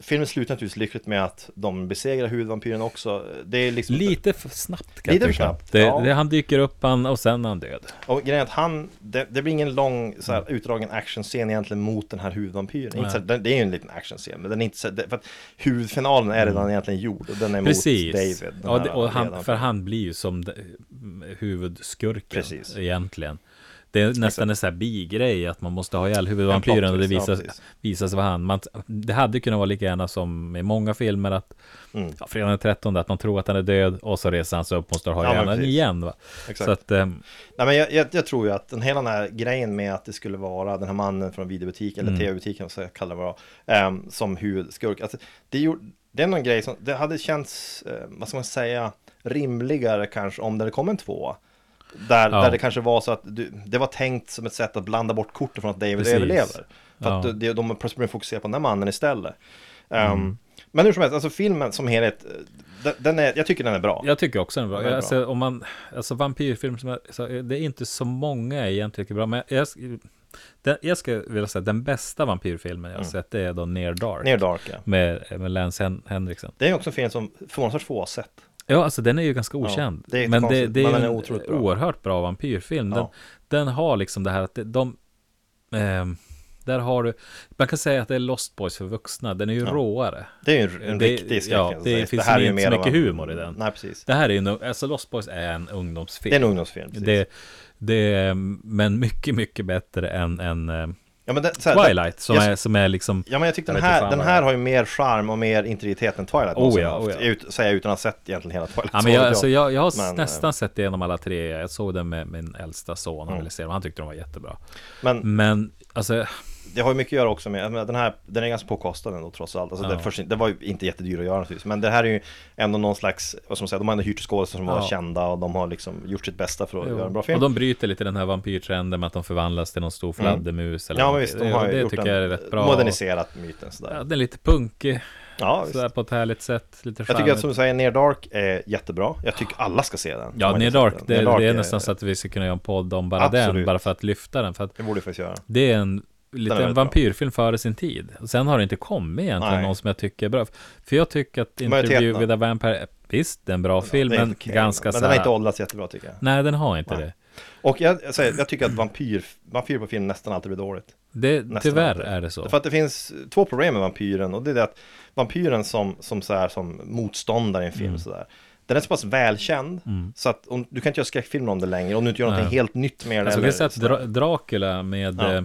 S2: filmen slutar naturligtvis lyckligt med att de besegrar huvudvampyren också. Det är liksom...
S1: Lite för snabbt kan
S2: Lite
S1: jag
S2: för
S1: tycka.
S2: snabbt,
S1: det,
S2: ja.
S1: det, Han dyker upp han, och sen är han död.
S2: Och grejen är att han, det, det blir ingen lång så här, utdragen actionscen egentligen mot den här huvudvampyren. Inte så här, det, det är ju en liten actionscen, men den är inte så, det, för att huvudfinalen är redan egentligen gjord och den är
S1: Mm. Precis.
S2: mot David. den
S1: ja,
S2: här
S1: det, och han,
S2: ledaren.
S1: för han blir ju som de- huvudskurken
S2: Precis.
S1: egentligen. Det är nästan en sån här bigrej att man måste ha ihjäl huvudvampyren
S2: En
S1: och
S2: plot
S1: det
S2: twist, ja,
S1: visas,
S2: precis.
S1: visas vara han. Man, det hade kunnat vara lika gärna som i många filmer att
S2: Mm.
S1: ja, fredag den 13 att man tror att han är död och så reser han sig upp och måste ha
S2: Ja, men
S1: ihjäl honom
S2: precis.
S1: igen. Va?
S2: Exakt.
S1: Så att, ehm,
S2: Nej, men jag, jag, jag tror ju att den hela den här grejen med att det skulle vara den här mannen från videobutiken,
S1: Mm.
S2: eller tv-butiken, så jag kallar det vad det var, ehm, som huvudskurk. Alltså, det, gjorde, det är någon grej som, det hade känts, eh, vad ska man säga, rimligare kanske om det hade kommit en tvåa. Där,
S1: Ja.
S2: där det kanske var så att du, det var tänkt som ett sätt att blanda bort korten från att David
S1: Precis.
S2: överlever. För att
S1: Ja.
S2: de, de plötsligt börjar fokusera på den här mannen istället. Ehm,
S1: Mm.
S2: Men hur som helst, alltså filmen som helhet, eh, den, den är, jag tycker den är bra.
S1: Jag tycker också den är
S2: Ja, den
S1: bra.
S2: är
S1: Alltså, om man, alltså vampyrfilm som jag, så, eh, det är inte så många egentligen tycker är bra, men jag, jag, den, jag skulle vilja säga att den bästa vampyrfilmen jag har sett, det är då Near Dark.
S2: Mm. Near Dark,
S1: Mm.
S2: ja.
S1: Med, eh, med Lance Hen- Henriksen.
S2: Det är också en film som förvånansvärt få har sett.
S1: Ja, alltså den är ju ganska okänd.
S2: det är
S1: men det,
S2: konstigt,
S1: det är,
S2: men
S1: ju
S2: den är
S1: en
S2: otroligt bra.
S1: oerhört bra vampyrfilm. Den,
S2: Ja.
S1: den har liksom det här att det- de... ehm, där har du... Man kan säga att det är Lost Boys för vuxna. Den är ju råare.
S2: Det är ju en, en
S1: Eh, Det-
S2: riktig skräck.
S1: ja,
S2: alltså.
S1: det finns
S2: här är ju
S1: inte så
S2: mer av
S1: mycket
S2: en-
S1: humor i den.
S2: Nej, precis.
S1: Det här är ju... en- Alltså Lost Boys är en ungdomsfilm.
S2: Det är en ungdomsfilm. Precis.
S1: Det, det, men mycket, mycket bättre än, än eh,
S2: ja, men det, så här, det-
S1: Twilight som,
S2: jag-
S1: är, som är liksom...
S2: Ja men jag tycker
S1: Jag
S2: den
S1: vet inte
S2: här,
S1: fan
S2: den
S1: vad
S2: här
S1: det är.
S2: har ju mer charm och mer integritet än Twilight
S1: Oh
S2: någonsin
S1: ja,
S2: haft.
S1: oh ja.
S2: Ut, Säger jag utan att ha sett egentligen hela Twilight
S1: Ja, men jag,
S2: Så
S1: alltså, jag, jag har
S2: Men, eh,
S1: nästan sett igenom alla tre. Jag såg den med min äldsta son.
S2: Mm.
S1: Han ville se dem. Han tyckte de var jättebra.
S2: men
S1: Men alltså,
S2: det har ju mycket att göra också med, jag menar, den här, den är ganska påkostad ändå trots allt alltså,
S1: Ja.
S2: det, först, det var ju inte jättedyr att göra naturligtvis Men det här är ju ändå någon slags, vad ska man säga, de har ändå hyrt skådespelare som var
S1: Ja.
S2: kända Och de har liksom gjort sitt bästa för att göra en bra film Mm.
S1: och de bryter lite den här vampyrtrenden med att de förvandlas till någon stor fladdermus. Eller
S2: Ja men
S1: någonting.
S2: visst, de har
S1: det,
S2: ju
S1: det
S2: gjort
S1: tycker jag är
S2: en,
S1: rätt bra.
S2: moderniserat myten
S1: Ja,
S2: sådär
S1: den är lite punkig,
S2: Ja, visst.
S1: sådär på ett härligt sätt. Lite
S2: Jag tycker att
S1: charmigt.
S2: som du säger, Near Dark är jättebra. Jag tycker alla ska se den. Om
S1: Ja,
S2: man
S1: Near
S2: inte
S1: Dark,
S2: sett
S1: det,
S2: den. Near
S1: det är
S2: Dark
S1: nästan så att vi skulle kunna göra en podd om bara den,
S2: Absolut.
S1: bara för att lyfta den. För att
S2: Det borde vi faktiskt göra.
S1: Det är en
S2: Den
S1: lite
S2: är
S1: en
S2: väldigt bra.
S1: vampyrfilm före sin tid. Och Sen har det inte kommit egentligen
S2: Nej.
S1: någon som jag tycker är bra. För jag tycker att
S2: Majoriteten.
S1: Interview with a Vampire, visst, det är en bra film,
S2: Det är
S1: men
S2: helt okej,
S1: ganska
S2: Men
S1: så
S2: den har
S1: här,
S2: inte åldrats jättebra tycker jag.
S1: Nej, den har inte
S2: Nej.
S1: det.
S2: Och jag, jag, säger, jag tycker att vampyr, vampyr på film nästan alltid blir dåligt.
S1: det
S2: Nästan
S1: tyvärr
S2: alltid.
S1: är det så.
S2: För att det finns två problem med vampyren och det är det att vampyren som, som, så här, som motståndare i en film
S1: Mm.
S2: sådär. Den är så pass välkänd så att om, du kan inte göra skräckfilmer om det längre om du inte gör någonting
S1: Nej.
S2: helt nytt med den.
S1: jag skulle
S2: eller
S1: säga att
S2: sådär.
S1: Dra- Dracula med...
S2: Ja.
S1: Eh,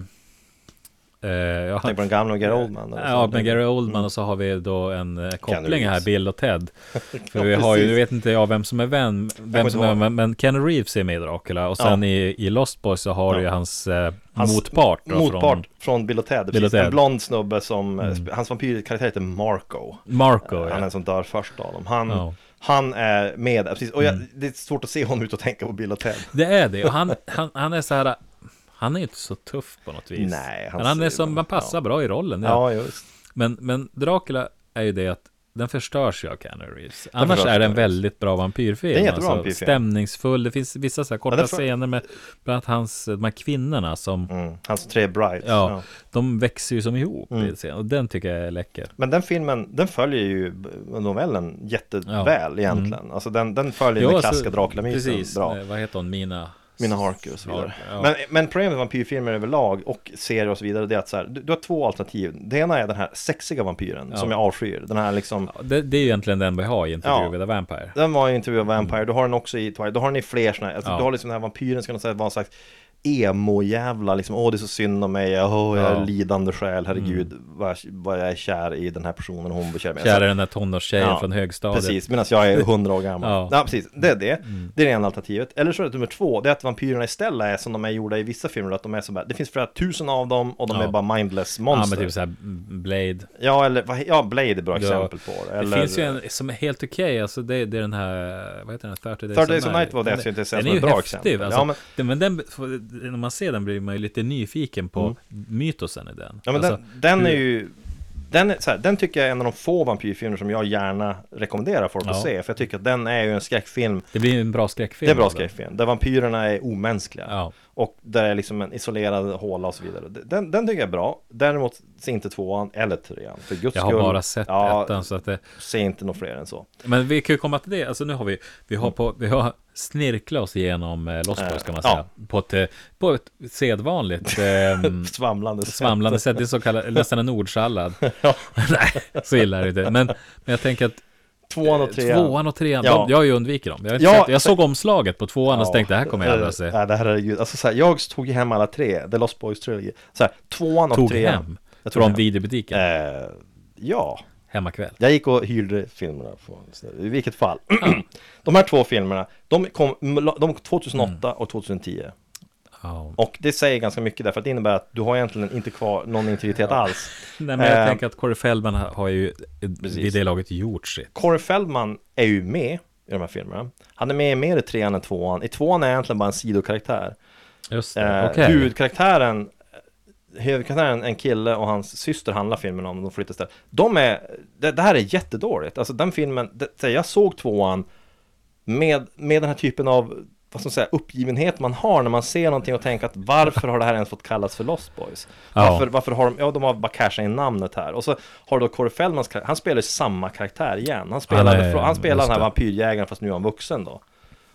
S1: eh, ja,
S2: Tänk på den gamla och Gary Oldman. eller
S1: Ja,
S2: så. mm.
S1: med Gary Oldman och så har vi då en eh, koppling här,
S2: Reeves.
S1: Bill och Ted. För
S2: Ja,
S1: vi har ju,
S2: precis.
S1: nu vet inte jag vem som är vem, vem
S2: kommer
S1: som
S2: inte
S1: är,
S2: ihåg.
S1: vem, men Ken Reeves är med i Dracula och sen i, i Lost Boys så har du ju hans, eh,
S2: Hans
S1: motpart. Då,
S2: Motpart från, Bill och Ted, precis.
S1: Ted.
S2: En blond snubbe som, eh, sp- hans vampyrkaraktär heter Marco
S1: Från Marco.
S2: Han är
S1: ja.
S2: en som dör först av dem Han,
S1: Ja. Mm.
S2: han är med, precis, och jag, det är svårt att se honom ut och tänka på Bill och Ted
S1: Det är det. Och han, han, han är så här. Han är inte så tuff på något vis.
S2: Nej, han
S1: han, men han är
S2: ser-
S1: som, man passar
S2: ja.
S1: bra i rollen. Ja.
S2: Ja, just
S1: Men, men Dracula är ju det att den förstörs ju av Keanu Reeves. Annars är det
S2: förstörs Keanu
S1: en
S2: Reeves.
S1: väldigt bra vampyrfilm. alltså.
S2: Det är en jättebra vampyrfilm.
S1: Stämningsfull. Det finns vissa så här korta
S2: Ja, den för-
S1: scener med bland annat hans, de här kvinnorna som,
S2: mm. Hans tre brides
S1: ja,
S2: ja. Mm.
S1: de växer ju som ihop i scenen. Och den tycker jag är läcker.
S2: Men den filmen, den följer ju b- novellen jätteväl egentligen Alltså den, den följer den klassiska
S1: Mm. Precis,
S2: Dracula-myten bra
S1: eh, vad heter hon, Mina?
S2: Mina Harker och så vidare.
S1: Harker, ja.
S2: Men, men problemet med vampyrfilmer överlag och serier och så vidare, det är att så här, du, du har två alternativ. Det ena är den här sexiga vampyren som jag avskyr. Den här liksom,
S1: Ja, Det, det är ju egentligen den vi har i Interview
S2: Ja.
S1: with a Vampire.
S2: Den var ju Interview of Vampire, du har den också i Twilight, du har den i fler sådana här, alltså,
S1: Mm. Ja.
S2: du har liksom den här vampyren ska nog säga vara en slags emo-jävla liksom, åh det är så synd om mig, åh jag är
S1: Ja. Mm.
S2: lidande själ, herregud vad, jag- vad jag är kär i den här personen hon blir kär med.
S1: Kär i den där tonårstjejen från högstadiet.
S2: Precis, medan jag är hundra år gammal. ja.
S1: Ja. Mm.
S2: precis, det är det. Det är det ena alternativet. Eller så är det nummer två, det är att vampyrerna istället är som de är gjorda i vissa filmer, att de är så bara, det finns flera tusen av dem och de
S1: Ja.
S2: är bara mindless
S1: Ja,
S2: monster.
S1: men
S2: Ja,
S1: typ såhär Blade.
S2: eller, vad he- ja Blade är ett bra exempel på det. Eller,
S1: Det finns ju en som är helt okej, alltså det, det är den här, vad heter den, 30 Days,
S2: 30 Days of Night var det
S1: Den-
S2: jag tänkte säga
S1: den
S2: som
S1: är
S2: ett
S1: ju
S2: bra
S1: häftig,
S2: exempel.
S1: Alltså,
S2: Ja,
S1: ja,
S2: men-
S1: men... den, för- när man ser den blir man ju lite nyfiken på mytosen i den.
S2: Mm. Ja men
S1: alltså,
S2: den, den är ju Den, är, så här, den tycker jag är en av de få vampyrfilmer som jag gärna rekommenderar folk
S1: Ja.
S2: att se. För jag tycker att den är ju en skräckfilm.
S1: Det blir en bra skräckfilm. alltså.
S2: Det är en bra
S1: då.
S2: skräckfilm. Där vampyrerna är omänskliga.
S1: Ja.
S2: Och där är liksom en isolerad håla och så vidare. Den, den tycker jag är bra. Däremot se inte tvåan eller trean. För guds
S1: Jag har
S2: skull.
S1: bara sett
S2: ja,
S1: ettan så Mm. att det...
S2: Se inte något fler än så.
S1: Men vi kan ju komma till det. Alltså nu har vi... Vi har, på, vi har snirklat oss igenom eh, Lost Boys kan man
S2: Mm. Eh,
S1: säga. På, ett, eh, på ett sedvanligt... ehm,
S2: Svamlande sätt.
S1: svamlande sätt. Det är så kallad, nästan en ordsallad.
S2: Ja.
S1: Nej, så illa är det inte. Men, men jag tänker att
S2: Tvåan och trean.
S1: Eh, tvåan och trean,
S2: Ja.
S1: de, jag har ju undvikit dem. Jag, har inte
S2: Ja,
S1: sett, jag
S2: för-
S1: såg omslaget på tvåan och så tänkte jag, det här kommer jag aldrig att se.
S2: Nej, det här är ju, alltså så här, jag tog ju hem alla tre, The Lost Boys Trilogy. Så här, tvåan och
S1: Tog
S2: trean.
S1: hem
S2: Jag tog
S1: från
S2: hem.
S1: videobutiken,
S2: Eh, ja,
S1: hemmakväll.
S2: jag gick och hyrde filmerna från, så i vilket fall. de här två filmerna, de kom de kom 2008
S1: Mm.
S2: och 2010.
S1: Ja.
S2: Och det säger ganska mycket därför att det innebär att du har egentligen inte kvar någon integritet alls.
S1: Nej, men jag
S2: Eh,
S1: tänker att Corey Feldman har har ju vid
S2: Precis.
S1: det laget gjort sitt.
S2: Corey Feldman är ju med i de här filmerna. Han är med mer i trean än tvåan. I tvåan är han egentligen bara en sidokaraktär.
S1: Just det,
S2: Eh,
S1: okej.
S2: Huvudkaraktären eh, Huvudkaraktären, en kille och hans syster handlar filmen om, de flyttas där. De är, det, det här är jättedåligt, alltså den filmen, det, så här, jag såg tvåan med, med den här typen av, vad ska man säga, uppgivenhet man har när man ser någonting och tänker att varför har det här ens fått kallas för Lost Boys?
S1: Ja.
S2: Varför, varför har de, ja de har bara cashat in namnet här. Och så har då Corey Feldmans karaktär, han spelar ju samma karaktär igen. Han spelar,
S1: är-
S2: han spelar
S1: just
S2: den här
S1: det.
S2: vampyrjägaren fast nu är han vuxen då.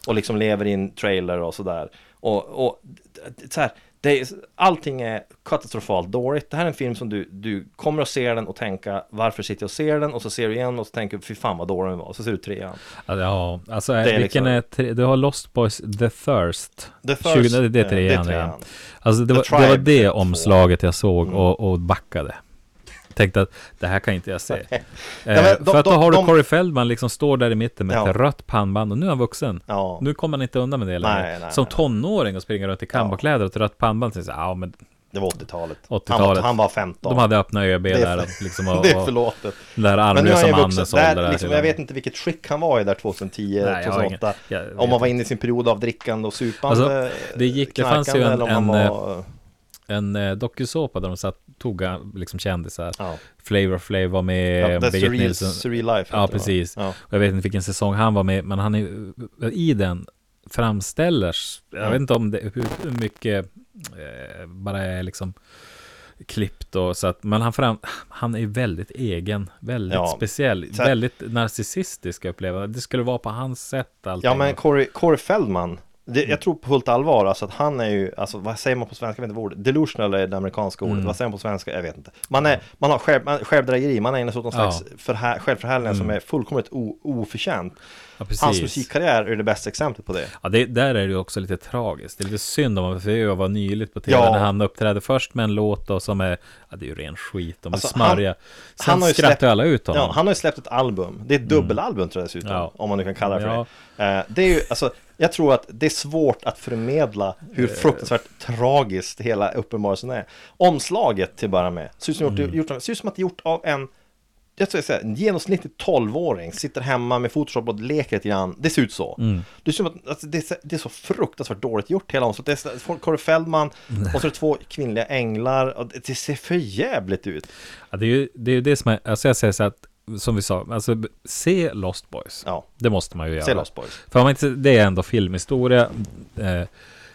S2: Och liksom lever i en trailer och sådär. Och, och d- d- så här, det är, allting är katastrofalt dåligt. Det här är en film som du, du kommer att se den och tänka varför sitter jag och ser den? Och så ser du igen och så tänker du fy fan vad dålig den var. Och så ser du trean.
S1: Alltså, ja, alltså
S2: är
S1: vilken
S2: liksom-
S1: är tre, du har Lost Boys The Thirst.
S2: The Thirst,
S1: 20, det, det är
S2: eh,
S1: trean.
S2: det är trean.
S1: Det alltså det
S2: The
S1: var, det var
S2: Tribe är
S1: det
S2: två. Mm.
S1: omslaget jag såg och, och backade. Tänkte att det här kan inte jag se. eh,
S2: men de-
S1: för att då
S2: de-
S1: har du
S2: de-
S1: Corey Feldman liksom står där i mitten med ett
S2: Ja.
S1: rött pannband och nu är han vuxen.
S2: Ja.
S1: Nu kommer han inte undan med det längre.
S2: Nej, nej,
S1: Som
S2: nej.
S1: tonåring och springa runt i kambokläder och ett rött pannband. Så, så, ja, men
S2: Det var 80-talet.
S1: 80-talet.
S2: Han, var- han var 15.
S1: de hade öppna ÖB
S2: Det är
S1: där.
S2: för-
S1: och Liksom, och,
S2: det är
S1: och,
S2: förlåtet.
S1: den där
S2: Men nu är
S1: armlösa
S2: han ju
S1: mannens
S2: vuxen.
S1: ålder.
S2: Där,
S1: där
S2: liksom,
S1: till
S2: jag
S1: den.
S2: vet inte vilket skick han var i där 2010,
S1: Nej, jag har
S2: 2008.
S1: ingen- jag
S2: om
S1: vet
S2: han var inne i sin period av drickande och supande.
S1: Alltså, det gick- det fanns ju
S2: knarkande,
S1: en- eh,
S2: eller om han
S1: en,
S2: var,
S1: en eh, dokusåpa där de satt, tog eh, liksom kändisar.
S2: ja.
S1: Flavor Flav var med,
S2: Ja,
S1: ja,
S2: The
S1: Birgit
S2: Surreal,
S1: Nilsson.
S2: Surreal Life heter
S1: Ja,
S2: det, va?
S1: precis.
S2: Ja.
S1: Och Jag vet inte vilken säsong han var med, men han är eh, i den framställers. Jag vet inte om det, hur, hur mycket eh, bara är liksom klippt och så att, men han, fram, han är väldigt egen, väldigt
S2: Ja.
S1: speciell,
S2: Så här-
S1: väldigt narcissistisk upplevelse. Det skulle vara på hans sätt allting.
S2: Ja men Corey, Corey Feldman det,
S1: Mm.
S2: Jag tror på fullt allvar alltså att han är ju Alltså vad säger man på svenska? Jag vet inte vad ordet Delusional är det amerikanska
S1: Mm.
S2: ordet Vad säger man på svenska? Jag vet inte Man, är, man har själv, man, självdrägeri Man ägnar sig åt någon
S1: Ja. Mm.
S2: slags förhär, självförhärligande Som är fullkomligt o, oförtjänt
S1: Ja, precis.
S2: Hans musikkarriär är det bästa exemplet på det
S1: Ja, det, där är det ju också lite tragiskt. Det är lite synd om honom, för jag var nyligt på tv
S2: Ja.
S1: när han uppträdde först med en låt då, som är, ja, det är ju ren skit, de är
S2: Alltså,
S1: smarriga. Sen
S2: han har ju
S1: skrattar
S2: släppt-
S1: alla ut honom. Mm.
S2: Ja, han har ju släppt ett album. Det är ett dubbelalbum tror jag dessutom,
S1: Ja.
S2: om man nu kan kalla det för
S1: Ja.
S2: det. Eh, det är ju, alltså, jag tror att det är svårt att förmedla hur
S1: Eh.
S2: fruktansvärt tragiskt hela uppenbarelsen är. Omslaget till att börja med, ser ut som,
S1: Mm.
S2: gjort, gjort, ser ut som att det är gjort av en jag skulle säga, en genomsnittlig 12-åring sitter hemma med Photoshop och leker lite grann. Det ser ut så.
S1: Mm.
S2: Det, ser ut som att, alltså, det, är så, det är så fruktansvärt dåligt gjort hela omslaget. Det är så- folk- Corey Feldman och så är det två kvinnliga änglar. Och det, det ser för jävligt ut.
S1: Ja, det är ju det, är ju det som är, alltså jag säger så att, som vi sa, alltså b- se Lost Boys.
S2: Ja.
S1: Det måste man ju göra.
S2: Se Lost Boys.
S1: För om man inte, det är ändå filmhistoria. Eh,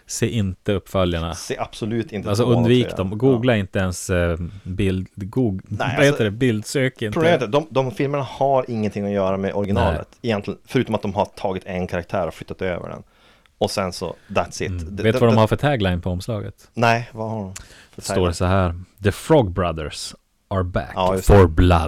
S1: se inte uppföljarna.
S2: Se absolut inte
S1: Alltså
S2: på honom,
S1: undvik
S2: säger
S1: dem.
S2: jag.
S1: Googla inte ens eh, bild, goog, vad heter
S2: alltså,
S1: det, bildsök inte.
S2: Problemet är att de, de filmerna har ingenting att göra med originalet egentligen, förutom att de har tagit en karaktär och flyttat över den. Och sen så, that's it. Det-
S1: Mm. Vet du
S2: det-
S1: vad de
S2: det-
S1: har för tagline på omslaget?
S2: Nej, vad har de? för
S1: står det så här. The Frog Brothers are back
S2: Ja, just det.
S1: for blood.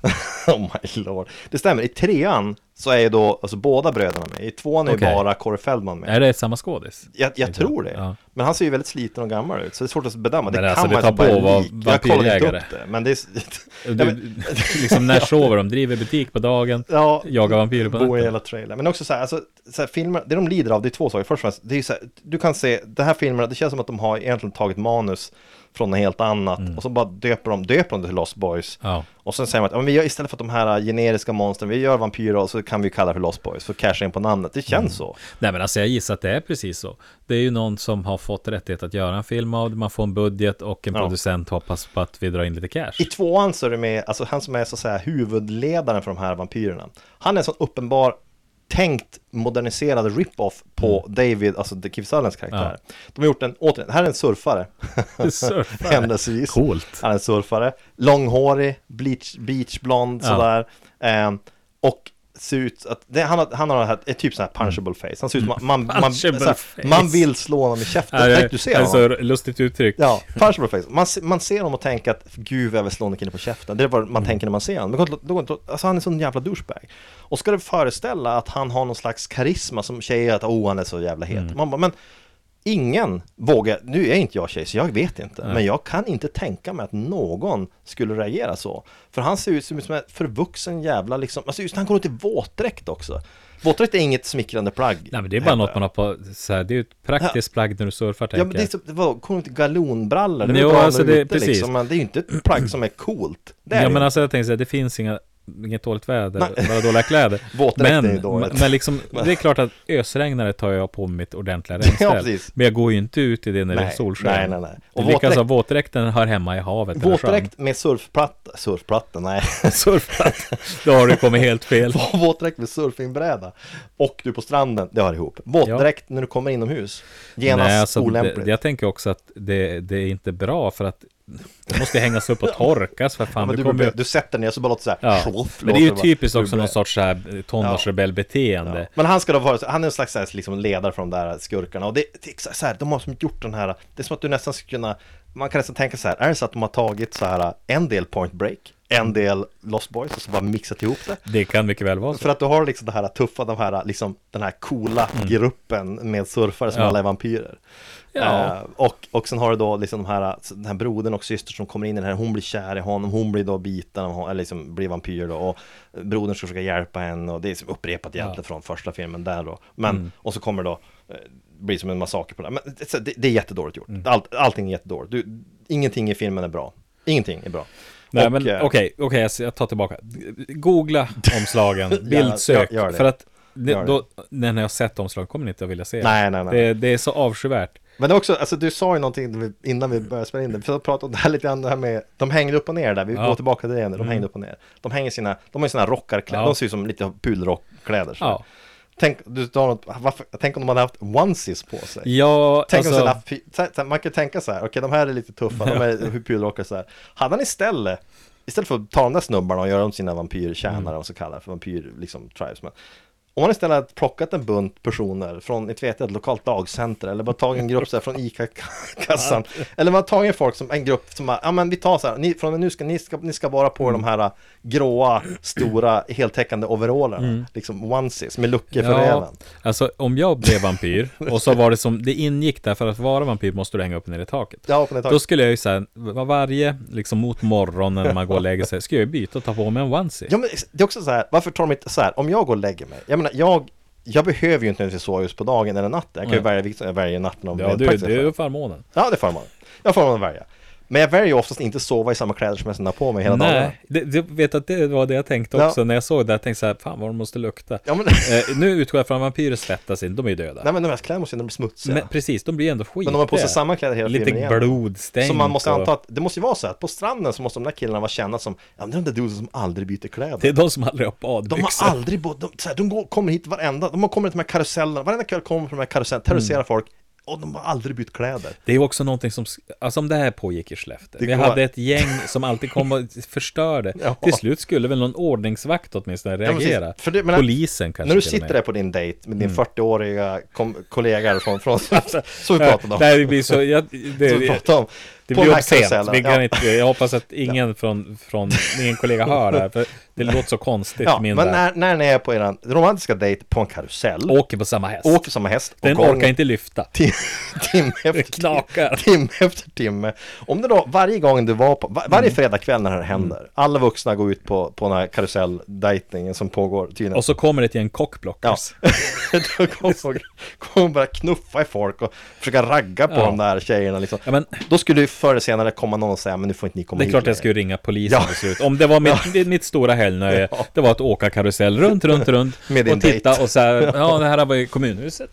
S2: tagline? Oh my lord. Det stämmer, i trean så är ju då, alltså båda bröderna med. I tvåan är
S1: Okej.
S2: ju bara Corey Feldman med.
S1: Är det samma skådis?
S2: Jag, jag
S1: Exakt,
S2: tror det.
S1: ja.
S2: Men han ser ju väldigt sliten och gammal ut, så det är svårt att bedöma. Det
S1: Men
S2: kan
S1: alltså, det
S2: man
S1: tar
S2: inte bara
S1: på att vara
S2: lik. Jag kollar inte
S1: vampyrjägare.
S2: upp det, men det är...
S1: Du,
S2: Ja, men-
S1: liksom när sover de? Driver butik på dagen?
S2: Ja,
S1: jagar vampyrer på
S2: Bo i
S1: natten?
S2: hela trailern. Men också så här, alltså, så här filmer, det de lider av, det är två saker. Först och främst, det är ju så här, du kan se, de här filmerna, det känns som att de har egentligen tagit manus från något helt annat. Och så bara döper de, döper de det till Lost Boys.
S1: Mm. Ja.
S2: Och sen säger man att ja, men vi gör, istället för att de här generiska monstren, vi gör vampyrer och så kan vi kalla det för Lost Boys. För att casha in på namnet, det känns så.
S1: Nej men alltså jag gissar att det är precis så. Det är ju någon som har fått rättighet att göra en film av det, man får en budget och en
S2: Ja.
S1: producent hoppas på att vi drar in lite cash.
S2: I tvåan så är det med, alltså han som är så att säga huvudledaren för de här vampyrerna. Han är en sån uppenbar tänkt moderniserad rip-off på
S1: Mm.
S2: David, alltså The Keith Sullins karaktär. De har gjort en, återigen, här är en surfare.
S1: Surfare.
S2: Händelsevis.
S1: Coolt.
S2: Han är en surfare. Långhårig, bleach, beachblond
S1: Ja.
S2: sådär. Eh, och ser ut att, det, han, har, han har det här, ett typ sån här punchable face. Han ser ut som man, man, man,
S1: Punchable
S2: såhär,
S1: face.
S2: man vill slå honom i käften
S1: Ja,
S2: direkt du ser honom.
S1: alltså, lustigt uttryck.
S2: Ja, punchable face. Man, se- man ser honom och tänker att gud vad jag vill slå den killen på käften. Det är vad man
S1: Mm.
S2: tänker när man ser honom. Men det går inte- det går inte- Alltså han är en sån jävla douchebag. Och ska det föreställa att han har någon slags karisma som tjejer att oh han är så jävla het.
S1: Mm.
S2: Man bara, men ingen vågar, nu är inte jag tjej så jag vet inte. Men jag kan inte tänka mig att någon skulle reagera så. För han ser ut som som en förvuxen jävla liksom, alltså just han går ut i våtdräkt också. Våtdräkt är inget smickrande plagg.
S1: Nej men det är bara
S2: hävdar
S1: något man har på, så här, det är ju ett praktiskt plagg när du surfar tänker
S2: Ja men det är
S1: jag.
S2: så, vadå, kommer inte galonbrallor? Det är
S1: Jo,
S2: bra
S1: alltså
S2: när du är
S1: det-
S2: ute,
S1: precis.
S2: Liksom, men det är ju inte ett plagg som är coolt. Det är
S1: ja
S2: det
S1: men
S2: ju.
S1: alltså jag tänker så här, det finns inga, inget dåligt väder,
S2: Nej.
S1: bara dåliga kläder.
S2: Våtdräkt är
S1: men,
S2: ju dåligt.
S1: men liksom, det är klart att ösregnare tar jag på mig mitt ordentliga regnställ.
S2: precis.
S1: men jag går ju inte ut i det när det är
S2: Nej,
S1: solsken.
S2: nej, nej, nej. Och
S1: Och Likaså
S2: våtdräkt-
S1: våtdräkten hör hemma i havet eller sjön.
S2: Våtdräkt med surfplatta, surfplatta, nej.
S1: Surfplatta. Då har du kommit helt fel.
S2: Våtdräkt med surfingbräda. Och du på stranden, det hör ihop. Våtdräkt när du kommer inomhus. Genast
S1: Nej, alltså,
S2: olämpligt.
S1: det, jag tänker också att det, det är inte bra för att det måste hängas upp och torkas för fan.
S2: men
S1: du
S2: du,
S1: kommer ju...
S2: du, sätter ner så bara låter så här.
S1: Ja.
S2: "Tjoff",
S1: Men det är ju
S2: låter bara-
S1: typiskt också
S2: du-
S1: någon sorts så här eh, tonårsrebellbeteende.
S2: Ja. Men han ska då vara, han är en slags så här, liksom ledare för de där skurkarna och det, det är exa- så här, de har som gjort den här, det är som att du nästan skulle kunna, man kan nästan tänka så här, är det så att de har tagit så här en del Point Break, en del Lost Boys och så bara mixat ihop det?
S1: Det kan mycket väl vara så.
S2: För att du har liksom det här tuffa, de här, liksom, den här coola gruppen med surfare
S1: Mm.
S2: som
S1: Ja.
S2: alla är vampyrer.
S1: Ja.
S2: Eh, och, och sen har du då liksom de här, den här brodern och systern som kommer in i den här, hon blir kär i honom, hon blir då biten, av hon- eller liksom blir vampyr då och brodern ska försöka hjälpa henne och det är som upprepat egentligen från första filmen där då. Men,
S1: Mm.
S2: och så kommer då, eh, blir som en massaker på det här. Men det, det, det är jättedåligt gjort,
S1: Mm.
S2: Allt, allting är jättedåligt. Du, ingenting i filmen är bra, ingenting är bra.
S1: Nej
S2: Och,
S1: men okej,
S2: eh,
S1: okej alltså, jag tar tillbaka. Googla omslagen, bildsök.
S2: gör- gör det.
S1: för att ne-
S2: Gör det.
S1: då, när jag har sett omslagen kommer ni inte att vilja se.
S2: Nej, nej, nej.
S1: Det, det är så avskyvärt.
S2: Men det är också, alltså du sa ju någonting innan vi började spela in det, för jag pratade om det här lite grann, det här med, de hängde upp och ner där, vi
S1: Ja. Mm.
S2: går tillbaka till det igen, de hängde upp och ner. De hänger sina, de har ju sina rockarkläder,
S1: Ja.
S2: de ser ut som lite pudelrockkläder. så.
S1: Ja.
S2: Tänk, du tar något, varför, tänk om de hade haft onesies på sig.
S1: Ja,
S2: Tänk om
S1: alltså,
S2: sen haft, pi- så- så- man kan ju tänka så här, okej de här är lite tuffa, de är pudelrockare så här. Hade han istället, istället för att ta de där snubbarna och göra dem till sina vampyrtjänare, mm. och så kallar det för vampyr, liksom tribesmen. Om man istället hade plockat en bunt personer från, inte vet jag, ett lokalt dagcenter eller bara tagit en grupp så här från ICA-kassan. Eller man har tagit folk som en grupp som bara, ja men vi tar så här, ni, från och med nu ska ni, ska ni ska bara på er
S1: Mm.
S2: de här äh, gråa, stora, heltäckande overallerna. Liksom onesies med luckor för
S1: Mm. ja,
S2: räven.
S1: alltså om jag blev vampyr och så var det som, det ingick där för att vara vampyr måste du hänga upp ner i taket.
S2: Ja, på det
S1: Då
S2: taget.
S1: skulle jag ju såhär, var- varje, liksom mot morgonen när man går och lägger sig, ska jag ju byta och ta på mig en onesie.
S2: Ja men det är också så här, varför tar de inte så här, om jag går och lägger mig, jag menar jag, jag behöver ju inte ens sova just på dagen eller natten, jag kan ju välja vilket som jag väljer natten om
S1: Ja,
S2: jag
S1: du,
S2: faktiskt-
S1: du är förmånen.
S2: Ja det får man, jag får man välja. Men jag väljer ju oftast inte sova i samma kläder som jag sedan har på mig hela dagen.
S1: Nej, det, det, vet att det var det jag tänkte
S2: Ja.
S1: också när jag såg det. Jag tänkte så här, fan vad de måste lukta.
S2: Ja men,
S1: Eh, nu utgår jag från att vampyrer svettas inte, de är ju döda.
S2: nej men de här kläderna måste ju ändå bli smutsiga.
S1: Men, precis, de blir ändå skit.
S2: Men de har på sig samma kläder hela
S1: Lite
S2: filmen igen.
S1: blodstänk.
S2: Så man måste
S1: och-
S2: anta att, det måste ju vara så här, att på stranden så måste de där killarna vara kända som, ja men det är de där dudes som aldrig byter kläder.
S1: Det är de som aldrig har
S2: De har
S1: badbyxor.
S2: aldrig bott, de, så här, de går, kommer hit varenda, de har kommit till de här karusellerna, varenda kväll kommer de till de här karusellerna, terroriserar
S1: Mm.
S2: folk, och de har aldrig bytt kläder.
S1: Det är ju också någonting som, alltså om det här pågick i Skellefteå.
S2: Det
S1: Vi
S2: kommer-
S1: hade ett gäng som alltid kom och förstörde.
S2: Ja.
S1: Till slut skulle väl någon ordningsvakt åtminstone
S2: Ja, precis.
S1: reagera.
S2: För det- men-
S1: Polisen kanske
S2: När du
S1: till och
S2: sitter
S1: med.
S2: där på din dejt med din
S1: Mm.
S2: 40-åriga kom- kollega från, från så vi pratade om.
S1: Nej, det blir så, jag, det,
S2: så
S1: det,
S2: vi pratade om.
S1: det
S2: på den
S1: blir
S2: här
S1: obscent.
S2: karusellen.
S1: Vi kan
S2: Ja.
S1: inte, jag hoppas att ingen från, från ingen kollega hör det här, för det låter så konstigt.
S2: Ja,
S1: min
S2: men
S1: värld.
S2: när, när ni är på er romantiska dejt på en karusell,
S1: Åker på samma häst.
S2: åker samma häst, och
S1: Den
S2: gång-
S1: orkar inte lyfta.
S2: tim- timme efter
S1: knakar.
S2: timme, timme efter timme. Om det då varje gång du var på, var, varje
S1: Mm.
S2: fredagkväll när det här händer, alla vuxna går ut på, på den här karuselldejtningen som pågår tydligen.
S1: Och så kommer det till en
S2: Ja.
S1: cockblockers.
S2: då kommer hon- kommer hon börja knuffa i folk och försöka ragga på
S1: Ja.
S2: de där tjejerna liksom.
S1: Ja, men-
S2: Då skulle ju förr eller senare kommer någon och säga men nu får inte ni komma
S1: Det är
S2: hit
S1: klart
S2: längre."
S1: jag skulle ringa polisen
S2: Ja.
S1: till slut. Om det var mitt, det- mitt stora helgnöje,
S2: Ja.
S1: det var att åka karusell runt, runt, runt
S2: Med din
S1: och titta
S2: dejt.
S1: och så här, ja det här var ju kommunhuset.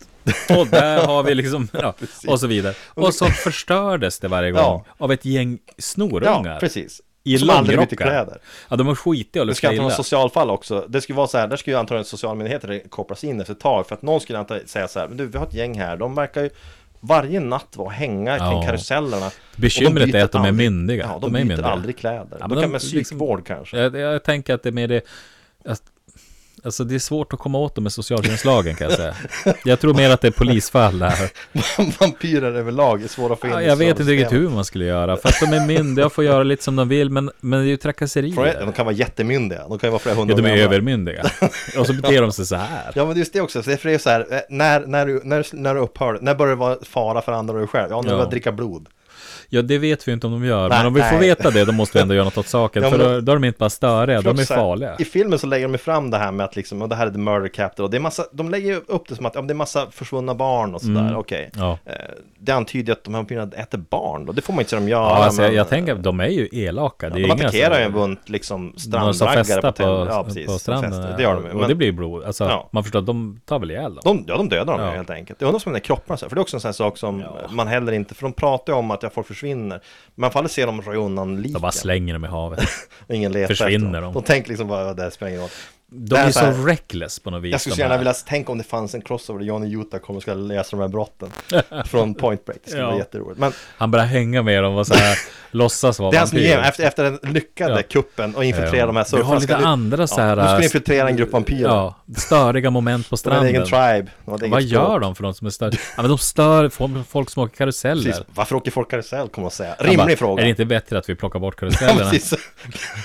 S1: Och där har vi liksom, ja, och så vidare. Och så förstördes det varje gång
S2: Ja.
S1: av ett gäng snorungar.
S2: Ja, precis.
S1: I
S2: Som aldrig byter
S1: långrockar.
S2: kläder.
S1: Ja, de var skitiga och
S2: Det ska
S1: luktade
S2: inte vara
S1: illa.
S2: socialfall också. Det skulle vara så här, där skulle ju antagligen socialmyndigheter kopplas in efter ett tag. För att någon skulle antagligen säga så här, men du vi har ett gäng här, de verkar ju varje natt vara och hänga kring
S1: Ja.
S2: karusellerna. Och de
S1: Bekymret
S2: byter
S1: är att de är
S2: aldrig-
S1: myndiga.
S2: Ja, de,
S1: De är
S2: byter
S1: myndiga.
S2: aldrig kläder.
S1: Ja, men
S2: de
S1: de-
S2: kan med
S1: liksom-
S2: psykvård kanske.
S1: Jag, jag tänker att det är mer det, att, alltså det är svårt att komma åt dem med socialtjänstlagen kan jag säga. Jag tror mer att det är polisfall där.
S2: Vampyrer överlag är svåra att få in
S1: Ja,
S2: i
S1: jag vet inte
S2: systemet.
S1: riktigt hur man skulle göra, för att de är myndiga och får göra lite som de vill, men, men det är ju
S2: Flera- De
S1: trakasserier.
S2: kan vara jättemyndiga, de kan ju vara flera hundra
S1: Ja, de är
S2: år gamla.
S1: övermyndiga. Och så beter de sig så här.
S2: Ja men just det också, så det är så här, eh, när, när, du, när, du- när du upphör, när börjar det vara fara för andra och dig själv? Ja, när
S1: Ja.
S2: du börjar dricka blod.
S1: Ja, det vet vi inte om de gör, men
S2: Nej,
S1: om vi får
S2: nej.
S1: veta det, då måste vi ändå göra något åt saken.
S2: Ja,
S1: För
S2: men
S1: då, då är de inte bara störiga, de är
S2: Också så här,
S1: farliga.
S2: I filmen så lägger de ju fram det här med att liksom, och det här är the murder capital. Och det är massa, de lägger ju upp det som att ja, men det är massa försvunna barn och sådär, okej.
S1: Mm. Ja.
S2: Eh, Det antyder ju att de här vampyrerna äter barn då, det får man inte se dem göra.
S1: Ja, alltså, jag,
S2: men,
S1: jag tänker att de är ju elaka.
S2: ja,
S1: det är
S2: de
S1: inga
S2: attackerar ju
S1: som-
S2: en bunt liksom
S1: Någon som
S2: strandraggare
S1: festar på,
S2: hotell-
S1: på, stranden.
S2: festar. Det gör de ju.
S1: Och det
S2: Men-
S1: blir blod. Alltså,
S2: Ja.
S1: man förstår att de tar väl ihjäl dem.
S2: De, ja, de dödar dem
S1: Ja.
S2: ju helt enkelt. Jag undrar som de där kropparna, så här, för det är också en sån här sak som
S1: Ja.
S2: man heller inte, för de pratar ju om att ja, folk försvinner. Men man får aldrig se dem röja undan
S1: De
S2: liken.
S1: bara slänger dem i havet.
S2: och ingen letar
S1: försvinner
S2: efter dem.
S1: de.
S2: De tänker liksom bara, "Ja, det spelar ingen roll.
S1: De
S2: Det
S1: är
S2: här
S1: ju
S2: är så
S1: så
S2: här-
S1: reckless på något vis.
S2: Jag skulle så
S1: de
S2: gärna
S1: här.
S2: vilja tänka om det fanns en crossover där Johnny Utah kommer och ska läsa de här brotten från Point Break. Det skulle
S1: Ja.
S2: vara jätteroligt. Men
S1: Han börjar hänga med dem och så här, låtsas vara
S2: det är hans
S1: vampyr.
S2: nya, efter, efter den lyckade
S1: Ja.
S2: kuppen och infiltrera
S1: Ja.
S2: de här
S1: Vi har lite
S2: ska du-
S1: andra så här,
S2: Ja, du
S1: äh,
S2: ska infiltrera en grupp vampyrer.
S1: Ja, störiga moment på
S2: De har en egen
S1: stranden.
S2: tribe. De har ett eget
S1: Vad
S2: språk.
S1: gör de för de som är stör? Ja, men de stör folk- folk som åker karuseller.
S2: Precis. Varför åker folk karusell kommer de säga.
S1: Han bara,
S2: Rimlig fråga.
S1: Är det inte bättre att vi plockar bort
S2: Ja,
S1: karusellerna?
S2: precis.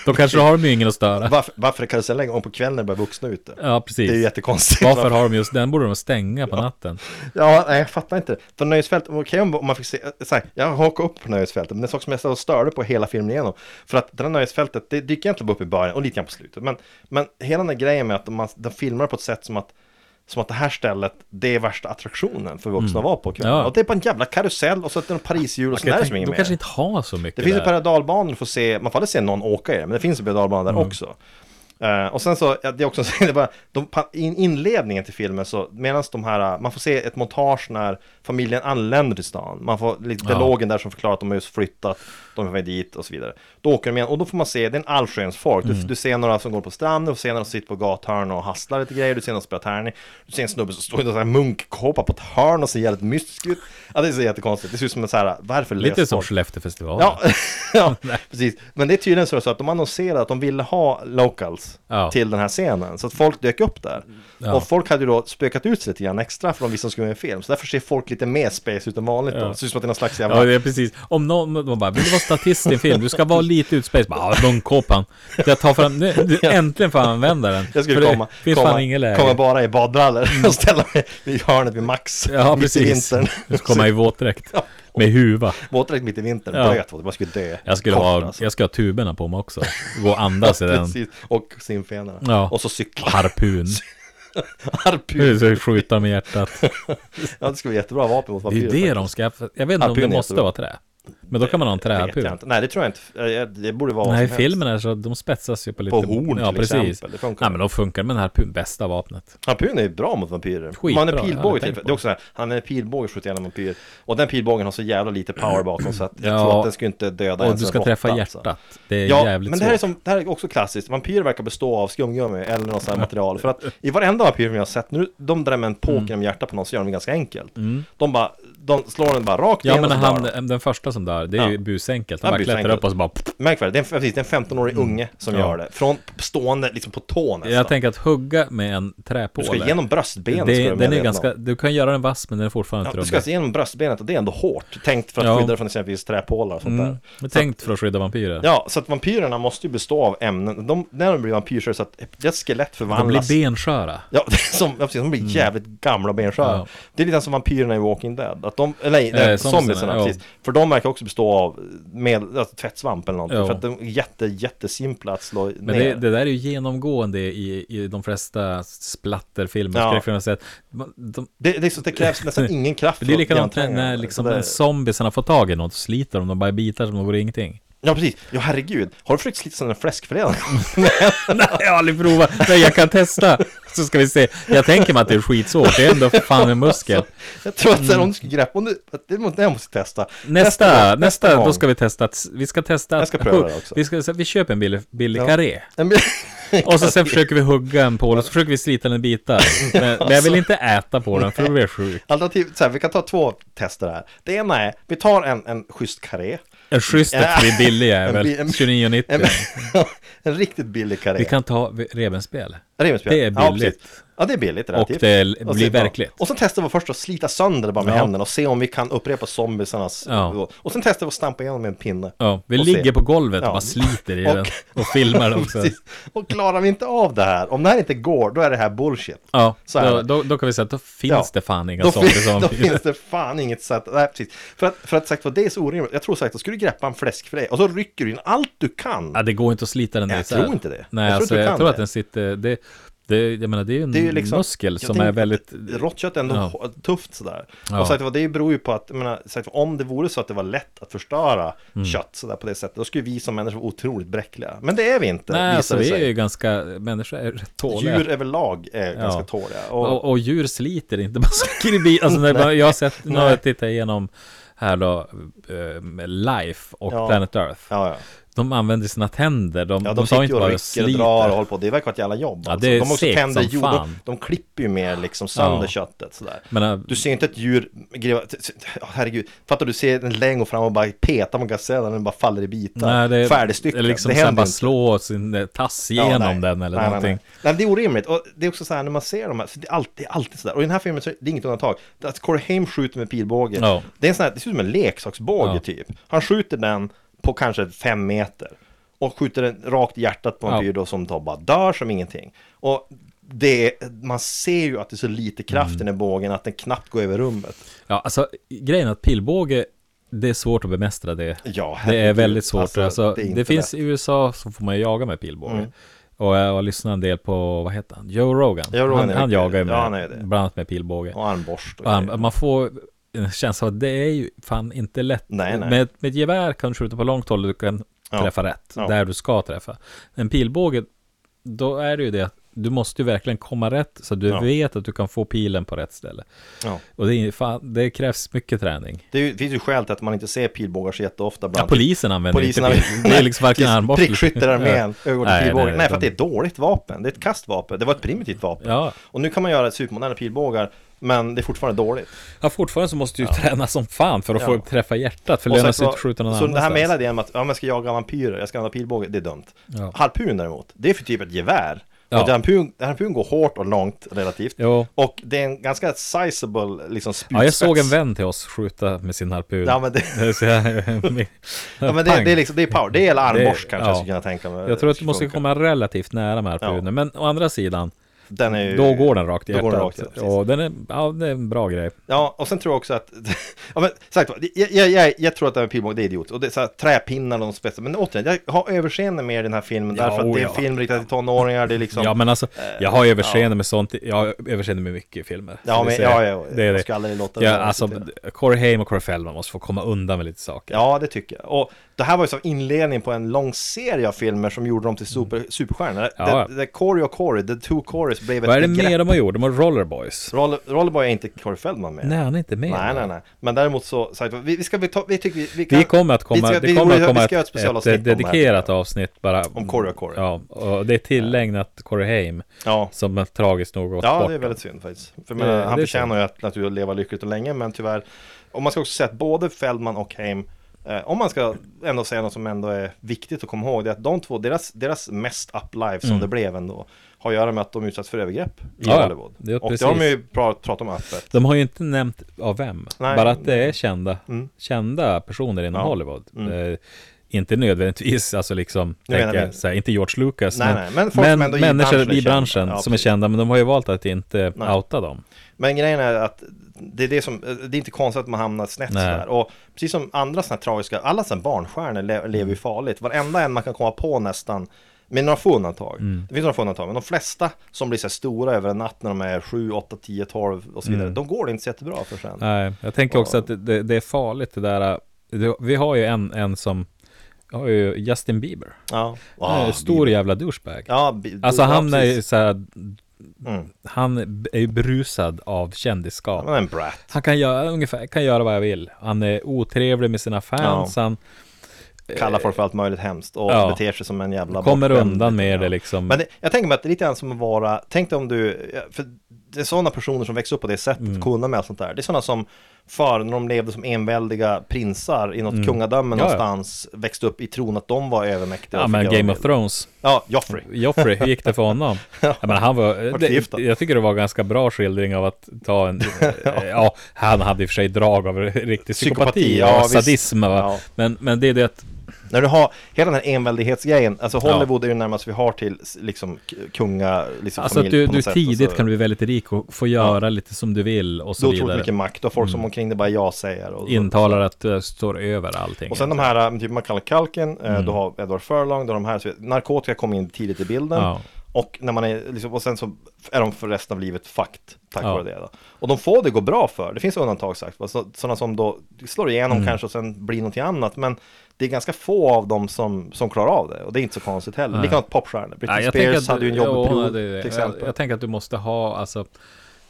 S1: Då kanske har de ju ingen att störa.
S2: Varför, varför är karusellen igång på kvällen när det börjar vuxna ute?
S1: Ja,
S2: Det är ju
S1: precis.
S2: jättekonstigt.
S1: Varför har de just den? borde de stänga på natten.
S2: Ja, nej, jag fattar inte. För nöjesfält, okej om om man fick se, eh, så här, jag hakar upp på nöjesfältet, men det är en sak som jag så störde på hela filmen igenom. För att det där nöjesfältet, det dyker egentligen bara upp i början och lite grann på slutet. Men, men hela den här grejen med att man, de filmar på ett sätt som att som att det här stället, det är värsta attraktionen för vuxna att vara på kvällen.
S1: Mm. Ja.
S2: Och det är bara en jävla karusell och så är det en pariserhjul och sen är det som
S1: Tänk,
S2: inget
S1: de
S2: mer.
S1: kanske inte har så mycket
S2: Det finns ju
S1: där.
S2: paradalbanor för att se, man får aldrig se någon åka i det, men det finns ju paradalbanor där
S1: Mm.
S2: också. Eh, och sen så, ja, det är också, det är bara, de, pa- in, inledningen till filmen så, medan de här, eh, man får se ett montage när familjen anländer till stan. Man får lite
S1: Ja.
S2: dialogen där som förklarar att de har just flyttat, de är på väg dit och så vidare. Då åker de igen och då får man se, det är en allsköns folk.
S1: Mm.
S2: Du, du ser några som går på stranden, du ser några som sitter på gathörn och hasslar lite grejer, du ser några som spelar tärning, du ser en snubbe som står i en sån här munkkåpa på ett hörn och ser jävligt mystisk ut. Ja, det ser jättekonstigt, det ser ut som en så här, varför
S1: Lite
S2: lever
S1: som
S2: folk?
S1: Skellefteåfestivalen.
S2: Ja, ja precis. Men det är tydligen så att de annonserade att de ville ha locals
S1: Ja.
S2: till den här scenen. Så att folk dök upp där.
S1: Ja.
S2: Och folk hade ju då spökat ut sig lite grann extra för de visste att de skulle vara med i film. Så därför ser folk lite mer space ut än vanligt då. Det ser ut som att det är någon slags jävla...
S1: Ja, det är precis. Om någon de bara, vill du vara statist i en film? Du ska vara lite utspänd. Bara, "Ah, munkkåpan. Jag tar fram, nu, nu, äntligen får jag använda den.
S2: Jag
S1: För
S2: skulle
S1: det
S2: komma,
S1: finns
S2: komma,
S1: fan ingen läge. Mm.
S2: komma bara i badbrallor och ställa mig vid hörnet vid Max.
S1: ja,
S2: mitt i
S1: precis.
S2: vintern.
S1: Du ska komma i våtdräkt. Med huva.
S2: Våtdräkt mitt i vintern,
S1: Ja.
S2: blöt, man skulle dö.
S1: Jag skulle
S2: Kort,
S1: ha,
S2: alltså.
S1: jag ska ha tuberna på mig också. Gå och andas i den.
S2: Precis, och simfenarna.
S1: Ja.
S2: Och så cykla.
S1: Harpun. Nu
S2: Harpun.
S1: ska jag skjuta med hjärtat.
S2: Ja, det skulle vara jättebra vapen mot
S1: Det är ju
S2: vampyrer.
S1: det de ska, jag vet inte om
S2: Harpun
S1: det
S2: är
S1: måste
S2: jättebra.
S1: vara trä. Men då kan man ha en
S2: Vet jag
S1: träharpun.
S2: inte. Nej, det tror jag inte. Eh, Det borde vara vad
S1: Nej,
S2: som
S1: filmen är så, de spetsas ju på lite...
S2: På horn
S1: ja,
S2: till
S1: precis.
S2: exempel. Det funkar.
S1: Nej, men de funkar med den här pu- bästa vapnet.
S2: helst. Harpun är ju bra mot vampyrer.
S1: Skitbra,
S2: man
S1: jag
S2: är
S1: hade
S2: pilbåge till.
S1: tänkt på
S2: Det är också så här, han är pilbåge och skjuter igenom vampyrer. Och den pilbågen har så jävla lite power bakom så att jag
S1: Ja.
S2: tror att den skulle inte döda
S1: Och
S2: ens
S1: du
S2: en
S1: ska
S2: råtta,
S1: träffa
S2: alltså.
S1: hjärtat. Det är
S2: Ja,
S1: jävligt
S2: men det här, är
S1: svårt.
S2: som, det här är också klassiskt. Vampyrer verkar bestå av skumgummi eller något sånt här material. För att i varenda vampyr vi har sett nu, de drar med en
S1: Mm.
S2: poker genom hjärtat på någon så gör de det ganska enkelt. De bara, de slår den bara rakt
S1: Ja
S2: igenom
S1: men
S2: och så dör de.
S1: han, den första som dör, det är ju
S2: Ja.
S1: busenkelt. Han
S2: Ja,
S1: bara klättrar
S2: busenkelt.
S1: upp och så bara...
S2: Märk väl, det är en, precis, det är en 15-årig unge som
S1: Mm. Ja.
S2: gör det. Från stående, liksom på tå nästan.
S1: Jag tänker att hugga med en
S2: Du ska
S1: träpåle.
S2: igenom bröstbenet. ska du
S1: det,
S2: vara
S1: den är
S2: medveten om.
S1: ganska, du kan göra den vass men den är fortfarande
S2: Ja,
S1: inte
S2: du ska
S1: rubbig.
S2: alltså igenom bröstbenet och det är ändå hårt tänkt för att
S1: Ja.
S2: skydda dig från exempelvis träpålar och sånt där.
S1: Men Mm, Tänkt för att skydda vampyrer.
S2: Ja, så att vampyrerna måste ju bestå av ämnen. De, när de blir vampyrer så är det så att deras skelett
S1: de
S2: förvandlas.
S1: blir bensköra.
S2: Ja, det är som, ja, precis, de blir jävligt gamla och bensköra.
S1: Ja.
S2: Det är lite som vampyrerna i Walking Dead. Att de, eller nej,
S1: Eh,
S2: zombiesarna,
S1: zombiesarna, ja.
S2: precis. För de verkar också ska bestå av med, alltså, tvättsvamp eller någonting.
S1: Ja.
S2: För att de är jätte, jättesimpla att slå ner.
S1: Men det, det där är ju genomgående i, i de flesta splatterfilmer,
S2: Ja.
S1: skräckfilmer. så att man- De,
S2: Det, är liksom, det krävs nästan ingen kraft
S1: det är
S2: åt
S1: likadant när,
S2: anträngarna.
S1: när
S2: Så
S1: liksom
S2: det-
S1: zombiesen har fått tag i något och sliter dem, de bara i bitar som om det vore ingenting.
S2: Ja precis, ja herregud. Har du försökt slita sönder en fläskfilé någon gång?
S1: Nej, jag har aldrig provat. Nej, jag kan testa. Så ska vi se. Jag tänker mig att det är skitsvårt. Det är ändå för fan en muskel.
S2: Jag tror att så här, om du skulle greppa, om du, att det är något jag måste testa.
S1: Mm. Nästa,
S2: gång,
S1: nästa,
S2: gång.
S1: då ska vi testa att, vi ska testa
S2: Jag ska pröva det också.
S1: Vi, ska, vi köper en billig, billig
S2: Ja.
S1: karé.
S2: En bil-
S1: Och så sen försöker vi hugga en pål och så försöker vi slita den i bitar. Men, men jag vill inte äta på den för då blir jag sjuk.
S2: Alternativt, så här, vi kan ta två tester här. Det ena är, vi tar en, en schysst karé.
S1: En schysst att vi är billig jävel,
S2: En bi- en-
S1: 29,90.
S2: En, en riktigt billig karé.
S1: Vi kan ta rebenspel.
S2: Revbensspjäll.
S1: Det är
S2: Ja,
S1: billigt.
S2: precis. ja, det är billigt relativt.
S1: Och det är-
S2: Och
S1: blir
S2: sen- ja.
S1: verkligt.
S2: Och sen testar vi först att slita sönder det bara med
S1: Ja.
S2: händerna och se om vi kan upprepa zombiesarnas...
S1: Ja.
S2: Och sen testar vi att stampa igenom med en pinne.
S1: Ja, vi
S2: Och se.
S1: ligger på golvet och
S2: Ja.
S1: bara sliter i
S2: Och-
S1: den och filmar den också.
S2: Precis. Och klarar vi inte av det här, om det här inte går, då är det här bullshit.
S1: Ja,
S2: Så är
S1: då,
S2: det.
S1: då, då kan vi säga att då finns
S2: Ja.
S1: det fan inga
S2: Då,
S1: saker
S2: finns,
S1: som...
S2: då finns det fan inget sätt. Nej, precis. För att, för att sagt vad det är så orimligt. Jag tror sagt att skulle du greppa en fläskfilé och så rycker du in allt du kan.
S1: Ja, det går inte att slita den
S2: Jag
S1: isär.
S2: tror inte det.
S1: Nej,
S2: Jag tror
S1: alltså,
S2: inte du
S1: jag
S2: kan
S1: tror
S2: det.
S1: att den sitter... Det, det, jag menar, det är ju en
S2: Det är ju liksom-
S1: muskel
S2: jag
S1: som
S2: tänker
S1: är
S2: att
S1: väldigt...
S2: Rått kött är ändå
S1: Ja.
S2: hå- tufft sådär.
S1: Ja.
S2: Och sagt vad, det beror ju på att, jag menar, sagt, vad, om det vore så att det var lätt att förstöra
S1: Mm.
S2: kött sådär på det sättet, då skulle vi som människor vara otroligt bräckliga. Men det är vi inte,
S1: Nej,
S2: visar
S1: alltså
S2: det
S1: vi är
S2: sig.
S1: ju ganska... Människor är rätt tåliga.
S2: Djur överlag är ganska tåliga. Och,
S1: Och, och djur sliter inte bara saker i bil. Alltså, när man, jag har sett, nu har jag tittat igenom här då, eh, med Life och
S2: Ja.
S1: Planet Earth.
S2: ja, ja.
S1: De använder sina tänder, de,
S2: ja,
S1: de
S2: de,
S1: tar
S2: sitter
S1: inte
S2: ju och
S1: bara och
S2: rycker och drar och
S1: sliter.
S2: håller på. Det verkar vara ett jävla jobb. alltså.
S1: Ja, det är
S2: de har också
S1: segt
S2: tänder
S1: som
S2: djur, de,
S1: fan.
S2: de klipper ju mer liksom sönder
S1: Ja.
S2: köttet sådär.
S1: Men, äh,
S2: Du ser inte ett djur gräva, t- t- ja, herregud, fattar du ser den längre fram och bara petar på gasellen och den bara faller i bitar.
S1: nej, det,
S2: Färdigstyckad.
S1: Eller liksom
S2: det
S1: det
S2: händer
S1: bara
S2: inte.
S1: slå sin eh, tass
S2: Ja,
S1: igenom
S2: nej.
S1: den eller
S2: nej,
S1: någonting.
S2: Nej, nej. nej, det är orimligt. Och det är också så här när man ser de här, så det är alltid, det är alltid sådär. Och i den här filmen så är det inget undantag. Det är Att Corey Haim skjuter med pilbåge.
S1: Ja.
S2: Det är en sån här, det ser ut som en leksaksbåge
S1: Ja.
S2: typ. Han skjuter den på kanske fem meter. Och skjuter den rakt i hjärtat på en
S1: Ja.
S2: fyr då som då bara dör som ingenting. Och det, är- man ser ju att det är så lite
S1: Mm.
S2: kraft i den här bågen att den knappt går över rummet.
S1: Ja, alltså grejen är att pilbåge, det är svårt att bemästra det.
S2: Ja,
S1: det är
S2: herregud.
S1: väldigt svårt. Alltså,
S2: det
S1: det
S2: är inte
S1: finns
S2: lätt. Mm.
S1: i USA så får man ju jaga med pilbåge. Och jag har lyssnat en del på, vad heter han? Joe Rogan.
S2: Joe Rogan
S1: han,
S2: är
S1: han
S2: riktigt-
S1: jagar ju med,
S2: ja, han är det.
S1: bland annat med pilbåge.
S2: Och armborst. Och
S1: Och han,
S2: grejer.
S1: man får en känsla av att det är ju fan inte lätt.
S2: Nej, nej.
S1: Med, med ett gevär kan du skjuta på långt håll och du kan
S2: Ja.
S1: träffa rätt.
S2: Ja.
S1: Där du ska träffa. En pilbåge, då är det ju det att du måste ju verkligen komma rätt så att du
S2: Ja.
S1: vet att du kan få pilen på rätt ställe.
S2: ja.
S1: Och det, är, fan, det krävs mycket träning.
S2: Det är ju- finns ju skäl till att man inte ser pilbågar så jätteofta bland
S1: Ja, polisen använder
S2: Polisen
S1: inte
S2: har-
S1: pil. Det är liksom varken
S2: Precis,
S1: armborst.
S2: Prickskyttearmén,
S1: Nej,
S2: ögonpilbåge.
S1: nej,
S2: Nej, för att det är
S1: de-
S2: ett dåligt vapen. Det är ett kastvapen. Det var ett primitivt vapen.
S1: Ja.
S2: Och nu kan man göra supermoderna pilbågar, men det är fortfarande dåligt.
S1: Ja, fortfarande så måste du ju träna som fan för att få
S2: Ja.
S1: träffa hjärtat. För
S2: Och
S1: det lönar
S2: sagt
S1: sig
S2: var-
S1: inte att skjuta någon
S2: Så det här med hela
S1: annanstans.
S2: idén om att ja, men jag ska jaga vampyrer, jag ska använda pilbåge, det är dumt.
S1: Ja.
S2: Harpun däremot, det är för typ ett gevär.
S1: Ja.
S2: Och harpun, harpun går hårt och långt relativt.
S1: Jo.
S2: Och det är en ganska sizable liksom spjutspets.
S1: Ja, jag såg en vän till oss skjuta med sin harpun.
S2: Ja men det,
S1: Det är så jag-
S2: ja, men det,
S1: Pang.
S2: det, är, liksom, det är power, det är hela armborst
S1: Det-
S2: kanske
S1: ja.
S2: jag skulle kunna tänka mig.
S1: Jag tror att du
S2: skulle
S1: måste
S2: funka.
S1: komma relativt nära med harpunen,
S2: Ja.
S1: men å andra sidan,
S2: Den är ju...
S1: då går den rakt i
S2: då går
S1: hjärtat.
S2: den rakt i hjärtat, precis.
S1: och den är, ja, det är en bra grej.
S2: Ja, och sen tror jag också att, ja men sagt vad, jag, jag, jag, jag tror att det här med pilbåge, det är idiot. Och det är så här träpinnar de spetsar, men återigen, jag har överseende med den här filmen
S1: Ja,
S2: därför att det är en
S1: ja.
S2: film riktad till tonåringar, det är liksom...
S1: ja, men alltså, jag har överseende med sånt, jag har överseende med mycket i filmer.
S2: Ja,
S1: Så det
S2: men-
S1: ser jag.
S2: ja, ja,
S1: det är
S2: man
S1: det.
S2: ska aldrig låta det
S1: ja,
S2: vara
S1: alltså,
S2: accepterat.
S1: Corey Haim och Corey Feldman måste få komma undan med lite saker.
S2: Ja, det tycker jag. Och det här var ju som inledningen på en lång serie av filmer som gjorde dem till super, superstjärnor.
S1: Mm. Ja,
S2: Ja.
S1: ja.
S2: The, the Corey och Corey, The Two Corys blev ett
S1: Vad är det
S2: begrepp.
S1: mer de har gjort? De har Rollerboys.
S2: Roll- Rollerboy är inte Corey Feldman med.
S1: Nej, han är inte med.
S2: Nej, nej, nej. Men däremot så, sagt, vad, vi, vi ska vi ta, vi tycker vi, vi kan...
S1: Det kommer att komma,
S2: vi ska-
S1: det
S2: vi
S1: kommer
S2: borde-
S1: att komma
S2: vi ska göra ett
S1: ett, ett,
S2: specialavsnitt om det här,
S1: dedikerat
S2: tycker jag.
S1: avsnitt bara.
S2: Om Corey och Corey.
S1: Ja, och det är tillägnat Corey Haim,
S2: Ja.
S1: som är tragiskt nog gått
S2: Ja,
S1: bort.
S2: det är väldigt synd faktiskt. För jag
S1: Det-
S2: menar, han
S1: det är
S2: förtjänar ju att, naturligtvis leva lyckligt och länge, men tyvärr. Och man ska också säga att både Feldman och Haim, eh, om man ska ändå säga något som ändå är viktigt att komma ihåg, det är att de två, deras, deras mest up life som det blev ändå, har att göra med att de utsatts för övergrepp i
S1: Mm. Ja,
S2: Hollywood.
S1: det-
S2: och det
S1: precis.
S2: har de ju pra- pratat om öppet.
S1: De har ju inte nämnt av vem,
S2: Nej. Mm.
S1: bara att det är kända, kända personer inom
S2: Ja.
S1: Hollywood. Eh, inte nödvändigtvis, alltså liksom,
S2: Nu menar
S1: tänker
S2: vi-
S1: jag, så här, inte George Lucas,
S2: Nej, nej, men folk som ändå i branschen
S1: människor
S2: är
S1: i
S2: kända.
S1: branschen
S2: Ja,
S1: som är
S2: precis.
S1: kända, men de har ju valt att inte outa dem.
S2: Men grejen är att det är det som, det är inte konstigt att man hamnar snett
S1: Nej.
S2: sådär. Och precis som andra sådana här tragiska, alla sådana barnstjärnor le, lever ju farligt. Varenda en man kan komma på nästan, med några få undantag.
S1: Mm.
S2: Det finns några få undantag, men de flesta som blir så här stora över en natt när de är 7, 8, 10, 12 och så vidare, de går det inte så jättebra för sen.
S1: Mm. Nej, jag tänker också att det- det, det är farligt det där. Det, vi har ju en, en som, jag har ju Justin Bieber.
S2: Ja.
S1: Ah, stor
S2: Bibeln.
S1: jävla douchebag.
S2: Ja, bi-
S1: alltså
S2: ja,
S1: han är ju
S2: precis.
S1: så här,
S2: Mm.
S1: han b- är ju berusad av kändisskap.
S2: Han är en brat.
S1: Han kan göra, ungefär, kan göra vad jag vill. Han är otrevlig med sina fans. Han
S2: kallar folk för allt möjligt hemskt och
S1: Ja.
S2: beter sig som en jävla
S1: kommer
S2: bortskämd
S1: undan med
S2: liten,
S1: det
S2: ja.
S1: liksom.
S2: Men det, jag tänker mig att det är lite grann som att vara, tänk dig om du, för det är sådana personer som växer upp på det sättet,
S1: Mm.
S2: kunna med allt sånt där. Det är sådana som förr när de levde som enväldiga prinsar i något kungadöme
S1: Mm. Ja, ja.
S2: någonstans, växte upp i tron att de var övermäktiga.
S1: ja
S2: och fick
S1: men
S2: göra
S1: Game
S2: vad
S1: of
S2: de ville.
S1: Thrones.
S2: Ja, Joffrey.
S1: Joffrey, hur gick det för honom? ja, men han var,
S2: förgiftad.
S1: det, jag tycker det var ganska bra skildring av att ta en, ja. ja, han hade i och för sig drag av riktig psykopati,
S2: Psykopati,
S1: och
S2: ja, visst.
S1: sadism. Va?
S2: Ja.
S1: Men, men det är det att,
S2: När du har hela den här enväldighetsgrejen, alltså Hollywood är ju närmast vi har till liksom k- kunga, liksom
S1: alltså att
S2: familj
S1: du,
S2: på något
S1: du
S2: sätt,
S1: tidigt
S2: alltså.
S1: kan bli väldigt rik och få göra lite som du vill och
S2: Du
S1: så
S2: har otroligt
S1: vidare. Mm.
S2: mycket makt, du har folk som omkring dig bara ja säger. Och,
S1: Intalar att du står över allting.
S2: Och sen de här, eh, typ Macaulay Culkin, mm. du har Edward Furlong, du har de här, så narkotika kom in tidigt i bilden.
S1: Ja.
S2: Och, när man är, liksom, och sen så är de för resten av livet fucked, tack
S1: Ja.
S2: vare det. Då. Och de får det gå bra för, det finns undantag sagt, va? Så, sådana som då slår igenom
S1: Mm.
S2: kanske och sen blir någonting annat. Men det är ganska få av dem som, som klarar av det, och det är inte så konstigt heller. Likadant popstjärnor, Britney
S1: Nej, jag tänker
S2: Spears
S1: att,
S2: hade ju en
S1: ja,
S2: jobbig
S1: nej,
S2: period
S1: det är det.
S2: till exempel.
S1: Jag, jag tänker att du måste ha alltså,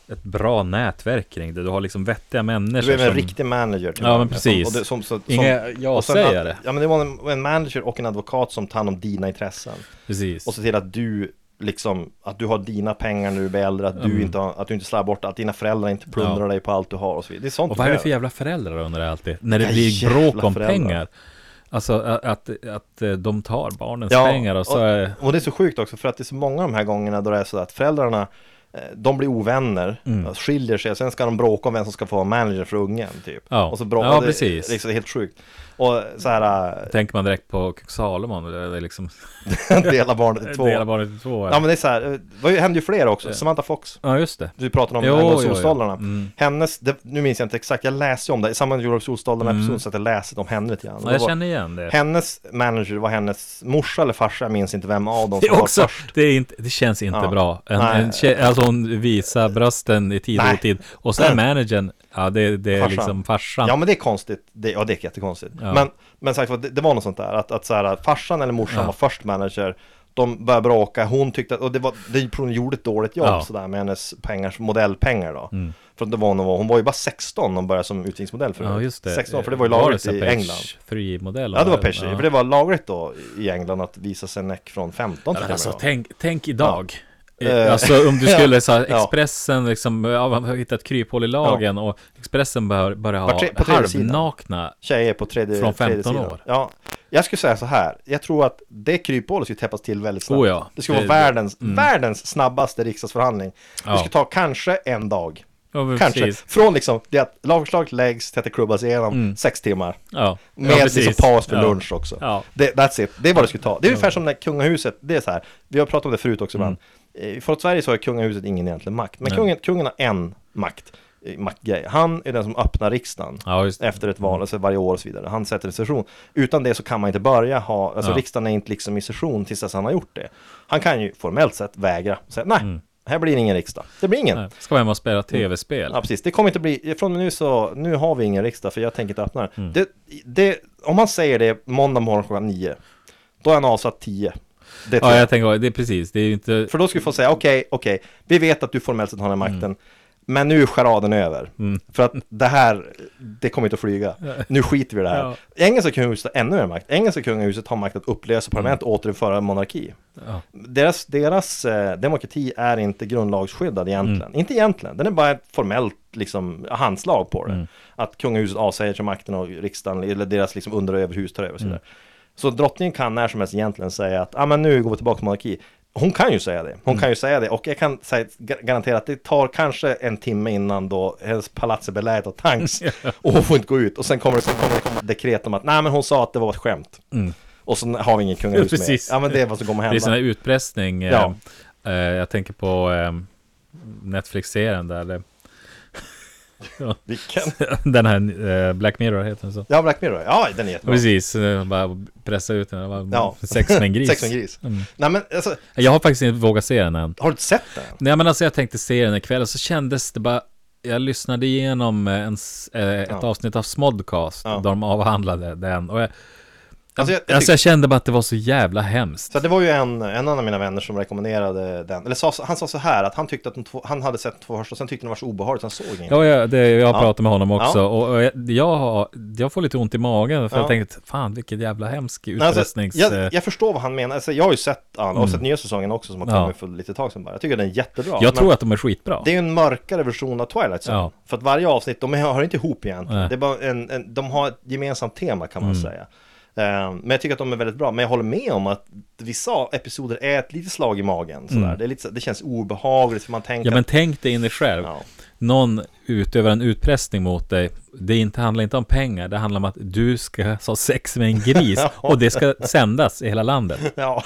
S1: ett bra nätverk kring det. Du har liksom vettiga människor.
S2: Du är väl en
S1: som-
S2: riktig manager? till
S1: Ja,
S2: och
S1: men
S2: med,
S1: precis.
S2: och det- som- så- som-
S1: Inga jag
S2: och sen
S1: säger
S2: att-
S1: det.
S2: Ja, men det var en, en manager och en advokat som tar hand om dina intressen.
S1: Precis.
S2: Och se till att du liksom, att du har dina pengar när du blir äldre, att du inte, har, att du inte slarvar bort, att dina föräldrar inte plundrar
S1: Mm. Ja.
S2: dig på allt du har och så vidare. Det är sånt
S1: Och vad är det
S2: du
S1: för
S2: behöver.
S1: jävla föräldrar undrar jag alltid? När det
S2: Ja,
S1: blir
S2: jävla
S1: bråk om
S2: föräldrar.
S1: pengar. Alltså att, att, att eh, de tar barnens
S2: Ja,
S1: pengar och så är-
S2: och, och det är så sjukt också för att det är så många av de här gångerna då det är så att föräldrarna eh, de blir ovänner,
S1: Mm.
S2: alltså skiljer sig, sen ska de bråka om vem som ska få vara manager för ungen typ.
S1: Ja.
S2: och så bråkar
S1: Ja,
S2: det,
S1: precis.
S2: Liksom, det är helt sjukt. Och så här,
S1: tänker man direkt på Kung Salomon. Det är liksom
S2: eh, dela barnet i två.
S1: dela barnet i två.
S2: Ja
S1: Ja,
S2: men det är så här, eh, det var ju- hände ju fler också, Samantha Fox
S1: ja just det.
S2: Du pratade om
S1: Jo,
S2: angående
S1: jo, jo.
S2: solstolarna
S1: Mm.
S2: Hennes, det, nu minns jag inte exakt, jag läste ju om det i samband med Europe solstolarna episoden så att jag läste om henne lite grann
S1: Mm. Ja,
S2: Det
S1: jag
S2: var-
S1: känner igen det.
S2: Hennes manager var hennes morsa eller farsa, jag minns inte vem av dem
S1: Det,
S2: som
S1: är
S2: var
S1: också,
S2: först
S1: det, är inte, det känns inte
S2: Ja.
S1: bra. En,
S2: Nej.
S1: en tjej, alltså hon visar brösten i tid och
S2: Nej.
S1: otid. Och sen managern, ja det, det är
S2: Farsan.
S1: liksom farsan.
S2: Ja men det är konstigt, det, ja det är jättekonstigt
S1: Ja.
S2: Men, men sagt, var, det, det var något sånt där, att, att så här, att farsan eller morsan
S1: Ja.
S2: var först manager De började bråka, hon tyckte att, och det var, det, hon gjorde ett dåligt jobb
S1: Ja. Mm.
S2: sådär med hennes pengar, modellpengar då För att det var hon, var- hon var ju bara 16 när hon började som utvisningsmodell förut
S1: Ja, just det.
S2: 16 för det var ju
S1: Var det
S2: lagligt
S1: så här
S2: i
S1: page
S2: England
S1: Free modell.
S2: Ja det var Pesci, för det var lagligt då i England att visa sig näck från 15
S1: Ja,
S2: tror
S1: men
S2: jag
S1: alltså,
S2: det var.
S1: tänk, tänk idag.
S2: Eh,
S1: Alltså om du skulle så här,
S2: ja.
S1: Expressen liksom, ja, man har hittat kryphål i lagen och Expressen bör, börjar
S2: På
S1: ha
S2: tre- på tredjesidan.
S1: halvnakna.
S2: Tjejer på tredje
S1: Från
S2: tredje
S1: 15
S2: sidan.
S1: år.
S2: Ja, jag skulle säga så här, jag tror att det kryphålet skulle täppas till väldigt snabbt
S1: Oh ja.
S2: Det skulle
S1: Det- mm.
S2: vara världens, världens snabbaste riksdagsförhandling
S1: Ja.
S2: Det skulle ta kanske en dag
S1: Ja, men
S2: Kanske,
S1: precis. Mm.
S2: från liksom det att lagförslaget läggs till att det klubbas igenom sex timmar
S1: Ja,
S2: Med
S1: ja,
S2: liksom
S1: precis.
S2: paus för
S1: Ja.
S2: lunch också.
S1: Ja.
S2: Det, that's it. Det är vad det skulle ta. Det är ungefär som när kungahuset, det är så här, vi har pratat om det förut också ibland.
S1: Mm.
S2: Eh, Från Sverige så har kungahuset ingen egentlig makt, men kungen, kungen har en makt, eh, maktgrej. Han är den som öppnar riksdagen
S1: Ja, just det. Mm.
S2: efter ett val, alltså varje år och så vidare. Han sätter en session. Utan det så kan man inte börja ha, alltså
S1: Ja.
S2: riksdagen är inte liksom i session tills dess han har gjort det. Han kan ju formellt sett vägra, säga nej, här blir det ingen riksdag. Det blir ingen.
S1: Mm. Nej, Ska vara hemma och spela tv-spel.
S2: Ja precis, det kommer inte bli, från och med nu så, nu har vi ingen riksdag för jag tänker inte öppna den. Det, det, om man säger det måndag morgon klockan nio, då är han avsatt tio. Det tror
S1: Ja,
S2: jag.
S1: jag tänker, det är precis, det är ju inte...
S2: För då skulle vi få säga, okej, okej, vi vet att du formellt sett har den här makten, men nu är charaden över. För att det här, det kommer inte att flyga. Nu skiter vi i det här. Engelska kungahuset har ännu mer makt. Engelska kungahuset har makt att upplösa parlament och återinföra monarki.
S1: Ja.
S2: Deras, deras eh, demokrati är inte grundlagsskyddad egentligen. Inte egentligen, den är bara ett formellt liksom, handslag på det. Att kungahuset avsäger sig makten och riksdagen, eller deras liksom, under och överhus tar över. och Så, vidare. så drottningen kan när som helst egentligen säga att ah, men nu går vi tillbaka till monarki. Hon kan ju säga det. Hon
S1: Mm.
S2: kan ju säga det. Och jag kan säga, gar- garantera att det tar kanske en timme innan då hennes palats är beläget av tanks. och hon får inte gå ut. Och sen kommer det, kommer det komma dekret om att nej men hon sa att det var ett skämt. Och så har vi ingen kungahus med.
S1: Mm. Precis.
S2: Ja men det är vad som kommer
S1: Det är sån här
S2: hända.
S1: utpressning. eh,
S2: Ja.
S1: eh, jag tänker på eh, Netflix-serien där. Det, Ja.
S2: Vilken?
S1: Den här eh, Black Mirror heter den så.
S2: Ja, Black Mirror. Ja, den är jättebra.
S1: Precis, eh, bara pressa ut den. Bara,
S2: Ja.
S1: Sex med en gris.
S2: Sex och en gris.
S1: Mm.
S2: Nej, men alltså,
S1: Jag har faktiskt inte vågat se den än.
S2: har du inte sett den?
S1: Nej men alltså jag tänkte se den ikväll och så kändes det bara Jag lyssnade igenom eh, en, s- eh, ett
S2: Ja.
S1: avsnitt av Smodcast
S2: Ja.
S1: där de avhandlade den och jag,
S2: Alltså,
S1: alltså,
S2: jag-
S1: jag,
S2: jag tyck-
S1: kände bara att det var så jävla hemskt
S2: Så det var ju en, en annan av mina vänner som rekommenderade den. Eller sa, han sa så här att han tyckte att de två, han hade sett två första, sen tyckte han det var så obehagligt, så han såg inget.
S1: Ja, jag, det, jag
S2: Ja.
S1: pratade med honom också
S2: Ja.
S1: och, och jag, jag, har, jag får lite ont i magen för
S2: Ja.
S1: jag tänkte fan vilken jävla hemsk
S2: Nej, alltså,
S1: utpressnings... eh,
S2: jag,
S1: jag,
S2: jag förstår vad han menar, alltså, jag har ju sett alla, och sett nya säsongen också som har
S1: Ja.
S2: kommit för lite tag sedan bara. Jag tycker den är jättebra.
S1: jag
S2: men
S1: tror att de är skitbra.
S2: Det är ju en mörkare version av Twilight Zone.
S1: Ja.
S2: För att varje avsnitt, de hör inte ihop egentligen.
S1: Nej. Mm.
S2: Det är bara en, en, de har ett gemensamt tema kan man säga. Ehm, men jag tycker att de är väldigt bra. Men jag håller med om att vissa episoder är ett litet slag i magen. Sådär. Det, är lite, så- det känns obehagligt för man tänker
S1: Mm. Ja men tänk dig in dig själv.
S2: Ja.
S1: Någon utövar en utpressning mot dig. Det inte, handlar inte om pengar, det handlar om att du ska ha sex med en gris
S2: Ja.
S1: och det ska sändas i hela landet.
S2: Ja,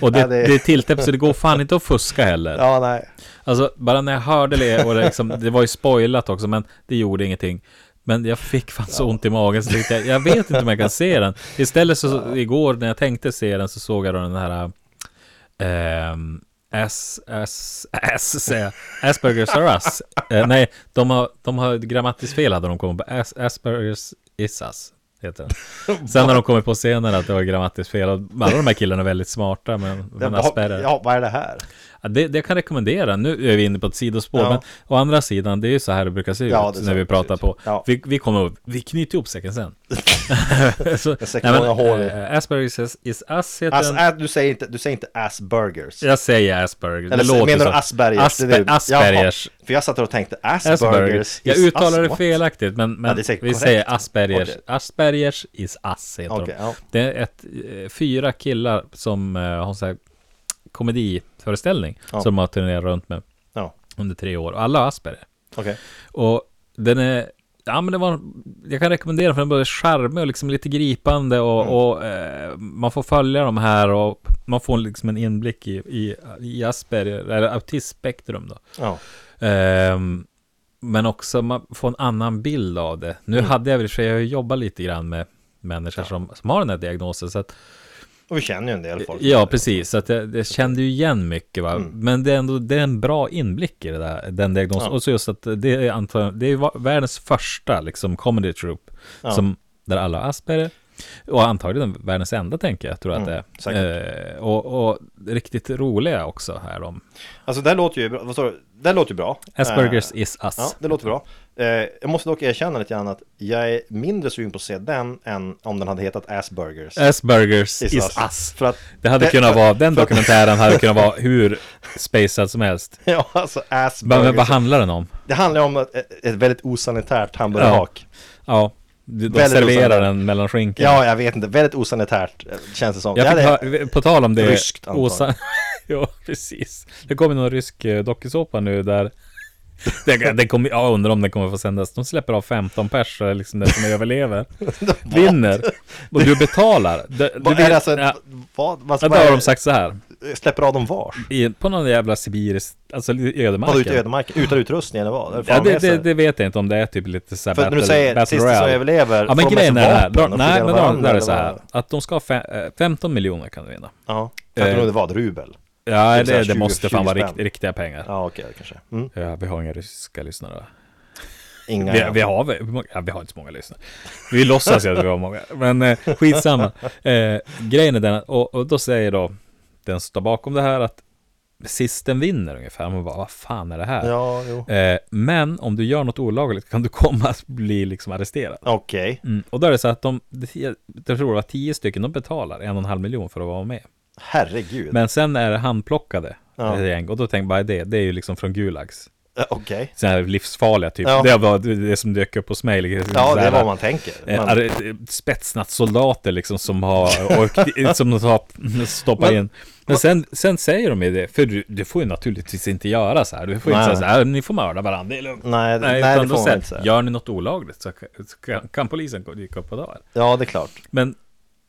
S1: Och det,
S2: Ja,
S1: det... är tilltäppt så det går fan inte att fuska heller.
S2: ja nej.
S1: Alltså bara när jag hörde det och det, liksom, det var ju spoilat också men det gjorde ingenting. Men jag fick fan så ont i magen så tänkte jag, jag vet inte om jag kan se den. Istället så, igår när jag tänkte se den så såg jag då den här ehm, S, S, S, säger jag. Aspergers are us. Eh, nej, de har, de har grammatiskt fel hade de kommit på. As, Aspergers is us. Heter den. Sen har de kommit på senare att det var grammatiskt fel. Och Alla de här killarna är väldigt smarta men, men Asperger.
S2: Ja, vad är det här?
S1: Ja, det, det kan jag rekommendera. Nu är vi inne på ett sidospår,
S2: Ja.
S1: men å andra sidan, det är ju så här det brukar se ut
S2: Ja, det är så
S1: när vi
S2: det
S1: pratar
S2: ser ut.
S1: på.
S2: Ja.
S1: Vi, vi kommer upp, vi knyter ihop säcken sen. så,
S2: säkert många hål i.
S1: eh, Aspergers is, is us heter
S2: As,
S1: den.
S2: ä- du, säger inte, du säger inte aspergers.
S1: Jag säger Asperger.
S2: Eller
S1: låter
S2: menar du
S1: så.
S2: aspergers?
S1: Asper,
S2: Det är det-
S1: Aspergers.
S2: Jaha, för jag satt där och tänkte aspergers.
S1: Aspergers. Jag
S2: is
S1: uttalar
S2: us-
S1: det
S2: what?
S1: felaktigt, men,
S2: Ja,
S1: men
S2: det är
S1: vi
S2: säkert korrekt.
S1: säger Aspergers.
S2: Okej.
S1: Aspergers is us heter
S2: Okej,
S1: de.
S2: ja.
S1: Det är ett, eh, fyra killar som eh, har en sån här komediföreställning
S2: Ja.
S1: som de har turnerat runt med
S2: Ja,
S1: under tre år. Och alla har Asperger.
S2: okej.
S1: Och den är, ja men det var, jag kan rekommendera den för den är både charmig och liksom lite gripande och, och eh, man får följa de här och man får liksom en inblick i, i, i Asperger, eller autismspektrum då.
S2: Ja.
S1: Ehm, men också man får en annan bild av det. Nu hade jag väl i och för sig, jag har ju jobbat lite grann med människor som, som har den här diagnosen så att,
S2: Och vi känner ju en del folk.
S1: ja precis, så att jag, jag kände ju igen mycket va, men det är ändå, det är en bra inblick i det där, den diagnosen,
S2: Ja.
S1: och så just att det är antagligen, det är va- världens första liksom comedy troupe,
S2: Ja.
S1: som, där alla har Asperger, och antagligen världens enda tänker jag, tror jag
S2: Mm,
S1: att det är. Eh, och, och riktigt roliga också här de.
S2: Alltså det här låter ju bra. Vad sa du? Det här låter ju bra.
S1: Aspergers
S2: Eh,
S1: is us.
S2: Ja, det låter bra. Eh, jag måste dock erkänna lite grann att jag är mindre sugen på att se den än om den hade hetat Aspergers.
S1: Aspergers is, us.
S2: För att
S1: Det hade kunnat vara, den
S2: för att-
S1: dokumentären hade kunnat vara hur spacad som helst.
S2: Ja, alltså
S1: Men,
S2: Aspergers.
S1: men vad handlar den om?
S2: Det handlar om ett, ett väldigt osanitärt hamburgerhak.
S1: Ja, de de
S2: Väldigt
S1: serverar
S2: osannolikt.
S1: den mellan skinkorna.
S2: Ja. jag vet inte. Väldigt osanitärt eh, känns det som.
S1: jag
S2: Ja,
S1: fick
S2: det-
S1: höra, på tal om det.
S2: Ryskt, antar jag.
S1: ja, precis. Det kommer någon rysk eh, dokusåpa nu där. Den, den kommer, jag undrar om den kommer få sändas. De släpper av 15 pers, så liksom den som överlever. vinner. Och du betalar. Du, du
S2: Vad är
S1: vet-
S2: det alltså? en-
S1: ja,
S2: Vad? Vad?
S1: ja,
S2: vad
S1: då
S2: är
S1: har
S2: det?
S1: de sagt så här.
S2: Släpper av dem var?
S1: I, på någon jävla sibirisk, alltså i ödemarken.
S2: Vadå ute i ödemarken? Utan utrustning eller vad? Eller får
S1: Ja,
S2: de
S1: det,
S2: med sig?
S1: det, det vet jag inte om det är typ lite så här
S2: För att när du
S1: battle-
S2: säger
S1: battle
S2: sista som
S1: royale.
S2: överlever,
S1: Ja
S2: får
S1: men
S2: de
S1: grejen
S2: med sig
S1: är det här.
S2: vapen
S1: De,
S2: och
S1: nej
S2: skjuter
S1: men
S2: varandra,
S1: då, där är
S2: eller
S1: det så här.
S2: vad?
S1: Att de ska ha fe, eh, 15 miljoner kan du vinna.
S2: Ja, jag
S1: Eh,
S2: tror det var ett rubel.
S1: Ja
S2: Typ så här
S1: det, det
S2: 20
S1: måste fan vara
S2: spänn.
S1: rikt, riktiga pengar. Ja.
S2: Ja, okej, kanske. Mm.
S1: vi har inga ryska lyssnare.
S2: Inga.
S1: Vi, vi har väl- hur många- ja, vi har inte så många lyssnare. Vi låtsas ju att vi har många. Men eh, skitsamma. Eh, grejen är den att- och, och då säger då den som står bakom det här att sist den vinner ungefär. Man bara vad fan är det här?
S2: Ja, jo.
S1: Eh, men om du gör något olagligt kan du komma att bli liksom arresterad.
S2: Okej.
S1: Mm. Och då är det så att de, det- jag tror det var tio stycken, de betalar en och en halv miljon för att vara med.
S2: Herregud.
S1: Men sen är det handplockade
S2: Ja.
S1: ett gäng, och då tänker jag bara det, det är ju liksom från Gulags.
S2: Eh, Okej.
S1: Sådana här livsfarliga typ.
S2: Ja.
S1: Det var det det som dök upp hos mig. liksom
S2: Ja,
S1: så
S2: det
S1: här,
S2: är vad man tänker.
S1: eh,
S2: Man,
S1: arre- eh, Spetsnazsoldater liksom som har och, som de har stoppat
S2: Men-
S1: in. Men sen, sen säger de ju det, för du, du får ju naturligtvis inte göra så här. Du får
S2: Nej.
S1: inte säga så här, "Äh, ni får mörda varandra, det är lugnt.
S2: nej, nej,
S1: utan
S2: det
S1: då
S2: får man
S1: säger,
S2: inte säga.
S1: Gör ni något olagligt så kan, så kan, kan polisen gå- dyka upp och dö.
S2: Ja, det är klart.
S1: Men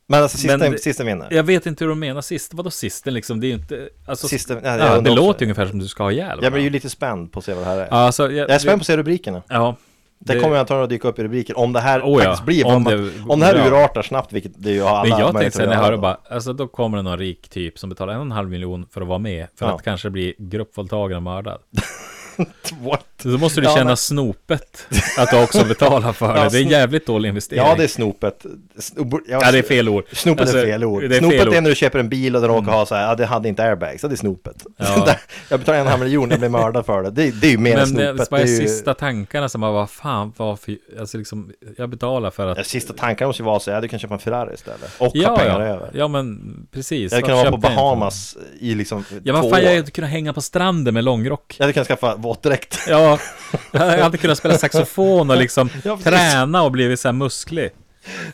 S2: Men alltså, sista,
S1: Men det-
S2: sista vinner.
S1: jag vet inte hur de menar sist. Vadå sisten liksom? Det är ju inte... Alltså,
S2: Sista- nej, jag
S1: ja, det
S2: undrar också.
S1: låter ju ungefär som du ska ha ihjäl
S2: Jag blir ju
S1: varandra.
S2: lite spänd på att se vad det här är.
S1: alltså,
S2: Jag är spänd på att se rubrikerna.
S1: Ja,
S2: Det,
S1: Det-
S2: kommer antagligen att dyka upp i rubriken om det här
S1: Oh ja,
S2: faktiskt blir
S1: om
S2: om,
S1: det-
S2: det, om det här
S1: ja.
S2: urartar snabbt, vilket det ju har alla
S1: Men jag tänkte
S2: möjligheter
S1: sen när jag
S2: att
S1: hörde
S2: göra.
S1: bara, alltså då kommer det någon rik typ som betalar en och en halv miljon för att vara med, för
S2: Ja.
S1: att kanske bli gruppvåldtagen och mördad.
S2: What?
S1: Så då måste du
S2: Ja,
S1: känna
S2: men-
S1: snopet att du också betalar för det.
S2: Ja,
S1: Det är en
S2: sno-
S1: jävligt dålig investering.
S2: Ja, det är snopet. Snob- jag-
S1: Ja, det är fel ord.
S2: Snopet
S1: Alltså,
S2: är fel ord.
S1: det är
S2: snopet
S1: fel
S2: är
S1: ord. Mm.
S2: när du köper en bil och den råkar ha så här, ja det hade inte airbags, så det är snopet.
S1: Ja.
S2: Där- jag betalar en halv miljon, jag blir mördad för det. Det, det är ju mer än
S1: Men
S2: snopet.
S1: det var
S2: är
S1: ju...
S2: ju,
S1: sista tankarna som bara, vad fan, varför, alltså liksom, jag betalar för
S2: ja,
S1: att...
S2: sista tankarna måste ju vara så här, ja, du kan köpa en Ferrari istället. Och ha
S1: Ja,
S2: pengar
S1: ja.
S2: över.
S1: ja, men precis.
S2: Jag kan
S1: Varför
S2: vara på
S1: köpte jag inte
S2: Bahamas i liksom
S1: den? Ja,
S2: två
S1: men fan, jag
S2: år.
S1: hade kunnat hänga på stranden med långrock.
S2: Jag hade kunnat skaffa våtdräkt.
S1: Ja, jag hade kunnat spela saxofon och liksom
S2: Ja, precis.
S1: träna och blivit så här musklig.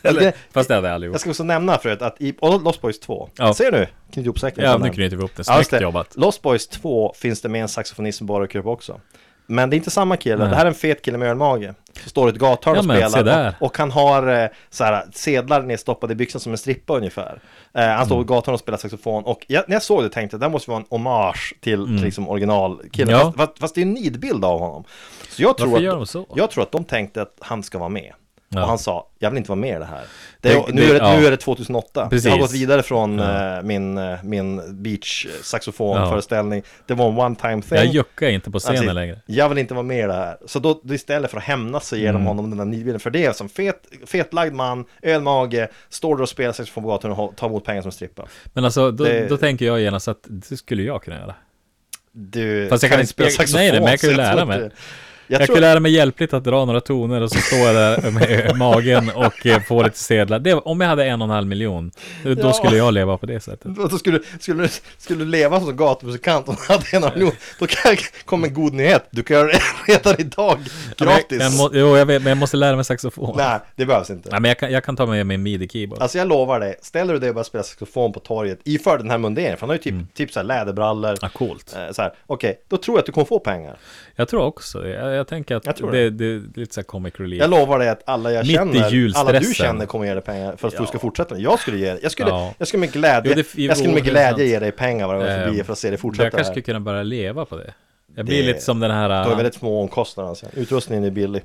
S1: Eller,
S2: det-
S1: fast det hade jag aldrig
S2: Jag
S1: gjort.
S2: ska också nämna förut att i och Lost Boys 2,
S1: Ja.
S2: ser du? Knut Ihop-säcken.
S1: Ja,
S2: som
S1: nu
S2: nämns.
S1: knyter vi upp det.
S2: Ja, just
S1: Snyggt
S2: det.
S1: jobbat.
S2: Lost Boys 2 finns det med en saxofonist som bara upp också. Men det är inte samma kille,
S1: Nej.
S2: det här är en fet kille med ölmage. Som står i ett gathörn
S1: Ja,
S2: och
S1: men, se
S2: spelar.
S1: där.
S2: Och, och han har eh, så här, sedlar nedstoppade i byxan som en strippa ungefär. Eh, han
S1: Mm.
S2: står i gathörn och spelar saxofon. Och jag, när jag såg det tänkte jag, det här måste vara en hommage till, till liksom originalkillen.
S1: Mm. Ja.
S2: Fast, fast, fast det är en nidbild av honom. Så jag tror,
S1: Varför
S2: att,
S1: gör de så?
S2: jag tror att de tänkte att han ska vara med.
S1: Ja.
S2: Och han sa, jag vill inte vara med i det här. Det, är-
S1: Det-
S2: nu,
S1: det-
S2: är det, nu
S1: ja.
S2: är det 2008. Jag har
S1: Precis.
S2: gått vidare från eh, min, eh, min beach saxofonföreställning. Det var en one time thing.
S1: Jag juckar inte på
S2: Han
S1: scenen
S2: säger,
S1: längre.
S2: Jag vill inte vara med i det här. Så då, då istället för att hämnas så ger
S1: Mm.
S2: de honom den där nidbilden. För det är som fet, fetlagd man, ölmage, står där och spelar saxofon på gatan och ho- tar emot pengar som strippa.
S1: Men alltså, då,
S2: Det-
S1: då tänker jag genast att det skulle jag kunna göra.
S2: Du
S1: Fast jag kan inte spela- nej, nej, men jag kan ju
S2: så
S1: lära
S2: tror
S1: mig.
S2: inte- Jag,
S1: Jag
S2: tror,
S1: kunde lära mig hjälpligt att dra några toner och så står jag där med magen och eh, får lite sedlar. Det, om jag hade en och en halv miljon, då
S2: Ja.
S1: skulle jag leva på det sättet.
S2: Och så skulle, skulle, skulle du leva som gatumusikant om du hade en av miljon, då kan jag, kom en god nyhet. Du kan göra det redan idag,
S1: Ja, men jag-
S2: gratis.
S1: Jag, må, jo, jag vet, men jag måste lära mig saxofon. Nej,
S2: Nej, det behövs inte.
S1: men jag kan, jag kan ta med min midi-keyboard.
S2: Alltså jag lovar dig, ställer du dig och börjar spela saxofon på torget iför den här munderingen, för han har ju typ, typ så här läderbrallor,
S1: Mm. Ja, coolt.
S2: eh, så här, okej, då tror jag att du kommer få pengar.
S1: Jag tror också det. jag, jag tänker att
S2: Jag tror
S1: det, det är lite så här comic relief.
S2: Jag lovar dig att alla jag
S1: Mitt i
S2: känner, alla du
S1: julstressen.
S2: känner kommer ge dig pengar för att du
S1: Ja.
S2: ska fortsätta. Jag skulle ge dig, jag skulle,
S1: Ja.
S2: jag skulle med glädje,
S1: Jo, det-
S2: jag skulle med
S1: jo, det är
S2: glädje
S1: sant.
S2: ge dig pengar varje gång jag går förbi
S1: Ehm,
S2: för att se dig
S1: jag
S2: fortsätta.
S1: kanske
S2: här.
S1: skulle kunna börja leva på det. Jag blir
S2: Det-
S1: lite som den
S2: Du har
S1: här, äh,
S2: väldigt små omkostnader sen. Utrustningen är billig.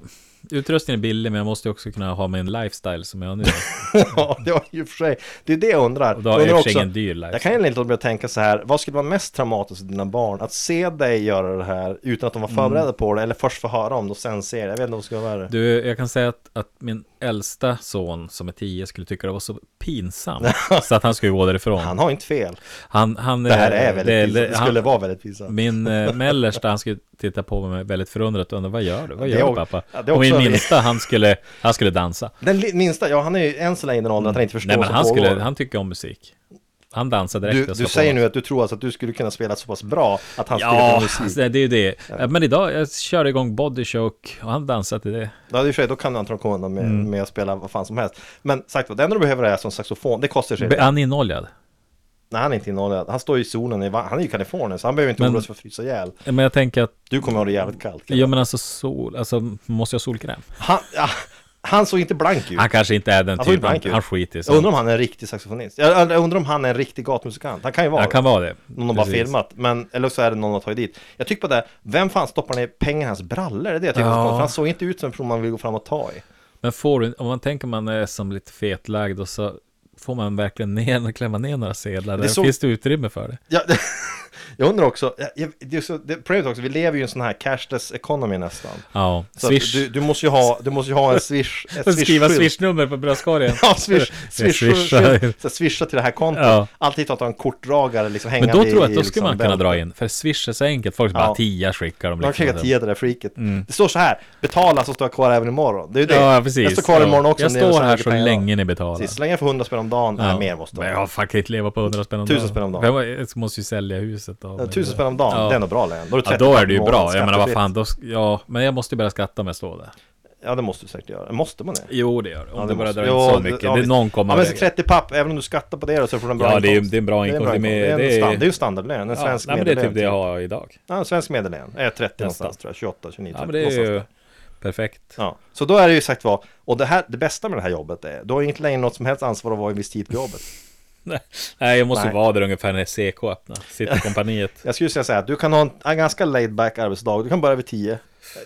S1: utrustningen är billig men jag måste ju också kunna ha min lifestyle som jag har nu.
S2: ja, det var ju för sig. Det är det jag undrar.
S1: Och då har
S2: jag
S1: jag i
S2: undrar
S1: och för sig ingen liksom. dyr
S2: jag
S1: lifestyle.
S2: kan egentligen inte låta bli att tänka så här, vad skulle vara mest traumatiskt för dina barn? Att se dig göra det här utan att de var förberedda på det, eller först få höra om det och sen se det. Jag vet inte vad som skulle vara värre.
S1: Mm. Du, jag kan säga att, att min äldsta son som är tio skulle tycka det var så pinsamt så att han skulle gå därifrån.
S2: Han
S1: Han,
S2: har inte fel.
S1: han,
S2: Det här är
S1: eh,
S2: väldigt pinsamt. Det
S1: han-
S2: skulle vara väldigt pinsamt.
S1: Min eh, mellersta, han skulle titta på mig väldigt förundrat och undra vad gör du? Vad
S2: Det
S1: gör
S2: är
S1: du
S2: o-
S1: pappa?
S2: ja, det är
S1: och min
S2: också-
S1: minsta, han skulle, han skulle dansa.
S2: Den li- minsta, ja han är ju än så länge i den åldern att han inte förstår
S1: Mm. Nej men
S2: vad som
S1: han
S2: pågår.
S1: skulle, han tycker om musik. Han dansar direkt.
S2: Du,
S1: och
S2: du
S1: slår på
S2: säger
S1: något.
S2: nu att du tror alltså att du skulle kunna spela så pass bra att han skulle
S1: Ja,
S2: kunna musik.
S1: alltså, det är ju det. Men idag, jag körde igång Body Choke och han dansade till det.
S2: Ja, i och för sig, då kan du antagligen komma undan med,
S1: Mm.
S2: med att spela vad fan som helst. Men sagt vad, det enda du behöver är som saxofon, det kostar sig.
S1: Be- Han är inoljad.
S2: Nej, han är inte innollad. Han står ju i zonen, i, va- han är ju i Kalifornien, så han behöver inte
S1: Men-
S2: oroa sig för att frysa ihjäl.
S1: Men jag tänker att,
S2: Du kommer ha det jävligt kallt. kan
S1: ja men alltså sol, alltså måste jag ha solkräm?
S2: jag- Han, ja, han såg inte blank ut.
S1: Han kanske inte är den
S2: Han såg inte
S1: typen,
S2: blank
S1: han,
S2: ut.
S1: skiter i
S2: Jag
S1: sånt.
S2: undrar om han är en riktig saxofonist. Jag, jag undrar om han är en riktig gatumusikant. Han kan ju vara
S1: Han
S2: det.
S1: kan vara det.
S2: Någon har bara
S1: Precis.
S2: filmat, men, eller så är det någon har tagit dit. Jag tycker bara det, vem fan stoppar ner pengar i hans brallor? Det är det jag tycker
S1: Ja.
S2: är så konstigt, för han såg inte ut som en person man vill gå fram och ta i.
S1: Men får du, om man tänker man är som lite fetlagd och så får man verkligen ner, klämma ner några sedlar. Där
S2: så-
S1: finns det utrymme för det.
S2: Jag, jag undrar också, jag- jag, det är så, det, problemet är också, vi lever ju i en sån här cashless economy nästan.
S1: Ja,
S2: Så att
S1: swish.
S2: Du, du, måste ju ha, du måste ju ha en swish, en
S1: Skriva
S2: swish-skylt.
S1: swishnummer på bröstkorgen.
S2: Ja, swish,
S1: Jag
S2: swish, swish,
S1: swishar.
S2: så swisha till det här kontot.
S1: Ja.
S2: Alltid att ha en kortdragare liksom
S1: Men
S2: hängande
S1: då tror jag att
S2: i-
S1: då
S2: i
S1: skulle
S2: liksom
S1: man kunna
S2: bältet.
S1: dra in, för swish är så enkelt. Folk bara
S2: Ja.
S1: tia skickar dem
S2: De kan skicka
S1: liksom.
S2: 10 till det där freaket. Det står så här, betala så står jag kvar även imorgon. Det är ju det.
S1: Ja, precis.
S2: Jag står kvar
S1: Ja.
S2: imorgon också.
S1: Jag
S2: om det är
S1: står
S2: här
S1: här
S2: mycket
S1: så
S2: pengar.
S1: länge ni betalar.
S2: Precis, så länge jag får 100 spänn om dagen, nej mer måste
S1: Men
S2: jag
S1: jag
S2: ha.
S1: har faktiskt leva på 100 spänn om
S2: Tusen
S1: dagen.
S2: spänn om dagen.
S1: Men Jag måste ju sälja huset då.
S2: Ja,
S1: men-
S2: 1000 spänn om dagen,
S1: Ja.
S2: det är nog bra lön. Då är det
S1: Ja,
S2: 30
S1: då är det ju
S2: per månad,
S1: bra. Jag menar vad
S2: skattefritt.
S1: fan, då, sk- ja, men jag måste ju börja skratta om jag står där.
S2: Ja, det måste du säkert göra. Måste man det?
S1: Jo, det gör det. Om
S2: Ja,
S1: det bara
S2: måste-
S1: drar in
S2: Ja,
S1: så mycket.
S2: ja,
S1: det är
S2: visst.
S1: någon kommer
S2: Ja, men så
S1: vägen.
S2: 30 papp, även om du skattar på det då så får du en bra
S1: Ja, det är ju-
S2: inkomst.
S1: det är en bra inkomst. Det är med-
S2: Det
S1: det
S2: är en
S1: är-
S2: stand- det är ju standardlön, en svensk
S1: nej, men det är
S2: medellön.
S1: typ det jag har idag. Typ,
S2: Ja, en svensk medellön. Är 30 någonstans
S1: Nästan.
S2: tror jag, 28, 29, 30
S1: Ja, men det är
S2: någonstans.
S1: ju perfekt.
S2: Ja, så då är det ju sagt vad, och det, här, det bästa med det här jobbet är, du har ju inte längre något som helst ansvar att vara i en viss tid på jobbet.
S1: Nej, jag måste
S2: Nej.
S1: ju vara där ungefär när CK öppnar. Sitter kompaniet.
S2: Jag skulle säga så här, du kan ha en, en ganska laid back arbetsdag, du kan börja vid 10,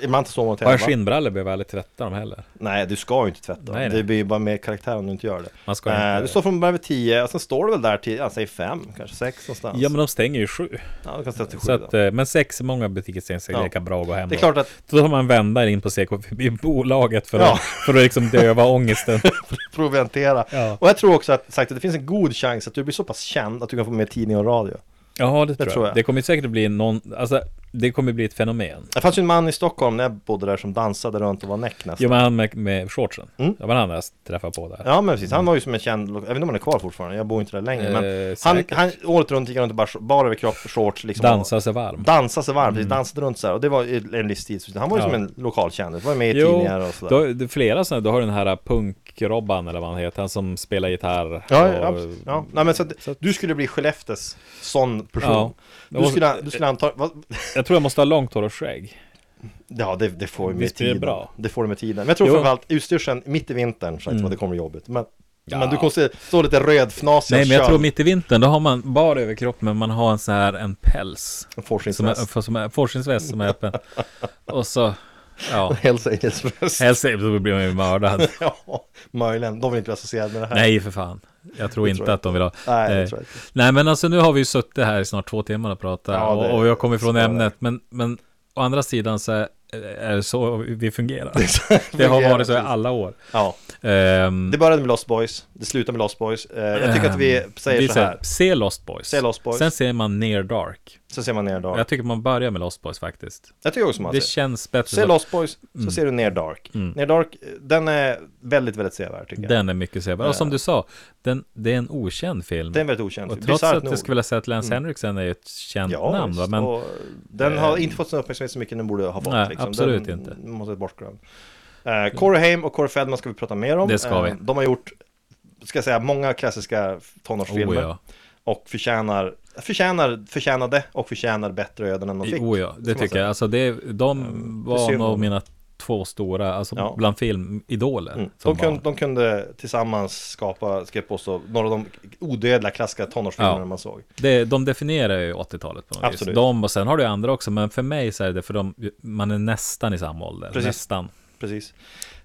S2: Ibland så man och
S1: Har jag
S2: tävlar.
S1: skinnbrallor behöver jag aldrig tvätta dem heller.
S2: Nej, du ska ju inte tvätta.
S1: Nej, nej.
S2: Det blir ju bara mer karaktär om du inte gör det.
S1: Man ska
S2: Eh,
S1: inte...
S2: Du står från början vid 10, och sen står du väl där till, ja, säg 5, kanske 6 någonstans.
S1: Ja men de stänger ju sju.
S2: ja du kan sätta till 7
S1: Så att,
S2: då.
S1: eh, men sex, många butiker stänger så det är
S2: Ja.
S1: lika bra att gå hem.
S2: Det är
S1: då.
S2: klart att
S1: Då tar man vända in på CKB-bolaget för,
S2: Ja.
S1: att för att liksom döva ångesten.
S2: proventera.
S1: Ja.
S2: Och jag tror också att, sagt, att det finns en god chans att du blir så pass känd att du kan få med tidning och radio.
S1: Ja, det, tror,
S2: tror
S1: jag.
S2: jag.
S1: Det kommer säkert bli någon, alltså det kommer bli ett fenomen.
S2: Det fanns ju en man i Stockholm när jag bodde där som dansade runt och var näck nästan.
S1: Jo men han med, med shortsen.
S2: Mm.
S1: Det var han andra jag träffade på där.
S2: Ja men precis, han var ju som en känd, jag vet inte om han är kvar fortfarande, jag bor inte där längre men
S1: Eh,
S2: han,
S1: säkert.
S2: han, året runt gick han runt och bara, bara över kropp, shorts liksom
S1: Dansar sig varm.
S2: Dansade sig varm, precis, dansade runt så här och det var ju en livsstil, han var ju
S1: Mm. Ja.
S2: som en lokalkändis, var ju med i
S1: Jo,
S2: tidningar och sådär
S1: då, det är flera sådana, du har den här punk-Robban eller vad han heter, han som spelar gitarr.
S2: Ja,
S1: och-
S2: ja, absolut. ja. Nej, men så att
S1: så att-
S2: du skulle bli Skellefteås sån person
S1: Ja.
S2: Du skulle, du skulle anta, vad,
S1: Jag tror jag måste ha långt hår och skägg.
S2: ja det, det får ju med
S1: Visst blir det
S2: tiden
S1: bra?
S2: Det får du med tiden, men jag tror
S1: Jo. Mm.
S2: framförallt utstyrseln mitt i vintern, sagt vad det kommer jobbigt men,
S1: Ja.
S2: men du kommer se, stå lite rödfnasig
S1: Nej
S2: och
S1: men jag
S2: kön.
S1: tror mitt i vintern, då har man bara överkropp men man har en sån här, en päls.
S2: En Forsins
S1: Som är,
S2: röst,
S1: för, som är, forskningsväst som är öppen. och så, ja.
S2: Hells Angels röst
S1: Helst så blir man ju mördad.
S2: Ja, möjligen. De vill inte bli associerade med det här.
S1: Nej för fan. Jag tror
S2: Det
S1: inte
S2: tror jag
S1: att de vill ha.
S2: Nej, det
S1: Eh,
S2: tror jag inte.
S1: Nej men alltså nu har vi ju suttit här i snart två timmar och pratat
S2: Ja, det-
S1: och, och jag kommer ifrån
S2: så är det.
S1: ämnet men, men å andra sidan så är är det så vi fungerar. Det har
S2: fungerar,
S1: varit så i
S2: precis.
S1: alla år.
S2: Ja,
S1: Ehm,
S2: det började med Lost Boys, det slutade med Lost Boys. Eh, Jag tycker att vi
S1: ehm,
S2: säger
S1: vi
S2: så här,
S1: Se Lost Boys.
S2: Se Lost Boys.
S1: Sen ser man Near Dark.
S2: så ser man ner Dark.
S1: Jag tycker man börjar med Lost Boys faktiskt.
S2: Jag tycker också man
S1: Det
S2: ser.
S1: känns bättre.
S2: Se
S1: så- Mm.
S2: Lost Boys, så ser du ner Dark. Ner Dark, eh, den är väldigt, väldigt sevärd tycker jag.
S1: Den är mycket sevärd. Och som du sa, den, det är en okänd film.
S2: Den är väldigt okänd.
S1: och
S2: film.
S1: trots
S2: Bisarrt Mm.
S1: att jag skulle vilja säga att Lance Henriksen är ju ett känt
S2: ja,
S1: namn. Va?
S2: visst.
S1: Men,
S2: och den har inte fått sån uppmärksamhet så mycket den borde ha fått.
S1: Nej,
S2: liksom.
S1: absolut
S2: den
S1: inte.
S2: Måste bortglömd. Eh, Corey Haim och Corey Feldman ska vi prata mer om.
S1: Det ska vi.
S2: Eh, de har gjort, ska jag säga, många klassiska tonårsfilmer.
S1: oh ja.
S2: och förtjänar, förtjänar, förtjänade och förtjänar bättre öden än de fick.
S1: Oh ja, det
S2: man
S1: tycker
S2: säga.
S1: jag. Alltså det, de var
S2: synd
S1: nog
S2: om-
S1: mina två stora, alltså
S2: Ja.
S1: bland filmidoler.
S2: Mm.
S1: som
S2: De, kunde,
S1: barn.
S2: de kunde tillsammans skapa, ska jag påstå, några av de odödliga klassiska tonårsfilmerna
S1: Ja.
S2: man såg.
S1: Det, de definierar ju 80-talet på något vis.
S2: Absolut.
S1: De och sen har du andra också, men för mig så är det för de, man är nästan i samma ålder.
S2: Precis.
S1: Nästan.
S2: Precis.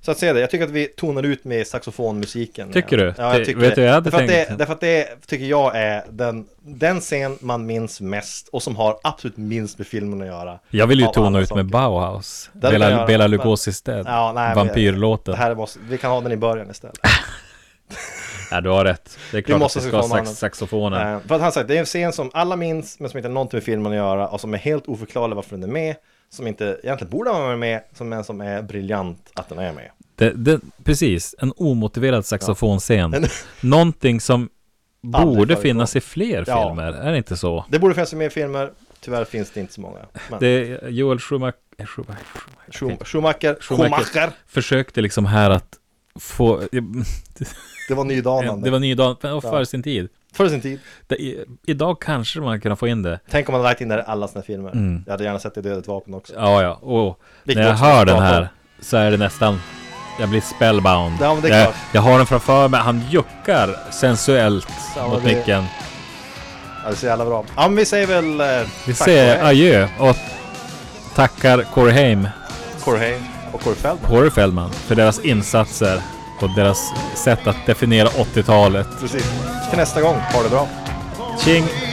S2: Så att säga det, jag tycker att vi tonar ut med saxofonmusiken.
S1: Tycker
S2: igen.
S1: du?
S2: Ja,
S1: Det-
S2: jag tycker
S1: vet
S2: det.
S1: du, jag hade
S2: därför, att det,
S1: tänkt-
S2: därför att det tycker jag är den, den scen man minns mest och som har absolut minst med filmen att göra.
S1: Jag vill ju
S2: Av
S1: tona
S2: alla
S1: ut
S2: saker.
S1: med Bauhaus.
S2: hade jag
S1: Bela,
S2: gjort,
S1: Bela
S2: men-
S1: Lugosis Dead.
S2: Ja, nej, men-
S1: Vampyrlåten.
S2: Det här måste, vi kan ha den i början istället.
S1: Ja, du har rätt. Det är klart
S2: måste
S1: att vi ska ha
S2: saxofonen.
S1: sax, saxofonen.
S2: Eh, för att han sagt, det är en scen som alla minns men som inte har någonting med filmen att göra och som är helt oförklarlig varför den är med. Som inte egentligen borde vara med, som, men som är briljant att den är med.
S1: Det, det, precis, en omotiverad saxofonscen. Någonting som borde
S2: förekom.
S1: finnas i fler
S2: Ja.
S1: filmer, är det inte så?
S2: Det borde finnas i mer filmer, tyvärr finns det inte så många. Men
S1: Det är Joel Schumacher, eh, Schumacher,
S2: Schum- Schumacher,
S1: Schumacher.
S2: Schumacher,
S1: försökte liksom här att få, eh,
S2: det var nydanande.
S1: det var ny dag, men före
S2: Ja.
S1: sin tid.
S2: Före sin tid.
S1: Det, i, idag kanske man kan få in det.
S2: Tänk om man hade lagt in det i alla sina filmer. Jag hade gärna sett det i Dödligt vapen också.
S1: Mm. Ja, ja, och
S2: Vilket
S1: när jag
S2: också
S1: hör
S2: skapar-
S1: den här så är det nästan, jag blir spellbound.
S2: Ja, men det är
S1: jag,
S2: klart.
S1: jag har den framför mig, han juckar sensuellt
S2: Ja,
S1: mot
S2: det-
S1: micken.
S2: Ja, det ser jävla bra. Ja, men vi säger väl... eh,
S1: Vi
S2: tack
S1: säger
S2: och hej,
S1: adjö och tackar Corey Haim,
S2: Corey och Corey Feldman.
S1: Corey Feldman, för deras insatser och deras sätt att definiera 80-talet.
S2: Precis. Till nästa gång, ha det bra.
S1: Tjing!